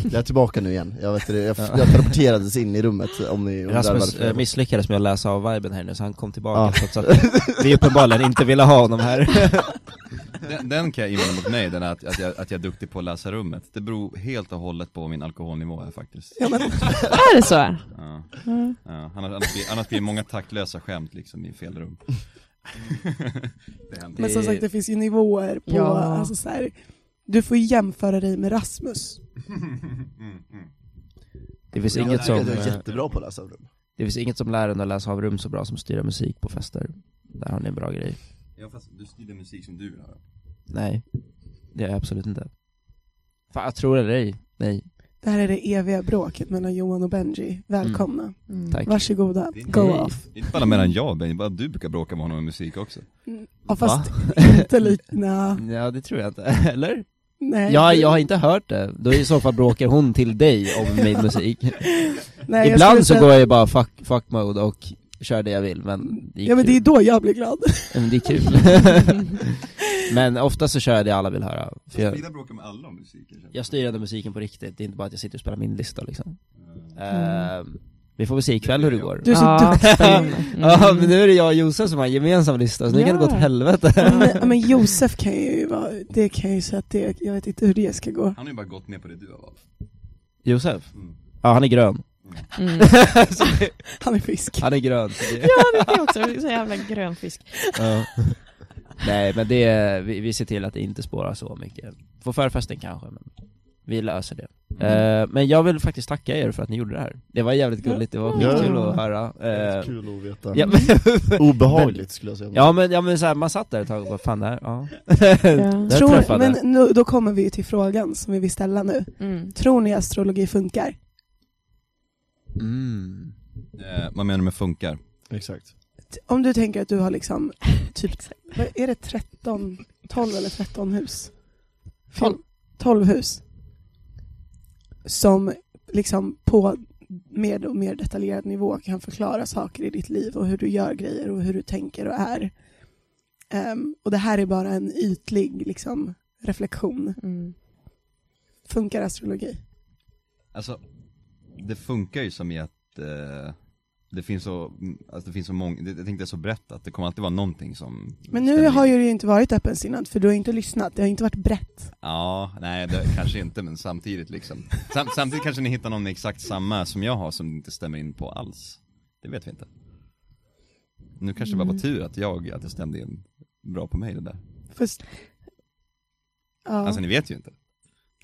Speaker 1: Jag är tillbaka nu igen, jag vet det, jag, jag teleporterades in i rummet om ni undrar
Speaker 3: Rasmus
Speaker 1: varför
Speaker 3: eh, misslyckades med att läsa av viben här nu, så han kom tillbaka
Speaker 1: Ja.
Speaker 3: trots att vi uppenbarligen inte ville ha
Speaker 1: <laughs>
Speaker 3: honom här
Speaker 2: Den, den kan jag invända mot mig, den att, att, jag, att jag är duktig på att läsa rummet. Det beror helt och hållet på min alkoholnivå här faktiskt.
Speaker 7: Ja, men,
Speaker 6: Är det så?
Speaker 2: Ja,
Speaker 6: Mm.
Speaker 2: ja. Annars, annars, blir, annars blir det många taktlösa skämt liksom i fel rum. <laughs> det händer.
Speaker 7: men som sagt, det finns ju nivåer på,
Speaker 6: Ja.
Speaker 7: alltså så här, du får ju jämföra dig med Rasmus.
Speaker 2: Mm, mm.
Speaker 3: Det finns,
Speaker 1: Jag
Speaker 3: inget
Speaker 1: tycker
Speaker 3: som,
Speaker 1: att jag är
Speaker 3: eh,
Speaker 1: jättebra på att läsa rum
Speaker 3: det finns inget som lär en att läsa av rum så bra som styra musik på fester Där har ni en bra grej
Speaker 2: Ja fast du styrde musik som du vill höra.
Speaker 3: Nej, det är jag absolut inte Fan, jag tror eller ej, nej,
Speaker 7: Det här är det eviga bråket mellan Johan och Benji. Välkomna.
Speaker 3: Mm, tack
Speaker 7: Varsågoda,
Speaker 2: Det är
Speaker 7: go
Speaker 3: inte-
Speaker 7: off.
Speaker 2: Inte bara mellan jag och Benny, bara du brukar bråka med honom med musik också.
Speaker 7: Ja, fast
Speaker 3: Va?
Speaker 7: <laughs> inte likna...
Speaker 3: Ja det tror jag inte, <laughs> eller?
Speaker 7: Nej,
Speaker 3: Ja, jag har inte hört det, då i så fall bråkar hon
Speaker 7: <laughs>
Speaker 3: till dig om min musik
Speaker 7: nej, jag skulle
Speaker 3: Ibland så
Speaker 7: säga-
Speaker 3: går jag ju bara fuck, fuck mode och kör det jag vill men det är
Speaker 7: Ja men
Speaker 3: kul.
Speaker 7: det är då jag
Speaker 3: <laughs>
Speaker 7: blir glad.
Speaker 3: Ja, men det är kul <laughs> Men ofta så kör jag det alla vill höra för jag,
Speaker 2: Frida bråkar med alla om musiken känner
Speaker 3: jag styr ändå musiken på riktigt, det är inte bara att jag sitter och spelar min lista liksom Ehm, Vi får väl se ikväll hur det går
Speaker 7: Du är så
Speaker 6: Ja.
Speaker 7: duktig.
Speaker 6: Mm.
Speaker 3: Ja men nu är det jag och Josef som har en gemensam lista, så nu kan det gå åt
Speaker 6: Ja.
Speaker 3: helvete
Speaker 7: Ja, men- ja, men Josef kan ju vara, det kan ju säga att det, jag vet inte hur det ska gå.
Speaker 2: Han har ju bara gått med på det du har valt.
Speaker 3: Josef?
Speaker 2: Mm.
Speaker 3: Ja han är grön,
Speaker 6: Mm.
Speaker 3: <laughs> Så det-
Speaker 7: Han är
Speaker 3: <laughs>
Speaker 7: fisk.
Speaker 3: han är grön så det,
Speaker 6: Ja, det är också så jävla grön fisk.
Speaker 3: ja. Nej men det, vi, vi ser till att det inte spårar så mycket På förfesten kanske men vi löser det Eh, Men jag vill faktiskt tacka er för att ni gjorde det här Det var jävligt gulligt, det var
Speaker 1: Ja.
Speaker 3: skitkul att höra Eh,
Speaker 1: Kul att veta
Speaker 3: ja, men,
Speaker 1: Obehagligt skulle jag säga
Speaker 3: ja men, ja, men så här, man satt där ett tag och bara fan det här, ja
Speaker 6: Ja.
Speaker 3: Jag
Speaker 7: Tror,
Speaker 3: träffade.
Speaker 7: men nu, då kommer vi ju till frågan som vi vill ställa nu.
Speaker 6: Mm.
Speaker 7: Tror ni astrologi funkar?
Speaker 3: mm.
Speaker 2: Eh, vad menar du med funkar?
Speaker 1: Exakt
Speaker 7: T- Om du tänker att du har liksom, typ, vad är det 13, 12 eller 13 hus?
Speaker 6: Tolv.
Speaker 7: 12 hus. Som liksom på mer och mer detaljerad nivå kan förklara saker i ditt liv och hur du gör grejer och hur du tänker och är. Ehm, och det här är bara en ytlig liksom, reflektion.
Speaker 6: Mm.
Speaker 7: Funkar astrologi?
Speaker 2: Alltså, det funkar ju som i att eh, det finns så, mm, alltså det finns så många, det, jag tänkte det är så brett att det kommer alltid vara någonting som
Speaker 7: Men nu
Speaker 2: stämmer
Speaker 7: har
Speaker 2: in.
Speaker 7: ju det inte varit öppensinnad för du har inte lyssnat, det har inte varit brett.
Speaker 2: Ja, nej det kanske inte men samtidigt liksom Sam, Samtidigt kanske ni hittar någon med exakt samma som jag har som inte stämmer in på alls Det vet vi inte Nu kanske det bara
Speaker 7: Mm.
Speaker 2: var tur att jag, att det stämde in bra på mig det där
Speaker 7: Fast... Ja.
Speaker 2: Alltså ni vet ju inte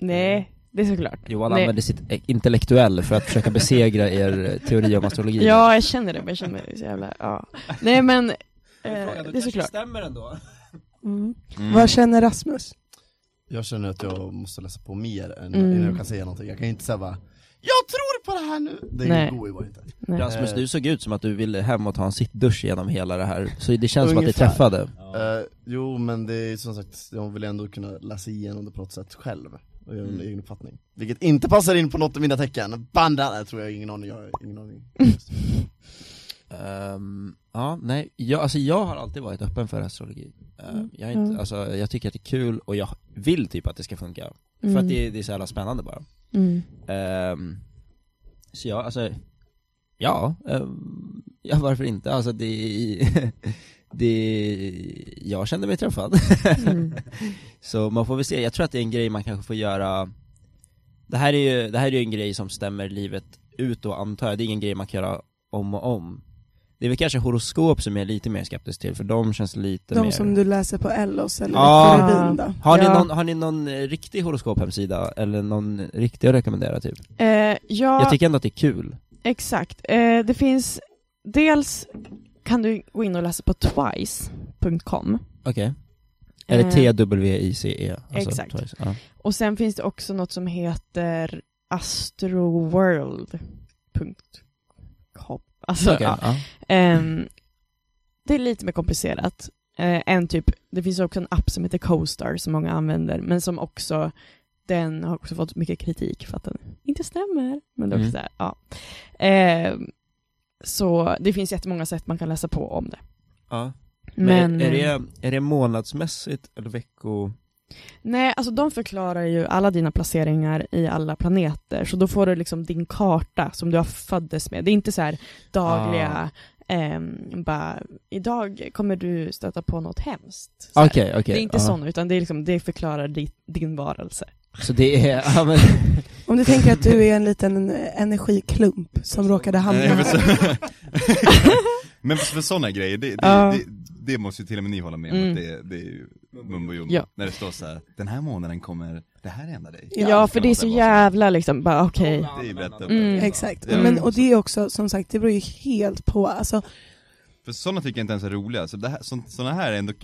Speaker 6: Nej, det är såklart.
Speaker 3: Johan
Speaker 6: Nej.
Speaker 3: använde sitt eh, intellektuell för att försöka besegra er eh, teori om astrologi
Speaker 6: Ja, jag känner det, men jag känner mig så jävla, ja. Nej
Speaker 3: <laughs>
Speaker 6: men, eh, det är såklart.
Speaker 3: stämmer ändå
Speaker 7: mm. Vad känner Rasmus?
Speaker 1: Jag känner att jag måste läsa på mer än
Speaker 6: Mm.
Speaker 1: innan jag kan säga någonting Jag kan inte säga bara Jag tror på det här nu! Det
Speaker 6: Nej.
Speaker 1: går ju bara inte
Speaker 3: Rasmus,
Speaker 1: Eh.
Speaker 3: du såg ut som att du ville hem och ta en sittdusch genom hela det här, så det känns som att det
Speaker 1: Ungefär.
Speaker 3: träffade
Speaker 1: Eh, Jo men det är som sagt, jag vill ändå kunna läsa igenom det på något sätt själv och göra en egen uppfattning Vilket inte passar in på något av mina tecken, banda! Nej, tror jag, ingen aning, jag har ingen aning
Speaker 3: Ehm, ja, nej, jag, alltså jag har alltid varit öppen för astrologi. Ehm, jag, är inte,
Speaker 6: Mm.
Speaker 3: alltså, jag tycker att det är kul och jag vill typ att det ska funka. För att det, det är så jävla spännande bara.
Speaker 6: Mm.
Speaker 3: Ehm, så jag, alltså, ja, ehm, ja varför inte? Alltså det, <laughs> det, jag kände mig träffad. <laughs>
Speaker 6: Mm.
Speaker 3: Så man får väl se, jag tror att det är en grej man kanske får göra Det här är ju, det här är ju en grej som stämmer livet ut och antar jag, det är ingen grej man kan göra om och om Det är väl kanske horoskop som jag är lite mer skeptisk till, för de känns lite mer
Speaker 7: De som du läser på Ellos eller
Speaker 6: Ah.
Speaker 3: Ja.
Speaker 7: Karolin då?
Speaker 3: har, ni
Speaker 6: Ja.
Speaker 3: någon, har ni någon eh, riktig horoskophemsida, eller någon riktig att rekommendera typ?
Speaker 6: Eh,
Speaker 3: Jag
Speaker 6: ja,
Speaker 3: tycker ändå att det är kul
Speaker 6: exakt. Eh, det finns, dels kan du gå in och läsa på twice.com
Speaker 3: Okej Eller
Speaker 6: Eh,
Speaker 3: T-W-I-C-E alltså,
Speaker 6: exakt.
Speaker 3: twice. Ja.
Speaker 6: och sen finns det också något som heter astroworld.com Alltså,
Speaker 3: Okej,
Speaker 6: ja.
Speaker 3: ja.
Speaker 6: Ehm, det är lite mer komplicerat. Eh, en typ, det finns också en app som heter CoStar som många använder, men som också den har också fått mycket kritik för att den inte stämmer. Men det är också
Speaker 3: Mm.
Speaker 6: så här, ja. Ehm, så det finns jättemånga sätt man kan läsa på om det.
Speaker 3: Ja.
Speaker 6: Men, eh,
Speaker 3: Men är, är, det, är det månadsmässigt eller vecko...
Speaker 6: nej, alltså de förklarar ju alla dina placeringar i alla planeter, så då får du liksom din karta som du har föddes med. Det är inte så här dagliga,
Speaker 2: Ah.
Speaker 6: ehm, bara, idag kommer du stöta på något hemskt. Så här.
Speaker 3: Okej, okej
Speaker 6: det är inte
Speaker 3: ja.
Speaker 2: Ah.
Speaker 6: sån, utan det, är liksom, det förklarar din, din varelse.
Speaker 3: Så det är, ja <laughs> men
Speaker 7: Om du tänker att du är en liten eh, energiklump som råkade hamna
Speaker 2: Nej, Eh,
Speaker 6: <laughs>
Speaker 2: men, så,
Speaker 7: här.
Speaker 2: men för, för sådana grejer, det, det,
Speaker 6: Ja.
Speaker 2: det, det måste ju till och med ni hålla med om
Speaker 6: Mm.
Speaker 2: att det, det är ju mumbo jumbo
Speaker 6: Ja.
Speaker 2: När det står så här, den här månaden kommer det här hända dig
Speaker 6: Ja,
Speaker 7: Ja,
Speaker 6: för det är så
Speaker 2: Det var så.
Speaker 6: jävla liksom, bara okej.
Speaker 2: Det är ju rätt
Speaker 6: Mm.
Speaker 7: Exakt.
Speaker 2: Ja.
Speaker 7: Men, och det är också, som sagt, det beror ju helt på, alltså,
Speaker 2: För sådana tycker jag inte ens är roliga, så det här, så, såna här är ändå <laughs>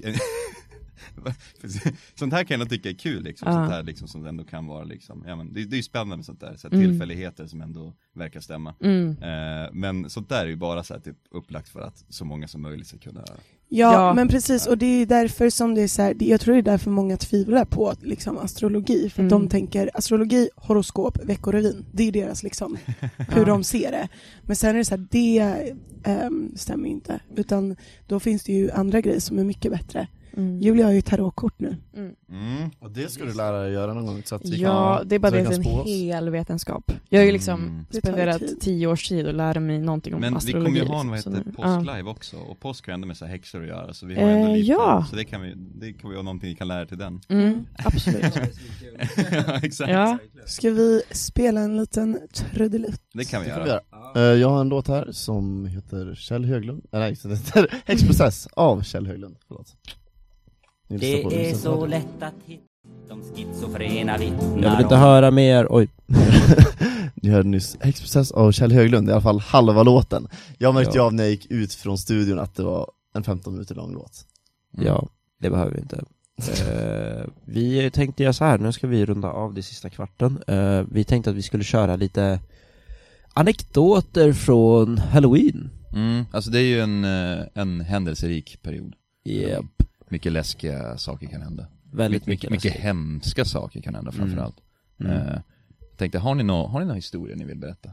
Speaker 2: sånt här kan jag ändå tycka är kul liksom,
Speaker 6: Ja.
Speaker 2: sånt här liksom som ändå kan vara liksom, ja, men det, det är ju spännande med sånt där, så här,
Speaker 6: Mm.
Speaker 2: tillfälligheter som ändå verkar stämma.
Speaker 6: Mm.
Speaker 2: Eh, men sånt där är ju bara så här, typ, upplagt för att så många som möjligt ska kunna
Speaker 7: Ja,
Speaker 6: Ja.
Speaker 7: men precis. Och det är därför som det är så här, det- jag tror det är därför många tvivlar på liksom, astrologi. För att
Speaker 6: Mm.
Speaker 7: de tänker astrologi, horoskop, veckorevyn. Det är deras
Speaker 6: <laughs>
Speaker 7: liksom, hur de ser det. Men sen är det så här, det ehm, stämmer ju inte. Utan då finns det ju andra grejer som är mycket bättre.
Speaker 6: Mm.
Speaker 7: Julia har ju tarotkort nu.
Speaker 2: mm.
Speaker 1: Och det ska du lära dig göra någon gång så att vi
Speaker 6: Ja,
Speaker 1: kan,
Speaker 6: det är bara
Speaker 1: så vi
Speaker 6: det att
Speaker 1: kan
Speaker 6: det
Speaker 1: spå
Speaker 6: är en
Speaker 1: oss.
Speaker 6: hel vetenskap. Jag har ju liksom
Speaker 2: Mm.
Speaker 7: Det tar ju
Speaker 6: spenderat
Speaker 7: tid.
Speaker 6: tio års tid och lära mig någonting om
Speaker 2: Men vi
Speaker 6: astrologi.
Speaker 2: kommer ju ha en vad
Speaker 6: så
Speaker 2: heter
Speaker 6: nu-
Speaker 2: det,
Speaker 6: ja.
Speaker 2: påsklive också, och påsk har ju ändå med så här häxor att göra så vi har ju ändå
Speaker 6: Eh,
Speaker 2: lite,
Speaker 6: ja.
Speaker 2: så det kan vi, det kan vi ha någonting vi kan lära till den
Speaker 6: Mm,
Speaker 2: <laughs>
Speaker 6: absolut.
Speaker 2: Ja, Exakt,
Speaker 6: ja.
Speaker 7: Ska vi spela en liten trudelutt?
Speaker 2: det kan vi
Speaker 1: Det får
Speaker 2: göra
Speaker 1: vi göra. Eh, Jag har en låt här som heter Kjell Höglund, Eh, nej den heter <laughs> Häxprocess av Kjell Höglund, förlåt Ni lyssnar på
Speaker 9: Det är
Speaker 1: Rymdsändaren.
Speaker 9: så lätt att hitta de schizofrena
Speaker 3: Jag vill inte
Speaker 9: vittnar om
Speaker 3: höra mer, oj.
Speaker 1: <laughs> Ni hörde nyss Häxprocess av Kjell Höglund, i alla fall halva låten Jag märkte ju
Speaker 3: Ja.
Speaker 1: av när jag gick ut från studion att det var en 15 minuter lång låt
Speaker 3: Ja, det behöver vi inte. Mm. Eh, vi tänkte göra så här, nu ska vi runda av det sista kvarten. Eh, vi tänkte att vi skulle köra lite anekdoter från halloween.
Speaker 2: Mm, alltså det är ju en, eh, en händelserik period.
Speaker 3: Yep.
Speaker 2: Mycket läskiga saker kan hända.
Speaker 3: Väldigt
Speaker 2: My- mycket,
Speaker 3: mycket.
Speaker 2: mycket
Speaker 3: läskigt.
Speaker 2: hemska saker kan hända framförallt.
Speaker 3: Mm.
Speaker 2: Eh, jag tänkte, har ni någon har ni nå historia ni vill berätta?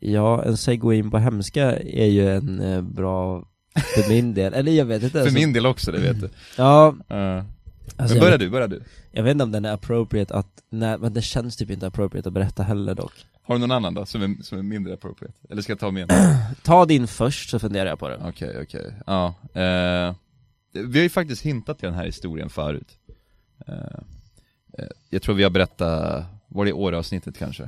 Speaker 3: Ja, en segway in på hemska är ju en eh, bra, för min del, eller jag vet inte.
Speaker 2: <laughs> För
Speaker 3: alltså.
Speaker 2: min del också, det vet du.
Speaker 3: Ja,
Speaker 2: Eh, men
Speaker 3: alltså, jag
Speaker 2: börja
Speaker 3: vet-
Speaker 2: du, börja du.
Speaker 3: Jag vet inte om den är appropriate att, nej, men det känns typ inte appropriate att berätta heller dock.
Speaker 2: Har du någon annan då, som är, som är mindre appropriate? Eller ska jag
Speaker 1: <clears throat>
Speaker 2: ta min?
Speaker 3: Ta din först så funderar jag på den.
Speaker 2: Okej, okej. Ja, eh, vi har ju faktiskt hintat till den här historien förut. Eh, eh, jag tror vi har berättat, var det i Åre-avsnittet kanske?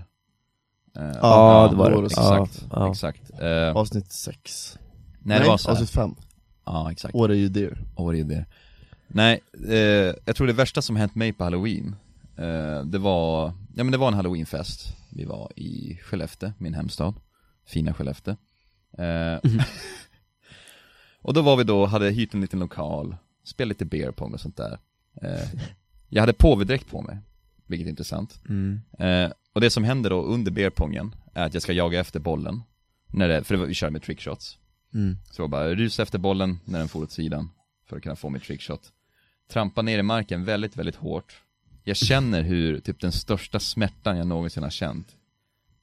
Speaker 2: Eh,
Speaker 1: Ja, det var det.
Speaker 2: Exakt,
Speaker 3: Ja,
Speaker 2: exakt. Eh,
Speaker 1: Avsnitt 6
Speaker 2: Nej, det var så här.
Speaker 1: avsnitt 5,
Speaker 2: Ja, exakt.
Speaker 1: Åre är ju dyr
Speaker 2: Åre det. Nej, eh, jag tror det värsta som hänt mig på halloween, eh, det var, ja men det var en halloweenfest. Vi var i Skellefteå, min hemstad. Fina Skellefteå. Eh, <laughs> och då var vi då, hade hyrt en liten lokal, spelade lite beer pong och sånt där. Eh, jag hade påvedräkt på mig, vilket är intressant.
Speaker 3: Mm.
Speaker 2: Eh, och det som händer då under beerpongen är att jag ska jaga efter bollen, när det, för det var, vi körde med trickshots.
Speaker 3: Mm.
Speaker 2: Så jag bara rusa efter bollen när den får åt sidan, för att kunna få mitt trickshot. Trampa ner i marken väldigt, väldigt hårt. Jag känner hur typ den största smärtan jag någonsin har känt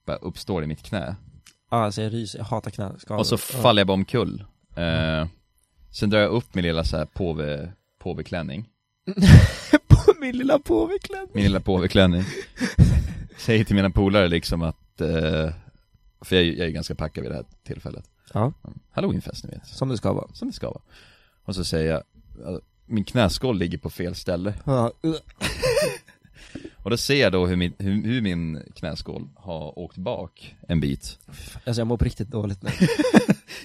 Speaker 2: bara uppstår i mitt knä.
Speaker 3: Ja, Alltså jag ryser, jag hatar knäskador.
Speaker 2: Och så faller jag bara omkull. Eh, sen drar jag upp min lilla så här påve, påveklänning.
Speaker 3: på <laughs> min lilla påveklänning.
Speaker 2: min lilla påveklänning Säger till mina polare liksom att, eh, för jag, är ju- jag är ju ganska packad vid det här tillfället Mm.
Speaker 3: Ja.
Speaker 2: Halloweenfest ni vet,
Speaker 3: Som det ska vara.
Speaker 2: som det ska vara Och så säger jag, eh, min knäskål ligger på fel ställe
Speaker 3: Ja.
Speaker 2: Och då ser jag då hur min, hur, hur min knäskål har åkt bak en bit <laughs>
Speaker 3: Alltså jag mår på riktigt dåligt nu.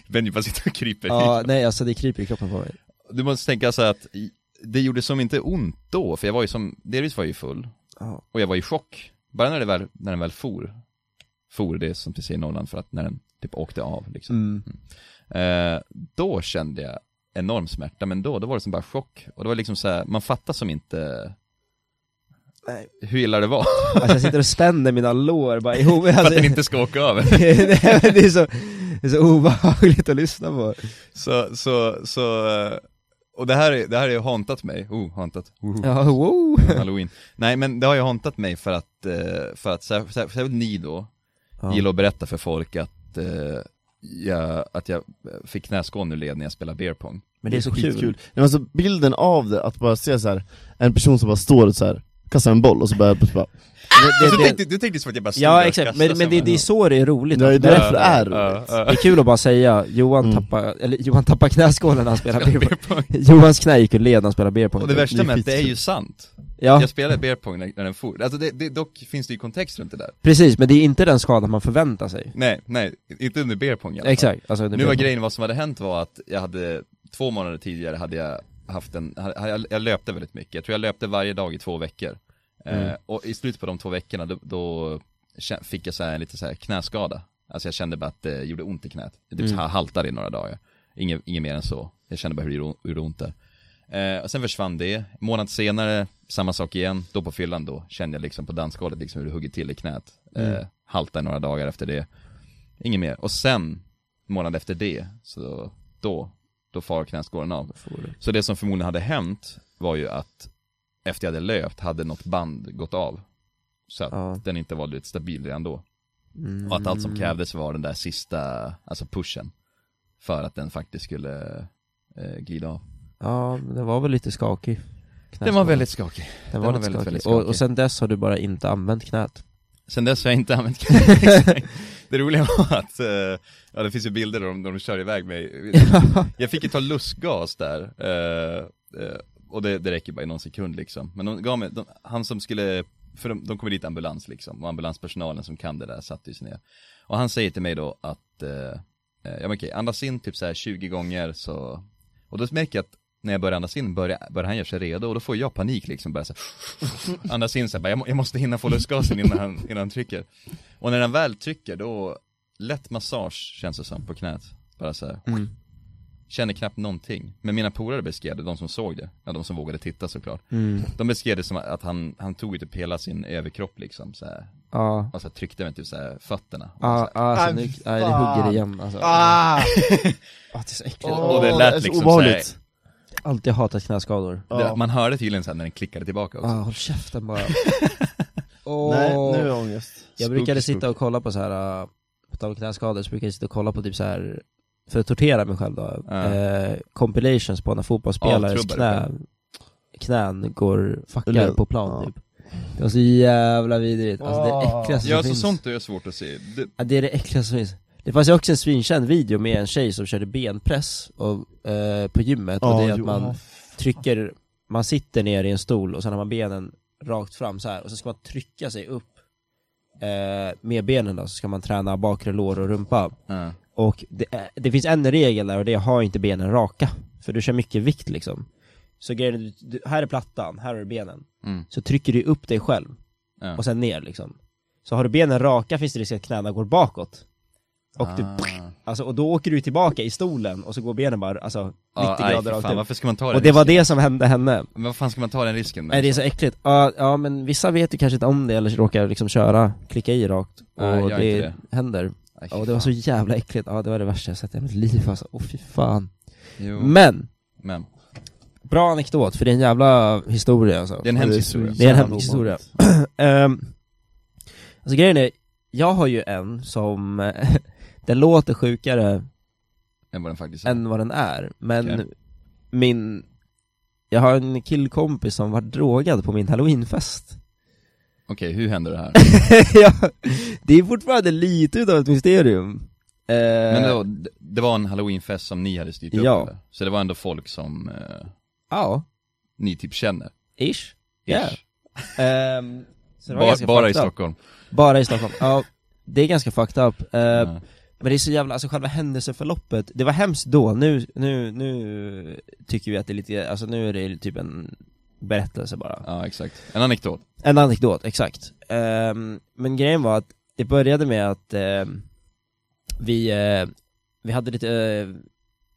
Speaker 2: Benji bara sitter och kryper
Speaker 3: Ja, nej alltså det kryper i kroppen på mig.
Speaker 2: Du måste tänka så här att i- det gjorde som inte ont då, för jag var ju som, delvis var jag ju full
Speaker 3: Ja.
Speaker 2: Och jag var i chock, bara när, det väl, när den väl for For, det är som vi säger i Norrland, för att när den typ åkte av liksom
Speaker 3: Mm.
Speaker 2: Eh, då kände jag enorm smärta, men då, då var det som bara chock. Och det var liksom så här, man fattar som inte
Speaker 3: Nej.
Speaker 2: hur illa det var,
Speaker 3: <laughs> Alltså jag sitter och spänner mina lår bara ihop.
Speaker 2: <laughs> för
Speaker 3: Alltså,
Speaker 2: att den inte ska åka
Speaker 3: <laughs>
Speaker 2: över.
Speaker 3: nej, men det, är så, det är så obehagligt att lyssna på.
Speaker 2: Så, så, så, eh, och det här, är- det här har ju hantat mig, oh, hantat, oh,
Speaker 3: Ja, wow.
Speaker 2: halloween. Nej men det har ju hantat mig för att, eh, för att, sär- sär- särskilt ni då, gillar att berätta för folk att, eh, jag, att jag fick knäskålen ur led när jag spelade beer pong.
Speaker 3: Men det är så kul.
Speaker 1: Skitkul. Ja, men så bilden av det, att bara se så här en person som bara står och så här kastar en boll och så börjar det bara
Speaker 2: Du
Speaker 3: Det, det,
Speaker 2: tänkte, du tänkte som att jag bara stod där
Speaker 3: ja
Speaker 2: och
Speaker 3: exakt,
Speaker 2: kastade
Speaker 3: men, men det,
Speaker 2: som
Speaker 3: det är
Speaker 2: en-
Speaker 3: så det är roligt.
Speaker 1: Det är
Speaker 3: att
Speaker 1: därför det
Speaker 3: berätta.
Speaker 1: är roligt
Speaker 2: Ja, ja.
Speaker 3: Det är kul att bara säga, Johan
Speaker 1: Mm.
Speaker 3: tappar, eller Johan tappar knäskålen när han spelar beer pong.
Speaker 2: Beerpong.
Speaker 3: Johans knä gick ur led när han spelade beer pong.
Speaker 2: Och det värsta med att det är ju
Speaker 1: skitkul.
Speaker 2: sant.
Speaker 3: Ja,
Speaker 2: Jag spelade beerpong när, när den for. Alltså det, det, dock finns det ju kontext runt det där.
Speaker 3: precis, men det är inte den skadan man förväntar sig.
Speaker 2: Nej, nej, inte under beerpong i alla fall.
Speaker 3: Exakt, alltså, det
Speaker 2: Nu
Speaker 3: blir-
Speaker 2: var grejen, vad som hade hänt var att jag hade, två månader tidigare hade jag haft en, hade- jag, jag löpte väldigt mycket. Jag tror jag löpte varje dag i två veckor. Eh, och i slutet på de två veckorna då, då kä- fick jag så här, en lite så här knäskada. Alltså jag kände bara att det gjorde ont i knät. Jag typ så här haltade i några dagar. Inget, inget mer än så. Jag kände bara hur det gjorde- hur det ont där. Eh, och sen försvann det, en månad senare, samma sak igen, då på fyllan då, kände jag liksom på dansgolvet liksom hur det hugger till i knät. Eh,
Speaker 3: Mm.
Speaker 2: Haltade några dagar efter det, inget mer. Och sen, en månad efter det, så då, då far knäskålen av. Så det som förmodligen hade hänt var ju att efter jag hade löpt hade något band gått av. Så att
Speaker 3: Ja. Mm.
Speaker 2: den inte var lite stabil redan då. Och att allt som krävdes var den där sista, alltså pushen. För att den faktiskt skulle eh, glida av.
Speaker 3: Ja, men den var väl lite skakig
Speaker 2: Den var väldigt skakig.
Speaker 3: Den var, lite skakig,
Speaker 2: väldigt
Speaker 3: Och,
Speaker 2: skakig.
Speaker 3: och sen dess har du bara inte
Speaker 2: <laughs>
Speaker 3: använt knät
Speaker 2: Sen dess har jag inte använt <laughs> knäveck. Det roliga var att, eh, ja det finns ju bilder där de, där de kör iväg mig. Jag fick ju ta lustgas där, eh, eh, och det, det räcker bara i någon sekund liksom. Men de gav mig, de, han som skulle, för de, de kommer dit ambulans liksom, och ambulanspersonalen som kan det där satte ju sig ner. Och han säger till mig då att, eh, eh, ja men okej, andas in typ så här 20 gånger så, och då märker jag att när jag börjar andas in börjar, börjar han göra sig redo och då får jag panik liksom, börjar så här, andas in så här, bara, jag, må, jag måste hinna få lustgasen innan han, innan han trycker. Och när han väl trycker då, lätt massage känns det som på knät, bara så här.
Speaker 3: Mm.
Speaker 2: Känner knappt någonting, men mina polare beskrev det, de som såg det, ja de som vågade titta såklart
Speaker 3: mm.
Speaker 2: De beskrev det som att han, han tog ju typ hela sin överkropp liksom så här,
Speaker 3: Ja,
Speaker 2: och så här, tryckte med typ så här, fötterna och, så
Speaker 3: ja,
Speaker 2: här.
Speaker 3: alltså
Speaker 1: Aj,
Speaker 3: nu,
Speaker 1: fy
Speaker 3: nej, det
Speaker 1: fan.
Speaker 3: hugger igen alltså
Speaker 1: Ah!
Speaker 3: Ah, det är så äckligt
Speaker 2: Och det
Speaker 1: Åh,
Speaker 2: lät
Speaker 1: är så
Speaker 2: liksom så
Speaker 1: obehagligt.
Speaker 3: Alltid hatat knäskador
Speaker 1: Ja.
Speaker 2: Det, man hörde tydligen sen när den klickade tillbaka också
Speaker 3: ah, håll
Speaker 1: <laughs>
Speaker 3: käften <laughs> bara Åh.
Speaker 1: Nej, nu har jag ångest.
Speaker 3: Jag
Speaker 2: Spook,
Speaker 3: brukade
Speaker 2: spook.
Speaker 3: sitta och kolla på så här äh, på tal om knäskador så brukade jag sitta och kolla på typ så här för att tortera mig själv då,
Speaker 2: Ja.
Speaker 3: eh, compilations på när fotbollsspelares
Speaker 2: Avtrubbare
Speaker 3: knä, knän går, fuckar
Speaker 1: Eller-
Speaker 3: på plan
Speaker 1: ja.
Speaker 3: typ Det var så jävla vidrigt, alltså det är det äckligaste
Speaker 2: Ja,
Speaker 3: som
Speaker 2: så
Speaker 3: finns
Speaker 2: sånt är ju svårt att se. Det,
Speaker 3: ja, Det är det äckligaste som finns Det fanns ju också en svinkänd video med en tjej som körde benpress och, eh, på gymmet och det är att
Speaker 1: jo,
Speaker 3: man
Speaker 1: ja.
Speaker 3: trycker, man sitter ner i en stol och sen har man benen rakt fram så här och så ska man trycka sig upp eh, med benen då, så ska man träna bakre lår och rumpa.
Speaker 2: ja.
Speaker 3: Och det, är- det finns en regel där och det är ha inte benen raka, för du kör mycket vikt liksom. Så grejen är, du- du, här är plattan, här har du benen.
Speaker 2: Mm.
Speaker 3: Så trycker du upp dig själv
Speaker 2: Ja.
Speaker 3: och sen ner liksom. Så har du benen raka finns det risk att knäna går bakåt. Och, du,
Speaker 2: Ah.
Speaker 3: alltså, och då åker du tillbaka i stolen och så går benen bara alltså, 90
Speaker 2: Ja, Ah, nej,
Speaker 3: grader
Speaker 2: fy
Speaker 3: rakt
Speaker 2: fan,
Speaker 3: upp.
Speaker 2: varför ska man ta den
Speaker 3: Och det var
Speaker 2: risken?
Speaker 3: det som hände henne.
Speaker 2: Men vad fan ska man ta den risken med?
Speaker 3: Nej det är så äckligt. Ja, ja men vissa vet ju kanske inte om det eller råkar liksom köra, klicka i rakt och
Speaker 2: Nej, gör
Speaker 3: det,
Speaker 2: inte
Speaker 3: händer.
Speaker 2: Nej, fy
Speaker 3: Ja, och det var så
Speaker 2: fan.
Speaker 3: jävla äckligt, ja det var det värsta jag sett i mitt liv alltså, åh fy fan.
Speaker 2: Jo, men...
Speaker 3: Men, bra anekdot för det är en jävla historia alltså.
Speaker 2: Det är en
Speaker 1: Ja,
Speaker 2: hemsk
Speaker 1: så
Speaker 2: historia.
Speaker 3: Det är en
Speaker 1: jävla
Speaker 3: hemsk historia.
Speaker 1: obehagligt.
Speaker 3: Ehm, alltså grejen är, jag har ju en som, <laughs> eh, den låter sjukare
Speaker 2: än vad den faktiskt är.
Speaker 3: än vad den är, men
Speaker 2: Okej.
Speaker 3: min, jag har en killkompis som var drogad på min halloweenfest.
Speaker 2: Okej, hur händer det här?
Speaker 3: Eh. <laughs> ja, det är fortfarande lite utav ett mysterium. Eh,
Speaker 2: Men det var, det var en halloweenfest som ni hade styrt upp
Speaker 3: Ja.
Speaker 2: eller? Så det var ändå folk som eh,
Speaker 3: Ja,
Speaker 2: ni typ känner?
Speaker 3: ish.
Speaker 2: Ish.
Speaker 3: Yeah. Ehm, så det var
Speaker 2: Ba-
Speaker 3: ganska
Speaker 2: bara i
Speaker 3: fucked up.
Speaker 2: Stockholm.
Speaker 3: Bara i Stockholm. Ja, det är ganska fucked up. Eh,
Speaker 2: Ja.
Speaker 3: Men det är så jävla, alltså själva händelseförloppet, det var hemskt då, nu, nu, nu tycker vi att det är lite, alltså nu är det typ en berättelse bara.
Speaker 2: ja, exakt. En anekdot.
Speaker 3: En anekdot, exakt. Ehm, men grejen var att det började med att ehm, vi, eh, vi hade lite, eh,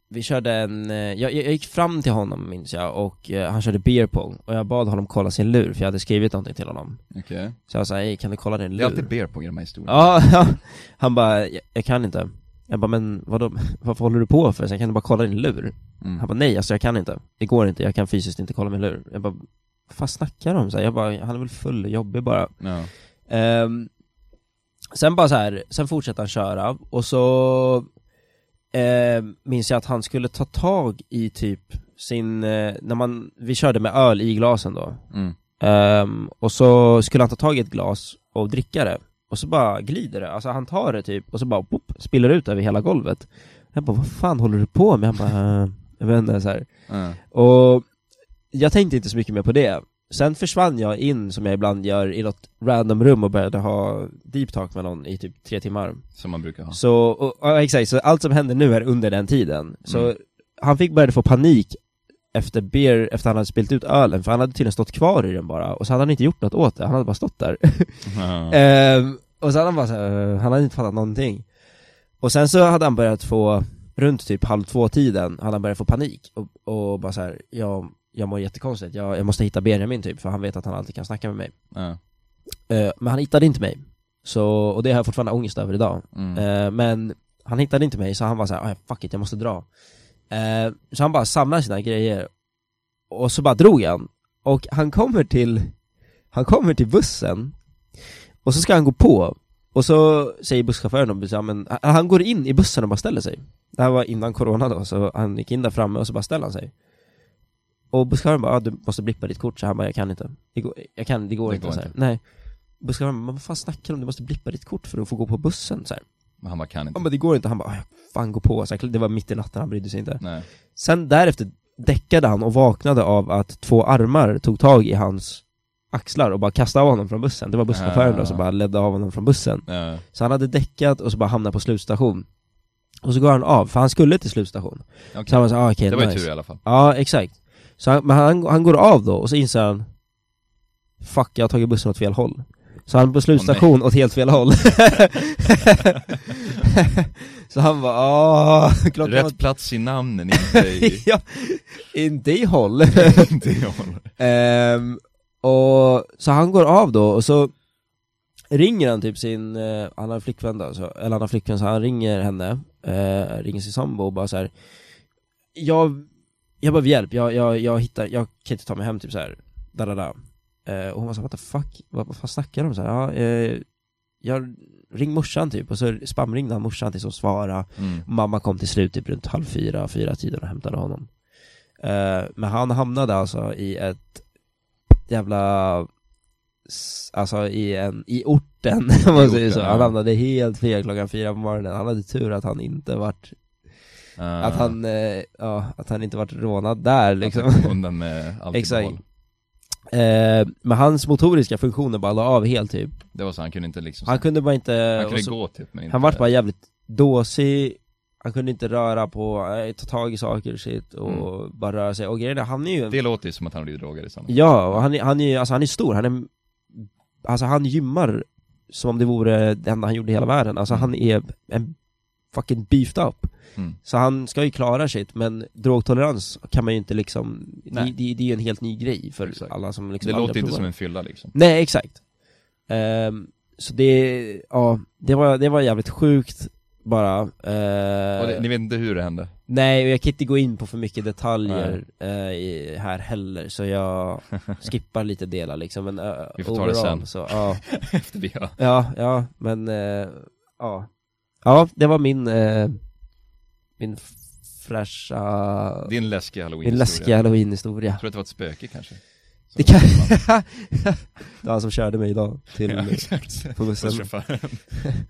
Speaker 3: vi körde en, eh, jag, jag jag gick fram till honom minns jag och eh, han körde beer pong och jag bad honom kolla sin lur för jag hade skrivit någonting till honom.
Speaker 2: Okej.
Speaker 3: Så jag sa hej kan du kolla din lur?
Speaker 2: Det är alltid beer på i de här historierna.
Speaker 3: Ja, ja. han bara, jag, jag kan inte. Jag bara, men vadå, <laughs> varför håller du på för? Så jag kan du bara kolla din lur?
Speaker 2: Mm.
Speaker 3: Han bara, nej alltså jag kan inte. Det går inte, jag kan fysiskt inte kolla min lur. Jag bara, vad fan snackar du om? Så här, jag bara, han är väl full och jobbig bara.
Speaker 2: Ja.
Speaker 3: Ehm, sen bara så här, sen fortsatte han köra och så ehm, minns jag att han skulle ta tag i typ sin, eh, när man, vi körde med öl i glasen då.
Speaker 2: Mm.
Speaker 3: Ehm, och så skulle han ta tag i ett glas och dricka det Och så bara glider det, alltså han tar det typ och så bara pop, spiller ut över hela golvet Jag bara vad fan håller du på med? Han bara "Eh, jag vet inte så här.
Speaker 2: Ja.
Speaker 3: Och jag tänkte inte så mycket mer på det Sen försvann jag in, som jag ibland gör, i något random rum och började ha deep talk med någon i typ tre timmar
Speaker 2: Som man brukar ha.
Speaker 3: Så, och, ja, exakt, så allt som händer nu är under den tiden Så
Speaker 2: Mm.
Speaker 3: han fick började få panik efter beer, efter han hade spilt ut ölen, för han hade tydligen stått kvar i den bara, och så hade han inte gjort något åt det, han hade bara stått där <laughs>
Speaker 2: Ja.
Speaker 3: Ehm, och så hade han bara så här, eh, han hade inte fattat någonting. Och sen så hade han börjat få, runt typ halv två tiden, hade han börjat få panik och, och bara så här, jag jag mår jättekonstigt, jag, jag måste hitta Benjamin typ, för han vet att han alltid kan snacka med mig.
Speaker 2: Ja.
Speaker 3: Eh, men han hittade inte mig. Så, och det har jag fortfarande ångest över idag.
Speaker 2: Mm.
Speaker 3: Eh, men han hittade inte mig så han var så här, "Ah, fuck it, jag måste dra. Eh, så han bara samlade sina grejer och så bara drog han. Och han kommer till, han kommer till bussen och så ska han gå på. Och så säger busschauffören, och, ja, men, han- han går in i bussen och bara ställer sig. Det här var innan corona då, så han gick in där framme och så bara ställer han sig. Och busschauffören bara, ah, du måste blippa ditt kort, så han bara, jag kan inte. Det går, jag kan, det går
Speaker 2: Det
Speaker 3: inte.
Speaker 2: går
Speaker 3: så här.
Speaker 2: inte.
Speaker 3: Nej. Busschauffören bara, vad fan snackar du om? Du måste blippa ditt kort för att få gå på bussen. Så här.
Speaker 2: Men han bara kan inte.
Speaker 3: Han bara, det går inte. Han bara, "Ah, fan gå på. Så här, det var mitt i natten, han brydde sig inte.
Speaker 2: Nej.
Speaker 3: Sen därefter däckade han och vaknade av att två armar tog tag i hans axlar och bara kastade av honom från bussen. Det var busschauffören
Speaker 2: Ah.
Speaker 3: då som bara ledde av honom från bussen.
Speaker 2: Ja.
Speaker 3: Så han hade däckat och så bara hamnade på slutstation. Och så går han av, för han skulle till slutstation.
Speaker 2: Okej.
Speaker 3: Så han var så, ah, okej,
Speaker 2: Det var ju
Speaker 3: nice.
Speaker 2: tur i alla fall.
Speaker 3: Ja, exakt. Så han, men han, han går av då och så inser han Fuck, jag har tagit bussen åt fel håll. Så han på slutstation åt helt
Speaker 2: <laughs>
Speaker 3: fel håll. <laughs> så han var ah, klockan var...
Speaker 2: Rätt plats i
Speaker 3: <laughs>
Speaker 2: namnen, inte i...
Speaker 3: ja, inte i håll.
Speaker 2: <laughs> inte i håll.
Speaker 3: Ehm, och, så han går av då och så ringer han typ sin, eh, han har en flickvän då, så, eller han har flickvän så han ringer henne, eh, ringer sin sambo och bara så här. Jag, jag behöver hjälp, jag, jag, jag hittar, jag kan inte ta mig hem typ så här. Da, da, da. Eh, och hon var såhär, what the fuck, vad, vad fan snackar de om? Så här, ja, eh, jag, ring morsan typ, och så spamringde han morsan tills hon svarade
Speaker 2: Mm.
Speaker 3: Mamma kom till slut typ runt halv fyra, fyra tiden och hämtade honom. Eh, men han hamnade alltså i ett jävla, s- alltså i en, i orten, <laughs> om man säger så.
Speaker 2: orten,
Speaker 3: Han
Speaker 2: ja.
Speaker 3: hamnade helt fel klockan fyra på morgonen. Han hade tur att han inte vart,
Speaker 2: Ah.
Speaker 3: att han, eh, ja, att han inte vart rånad där liksom. <laughs>
Speaker 2: Att han kom Undan med allt
Speaker 3: Exakt.
Speaker 2: Exakt.
Speaker 3: Eh, men hans motoriska funktioner bara la av helt typ.
Speaker 2: Det var så, han kunde inte liksom...
Speaker 3: Han kunde bara inte,
Speaker 2: han kunde
Speaker 3: och så-
Speaker 2: gå typ, men inte...
Speaker 3: Han vart bara jävligt dåsig, han kunde inte röra på, eh, ta tag i saker och shit och bara röra sig. Och grejen är, han är ju en...
Speaker 2: Mm. Det låter ju som att han blev drogad i sannolikt.
Speaker 3: Ja, och han är, han är ju, alltså han är stor, han är... Alltså han gymmar som om det vore det enda han gjorde i hela världen. Alltså han är en fucking beefed up.
Speaker 2: Mm.
Speaker 3: Så han ska ju klara shit, men drogtolerans kan man ju inte liksom, det,
Speaker 2: Nej.
Speaker 3: det, det är ju en helt ny grej för
Speaker 2: Exakt.
Speaker 3: alla som liksom
Speaker 2: Det
Speaker 3: aldrig
Speaker 2: låter
Speaker 3: har
Speaker 2: inte som
Speaker 3: provat.
Speaker 2: en fylla liksom.
Speaker 3: Nej, exakt. Ehm, så det, ja, det var, det var jävligt sjukt bara. Ehm,
Speaker 2: Och det, ni vet inte hur det hände?
Speaker 3: Nej, och jag kan inte gå in på för mycket detaljer eh, i, här heller, så jag
Speaker 2: <laughs>
Speaker 3: skippar lite delar liksom. Men, eh,
Speaker 2: Vi får ta det
Speaker 3: overall
Speaker 2: sen.
Speaker 3: Så, ja,
Speaker 2: Efter det ja.
Speaker 3: ja, ja, men eh, ja. Ja, det var min, eh, min fräscha,
Speaker 2: Din läskiga halloween
Speaker 3: min läskiga
Speaker 2: Jag
Speaker 3: halloween-historia.
Speaker 2: tror att det var ett
Speaker 1: <laughs>
Speaker 2: spöke kanske.
Speaker 3: Det kan... <laughs> det var han som körde mig idag till,
Speaker 2: <laughs> Ja, exakt.
Speaker 3: på bussen.
Speaker 2: Hos chauffören.
Speaker 1: <laughs>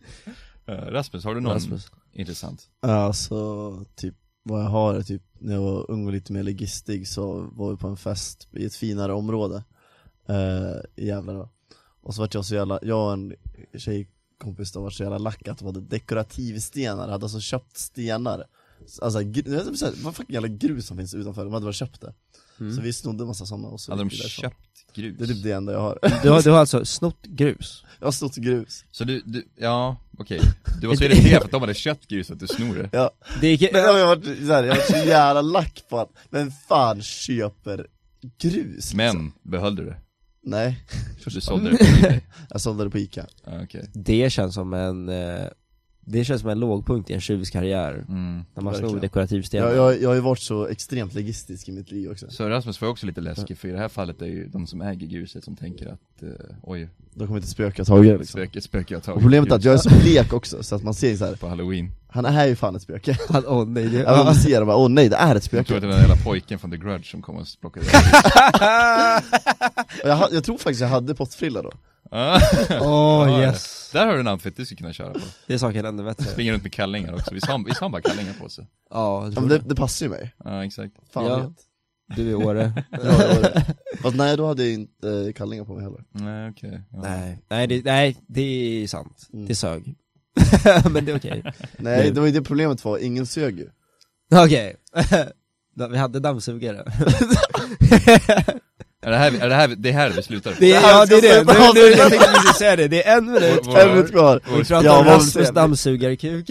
Speaker 2: Eh, Rasmus, har du någon
Speaker 3: Rasmus.
Speaker 2: intressant?
Speaker 1: Alltså, typ vad jag har är typ när jag var ung och lite mer legistig så var vi på en fest i ett finare område eh, i Gävle då. Och så vart jag så jävla, jag och en tjejkompis då vart så jävla lack att de hade dekorativstenar, hade alltså köpt stenar Alltså, gr- det är så här, vad fucking jävla grus som finns utanför, de hade bara köpt det Så vi snodde en massa sådana och så
Speaker 2: Mm. Hade de
Speaker 1: gick vi därifrån.
Speaker 2: köpt grus?
Speaker 1: Det är typ det enda jag har, <laughs>
Speaker 3: Du har, du har alltså snott grus?
Speaker 1: jag har snott grus
Speaker 2: Så du, du ja, okej.
Speaker 1: <laughs>
Speaker 2: Du var så irriterad för att de hade köpt grus att du snor det.
Speaker 1: Ja,
Speaker 3: Det är,
Speaker 1: Men jag har varit så här, jag har varit så jävla lack på att, vem fan köper grus? liksom?
Speaker 2: Men, behöll du det?
Speaker 1: Nej,
Speaker 2: Du sålde det på
Speaker 1: <laughs>
Speaker 2: Ebay?
Speaker 1: jag sålde det på Ica
Speaker 2: Ja, Okej.
Speaker 3: det känns som en, eh, det känns som en lågpunkt i en tjuvs karriär,
Speaker 2: Mm.
Speaker 3: när man
Speaker 1: Verkligen.
Speaker 3: snor dekorativstenar
Speaker 1: jag, jag, jag har ju varit så extremt legistisk i mitt liv också
Speaker 2: Så Rasmus var också lite läskig, för i det här fallet är ju de som äger gruset som tänker att, eh, oj,
Speaker 1: Då kommer inte spöka tag i det liksom
Speaker 2: spöket, spöket har tagit
Speaker 1: Och problemet är att
Speaker 2: grus
Speaker 1: jag är så blek också, så att man ser ju så här.
Speaker 2: på halloween.
Speaker 1: han är ju fan ett spöke
Speaker 3: Han, åh nej, det,
Speaker 1: Även om <laughs> man ser det bara, åh nej det är ett
Speaker 2: Jag tror
Speaker 1: spöke
Speaker 2: att det var den där jävla pojken från The Grudge som kom och plockade
Speaker 1: <laughs> Och jag, ha- jag tror faktiskt jag hade pottfrilla då
Speaker 2: ah, <laughs>
Speaker 3: åh
Speaker 2: Ja,
Speaker 3: yes.
Speaker 2: Där har du en outfit du skulle kunna köra på.
Speaker 3: Det är saken ännu bättre.
Speaker 2: Springa runt med kallingar också, visst har han- visst har han bara kallingar på sig?
Speaker 3: Ja,
Speaker 1: ja, men det, det passar ju mig,
Speaker 2: Ja, exakt.
Speaker 1: fan
Speaker 3: Ja.
Speaker 1: vet
Speaker 3: du är Åre.
Speaker 1: Ja, det var det. Fast nej då hade jag ju inte eh, kallingar på mig heller
Speaker 2: Nej, okej. Ja.
Speaker 3: <laughs> nej, nej det, nej, det är sant.
Speaker 1: Mm.
Speaker 3: Det sög. <laughs> men det är
Speaker 1: <laughs>
Speaker 3: okej.
Speaker 1: Nej
Speaker 3: Nu.
Speaker 1: det var ju det problemet var, ingen sög ju
Speaker 3: <laughs> Okej. Da- Vi hade dammsugare.
Speaker 2: Är det här, vi- är det här, vi- det är här vi slutar?
Speaker 3: <laughs> Det är, ja det är det,
Speaker 1: Ska jag
Speaker 3: nu, nu, jag tänkte precis säga det, det är en minut
Speaker 2: Vår-
Speaker 1: Ämnet kvar.
Speaker 3: Vi
Speaker 2: vår-
Speaker 3: pratar
Speaker 1: Ja,
Speaker 3: om
Speaker 1: vad-
Speaker 3: Rasmus
Speaker 2: <laughs>
Speaker 3: dammsugarkuk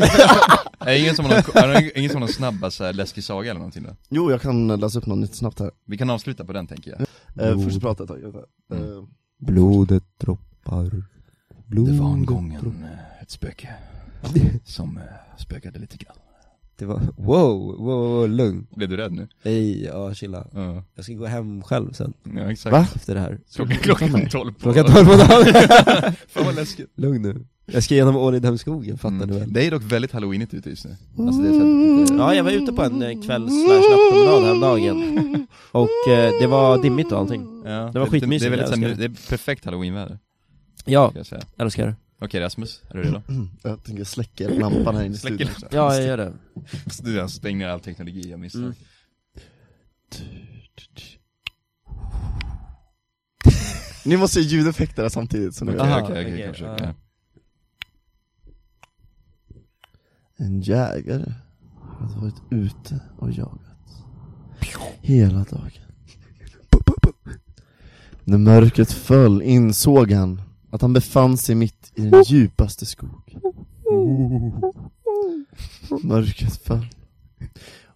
Speaker 2: Är det ingen som har någon, är det ingen som har någon snabba så här, läskig saga eller någonting då?
Speaker 1: Jo, jag kan läsa upp något lite snabbt här.
Speaker 2: Vi kan avsluta på den tänker jag
Speaker 1: Eh, först prata ett tag. Eh,
Speaker 3: Mm. Blodet droppar
Speaker 2: Det var en gång en, eh, ett spöke som eh, spökade lite grann
Speaker 3: <laughs> Det var, wow, wow, wow, lugn
Speaker 2: Blev du rädd nu?
Speaker 3: Nej, ja chilla
Speaker 2: Ja,
Speaker 3: Jag ska gå hem själv sen,
Speaker 2: ja exakt
Speaker 1: Va?
Speaker 3: efter det här
Speaker 2: Klockan, klockan tolv på
Speaker 3: Klockan tolv <laughs> på dagen
Speaker 2: <laughs> Fan vad läskigt
Speaker 3: Lugn nu Jag ska genom Ålidhemskogen, fattar
Speaker 2: Mm.
Speaker 3: du väl?
Speaker 2: Det är dock väldigt halloweenigt ute just nu Alltså det är så här
Speaker 1: Mm.
Speaker 2: lite,
Speaker 3: Ja, jag var ute på en eh, kvälls nattpromenad häromdagen
Speaker 1: <laughs>
Speaker 3: Och eh, det var dimmigt och allting
Speaker 2: ja,
Speaker 3: var
Speaker 2: lite-
Speaker 3: skitmysigt,
Speaker 2: Det är, väldigt,
Speaker 3: jag
Speaker 2: så här,
Speaker 3: älskar
Speaker 2: det är perfekt halloweenväder
Speaker 3: Ja,
Speaker 2: ska jag säga
Speaker 3: älskar det
Speaker 2: Okej Rasmus, är du redo?
Speaker 1: Mm, jag tänker släcka lampan här inne i
Speaker 2: Släcker
Speaker 1: studion.
Speaker 2: lampan.
Speaker 3: Ja, jag gör det
Speaker 2: Du jag stänger ner all teknologi, jag missar
Speaker 3: Mm.
Speaker 1: Ni måste ju ljudeffekter här samtidigt så nu.
Speaker 2: Okej,
Speaker 3: Aha,
Speaker 2: okej, okej,
Speaker 3: okej,
Speaker 2: kanske,
Speaker 3: ja.
Speaker 2: okej.
Speaker 1: En jägare hade varit ute och jagat hela dagen. När mörkret föll insåg han att han befann sig mitt i den djupaste skog. Mörkret föll.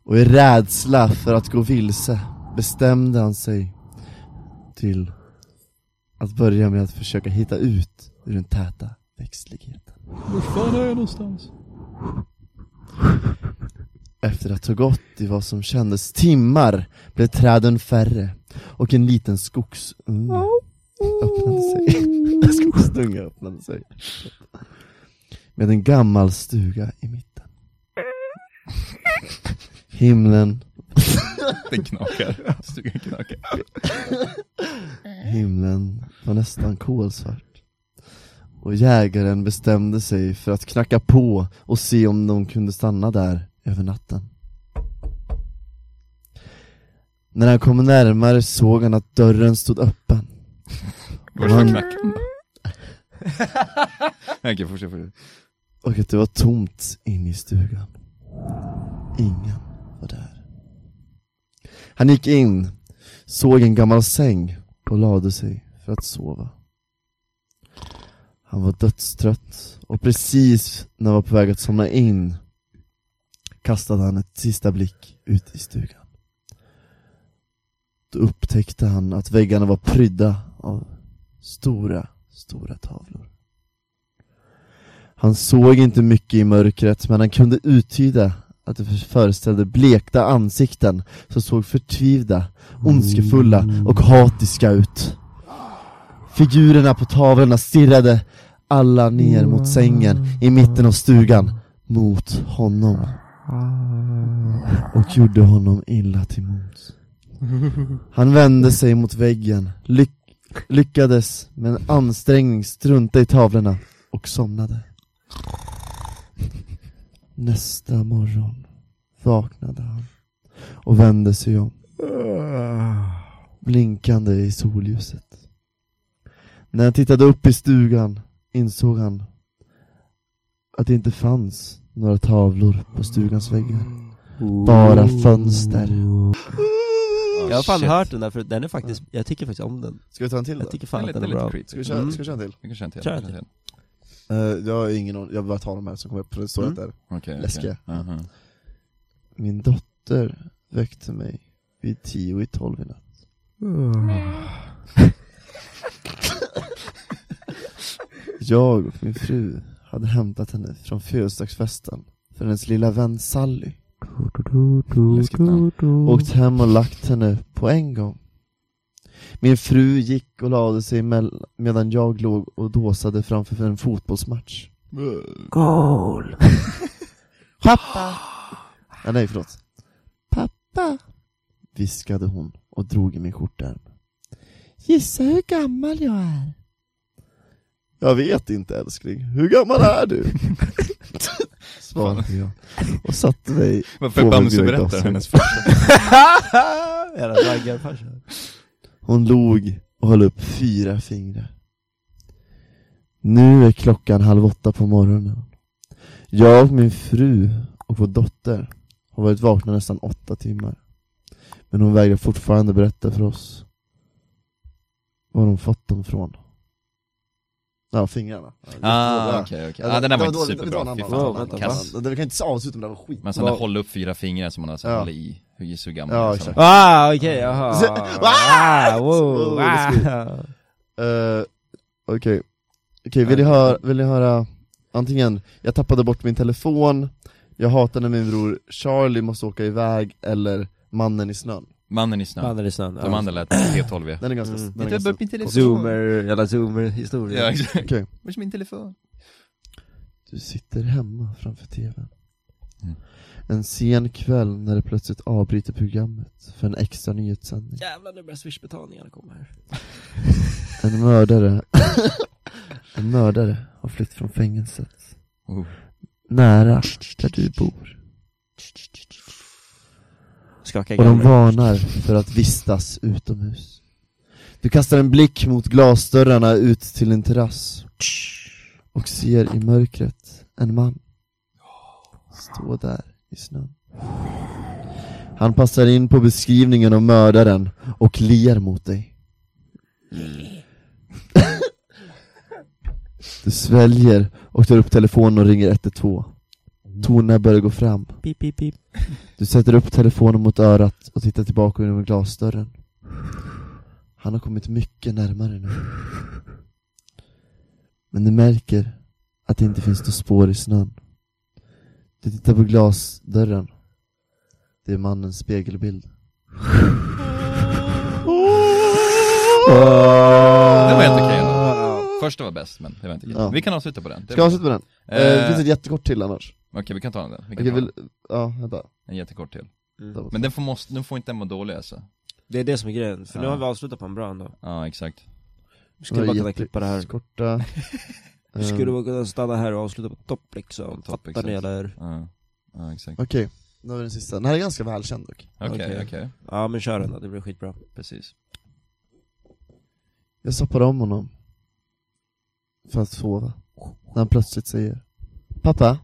Speaker 1: Och i rädsla för att gå vilse bestämde han sig till att börja med att försöka hitta ut ur den täta växtligheten. Efter att ha gått i vad som kändes timmar blev träden färre och en liten skogsunge öppnade sig. En skogsdunge öppnade sig. Med en gammal stuga i mitten. Himlen,
Speaker 2: Den knakar, stugan knakar
Speaker 1: himlen var nästan kolsvart. Och jägaren bestämde sig för att knacka på och se om de kunde stanna där över natten. När han kom närmare såg han att dörren stod öppen. Och,
Speaker 2: Var det
Speaker 1: han,
Speaker 2: knacken
Speaker 3: <laughs>
Speaker 2: då? Okej, fortsätt, fortsätt
Speaker 1: och att det var tomt inne i stugan. Ingen var där. Han gick in, såg en gammal säng och lade sig för att sova. Han var dödstrött och precis när han var på väg att somna in kastade han ett sista blick ut i stugan. Då upptäckte han att väggarna var prydda av stora, stora tavlor. Han såg inte mycket i mörkret men han kunde uttyda att det föreställde blekta ansikten som såg förtvivda, ondskefulla och hatiska ut. Figurerna på tavlorna stirrade alla ner mot sängen i mitten av stugan, mot honom. Och gjorde honom illa till mods. Han vände sig mot väggen, lyck lyckades med en ansträngning strunta i tavlorna och somnade. Nästa morgon vaknade han och vände sig om. Blinkande i solljuset. När han tittade upp i stugan insåg han att det inte fanns några tavlor på stugans väggar. Bara fönster.
Speaker 3: Jag har fan hört den där för den är faktiskt, jag tycker faktiskt om den
Speaker 1: Ska vi ta en till
Speaker 3: Jag tycker
Speaker 2: Den
Speaker 3: fan
Speaker 2: är
Speaker 3: att
Speaker 2: lite,
Speaker 3: den är
Speaker 2: lite
Speaker 3: bra
Speaker 2: creepy
Speaker 1: Ska vi köra,
Speaker 3: Mm.
Speaker 1: ska vi köra en till?
Speaker 2: Vi kan köra en till,
Speaker 3: Kör
Speaker 2: vi
Speaker 3: en
Speaker 2: kan köra en
Speaker 1: Eh,
Speaker 2: till
Speaker 1: jag har ingen aning, jag vill bara ta de här som kommer upp, för det står
Speaker 3: Mm.
Speaker 1: att där.
Speaker 2: Okej, okej.
Speaker 1: Läskiga.
Speaker 2: Aha.
Speaker 1: Min dotter väckte mig vid tio i tolv i natt. Jag och min fru hade hämtat henne från födelsedagsfesten för hennes lilla vän Sally.
Speaker 2: Läskigt namn.
Speaker 1: Åkt hem och lagt henne på en gång. Min fru gick och lade sig mell- medan jag låg och dåsade framför en fotbollsmatch. Goal! Pappa! Ah, nej, förlåt. Pappa! Viskade hon och drog i min skjortärm. Gissa hur gammal jag är? Jag vet inte älskling. Hur gammal är <laughs> du? Svarade jag och satte mig
Speaker 2: Varför
Speaker 1: Får väl
Speaker 2: Bamse
Speaker 1: bjuda
Speaker 2: berättar
Speaker 1: glas.
Speaker 2: hennes <laughs> farsa?
Speaker 3: Jävla raggarfarsa
Speaker 1: Hon log och höll upp fyra fingrar. Nu är klockan halv åtta på morgonen. Jag och min fru och vår dotter har varit vakna nästan åtta timmar. Men hon vägrar fortfarande berätta för oss Var har de fått dem från? Ja, fingrarna.
Speaker 2: Ah, okej, okej. Ah, den där var inte
Speaker 1: Det
Speaker 2: superbra, fy
Speaker 1: var
Speaker 2: fan.
Speaker 1: en annan.
Speaker 3: Wow, vänta,
Speaker 2: Kass.
Speaker 1: Det- Vi kan inte avsluta den, där var skit.
Speaker 2: Men sådana där hålla upp fyra fingrar som man har så här,
Speaker 1: Ja.
Speaker 2: håller i, hur hur gammal liksom?
Speaker 1: Ja,
Speaker 2: man
Speaker 1: exakt.
Speaker 2: är, så.
Speaker 3: Ah, okej, jaha.
Speaker 1: Så-
Speaker 3: Ah,
Speaker 1: Oh,
Speaker 3: wow.
Speaker 1: det är
Speaker 3: Ah.
Speaker 1: skit. Eh, Okej, Okej, vill, ni höra- vill ni höra antingen Jag tappade bort min telefon, Jag hatar när min bror Charlie måste åka iväg, eller Mannen i snön
Speaker 2: Mannen i snön.
Speaker 3: Mannen i snön.
Speaker 2: De andra lät P12
Speaker 1: Den är ganska,
Speaker 3: Mm.
Speaker 1: den är ganska
Speaker 3: Zoomer, jävla zoomer-historia.
Speaker 2: Ja, exakt.
Speaker 1: Okej.
Speaker 2: Var är min telefon?
Speaker 1: Du sitter hemma framför tvn
Speaker 2: Mm.
Speaker 1: En sen kväll när det plötsligt avbryter programmet för en extra nyhetssändning
Speaker 3: Jävlar nu börjar swishbetalningarna komma här.
Speaker 1: En
Speaker 2: <laughs>
Speaker 1: mördare En mördare har flytt från fängelset
Speaker 2: Oh.
Speaker 1: Nära där du bor
Speaker 3: Skaka
Speaker 1: Och de
Speaker 3: gamla.
Speaker 1: varnar för att vistas utomhus. Du kastar en blick mot glasdörrarna ut till en terrass och ser i mörkret en man stå där i snön. Han passar in på beskrivningen av mördaren och ler mot dig. Du sväljer och tar upp telefonen och ringer 112. Tonerna börjar gå fram.
Speaker 3: Pip, pip, pip.
Speaker 1: Du sätter upp telefonen mot örat och tittar tillbaka genom glasdörren. Han har kommit mycket närmare nu. Men du märker att det inte finns några spår i snön. Du tittar på glasdörren. Det är mannens spegelbild.
Speaker 2: Det var helt okej ändå. Första var bäst, men det var inte okej.
Speaker 1: Ah, Ja.
Speaker 2: Vi kan avsluta på den. Det
Speaker 1: Ska jag
Speaker 2: var-
Speaker 1: avsluta med den?
Speaker 2: Eh,
Speaker 1: Eh, det finns ett jättekort till annars.
Speaker 2: Okej, vi kan ta den. Vi kan
Speaker 1: Okej,
Speaker 2: ta
Speaker 1: vill, ja, vänta.
Speaker 2: den. En jättekort till.
Speaker 1: Mm.
Speaker 2: Men den får, måste, den får inte den vara dålig alltså.
Speaker 3: Det är det som är grejen, för nu
Speaker 2: Ja.
Speaker 3: har vi avslutat på en bra ändå.
Speaker 2: Ja, exakt.
Speaker 3: Vi skulle bara kunna klippa det här.
Speaker 1: Korta.
Speaker 3: <laughs>
Speaker 1: Ehm,
Speaker 3: Vi skulle bara kunna stanna här och avsluta på topp liksom.
Speaker 2: På topp,
Speaker 3: Fattar
Speaker 2: exakt.
Speaker 3: ni eller?
Speaker 2: Ja, ja exakt.
Speaker 1: Okej, nu har vi den sista. Den här är ganska välkänd dock.
Speaker 2: Okej,
Speaker 3: Okej.
Speaker 2: okej.
Speaker 3: Ja men kör den då, det blir skitbra.
Speaker 2: Precis.
Speaker 1: Jag stoppade om honom för att sova. När han plötsligt säger Pappa?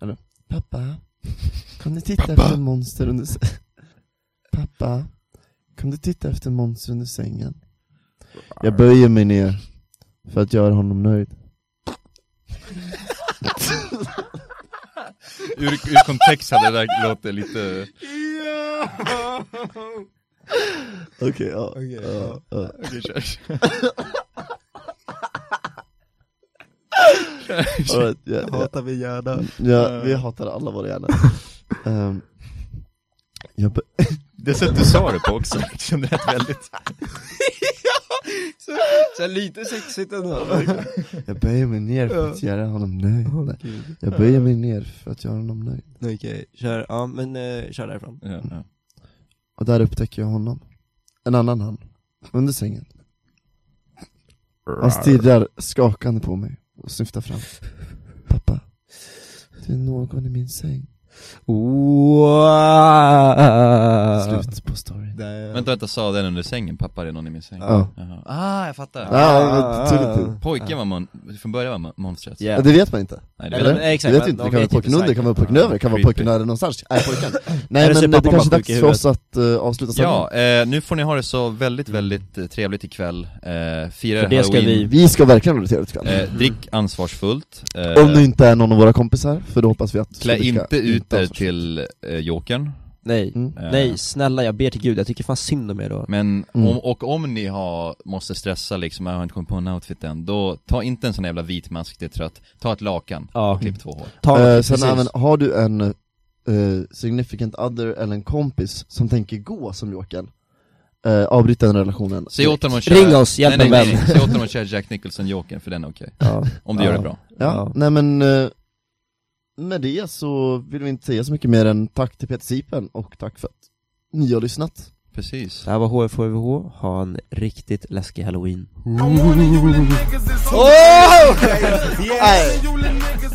Speaker 1: Eller Pappa? Kan du titta efter monster under sängen? <laughs> Pappa? Kan du titta efter monster under sängen? Jag böjer mig ner för att göra honom nöjd.
Speaker 2: Ur, ur kontext hade det där låtit lite...
Speaker 1: Okej, ja. <laughs> ja, ja.
Speaker 2: Okej, kör.
Speaker 1: All right, ja, ja.
Speaker 3: min hjärna.
Speaker 1: Ja, vi hatar alla våra hjärnor. Ehm, jag bö-
Speaker 2: Det sätt du sa det på också, liksom, det lät väldigt...
Speaker 3: Så lite sexigt ändå.
Speaker 1: Jag böjer mig ner för att göra honom nöjd. Nej, jag böjer mig ner för att göra honom nöjd.
Speaker 3: <laughs> Okej, kör, ja men eh, kör därifrån.
Speaker 2: Ja, ja.
Speaker 1: Och där upptäcker jag honom. En annan han. Under sängen. Han stirrar skakande på mig och snyftar fram. Pappa, det är någon i min säng.
Speaker 3: Wow.
Speaker 1: Slut på storyn.
Speaker 2: Vänta, vänta, sa den under sängen? Pappa, det är någon i min säng?
Speaker 1: Ja.
Speaker 2: Jaha. Ah, jag fattar.
Speaker 1: Ja, men tydligt. inte.
Speaker 2: Pojken var mon... Från början var mon- monstret.
Speaker 1: Ja, det vet man inte.
Speaker 2: Nej, det
Speaker 1: Eller?
Speaker 3: men exakt,
Speaker 1: du vet
Speaker 3: men
Speaker 1: inte, det
Speaker 3: de
Speaker 1: kan vara
Speaker 3: vet
Speaker 1: pojken
Speaker 3: inte
Speaker 1: under, det kan vara pojken över, det kan vara
Speaker 2: Creepy.
Speaker 1: pojken nära någonstans. Nej, pojken. <laughs> Nej
Speaker 3: Eller så är
Speaker 1: men det
Speaker 3: pappan
Speaker 1: kanske är
Speaker 3: bara
Speaker 1: dags
Speaker 3: sjuk i
Speaker 1: för oss att eh, avsluta
Speaker 2: Ja, eh, nu får ni ha det så väldigt, väldigt eh, trevligt ikväll. Eh, fira
Speaker 3: För det ska
Speaker 2: halloween.
Speaker 3: vi...
Speaker 1: Vi Mm. ska verkligen ha det trevligt ikväll.
Speaker 2: Eh, drick ansvarsfullt. Eh,
Speaker 1: Om du inte är någon av våra kompisar, för då hoppas vi att
Speaker 2: klä
Speaker 1: Fredrika
Speaker 2: inte ut er
Speaker 1: avslöjas.
Speaker 2: till eh, Jokern.
Speaker 3: Nej.
Speaker 1: Mm.
Speaker 2: Eh,
Speaker 3: Nej, snälla jag ber till gud, jag tycker fan synd om er då.
Speaker 2: Men
Speaker 1: Mm.
Speaker 2: om, och om ni har, måste stressa liksom, jag har inte kommit på en outfit än, då ta inte en sån jävla vit mask, det är trött. Ta ett lakan
Speaker 3: Ja,
Speaker 2: och klipp två hår.
Speaker 3: ta
Speaker 1: Eh,
Speaker 3: något,
Speaker 1: sen
Speaker 3: precis.
Speaker 1: även, har du en eh, significant other eller en kompis som tänker gå som Jokern, eh, avbryt den relationen.
Speaker 2: Säg åt dem att köra...
Speaker 3: Ring oss, hjälp
Speaker 2: nej,
Speaker 3: en
Speaker 2: nej,
Speaker 3: vän.
Speaker 2: nej, Säg åt dem att köra Jack Nicholson Jokern, för den är okej.
Speaker 3: Ja.
Speaker 2: Om du
Speaker 3: Ja.
Speaker 2: gör det bra.
Speaker 1: Ja,
Speaker 3: Ja.
Speaker 1: nej men eh, med det så vill vi inte säga så mycket mer än tack till Peter Sipen och tack för att ni har lyssnat.
Speaker 2: Precis.
Speaker 3: Det här var HFHVH, ha en riktigt läskig halloween.
Speaker 5: I wanna you little niggas is so
Speaker 1: Oh!
Speaker 5: Yeah, you little niggas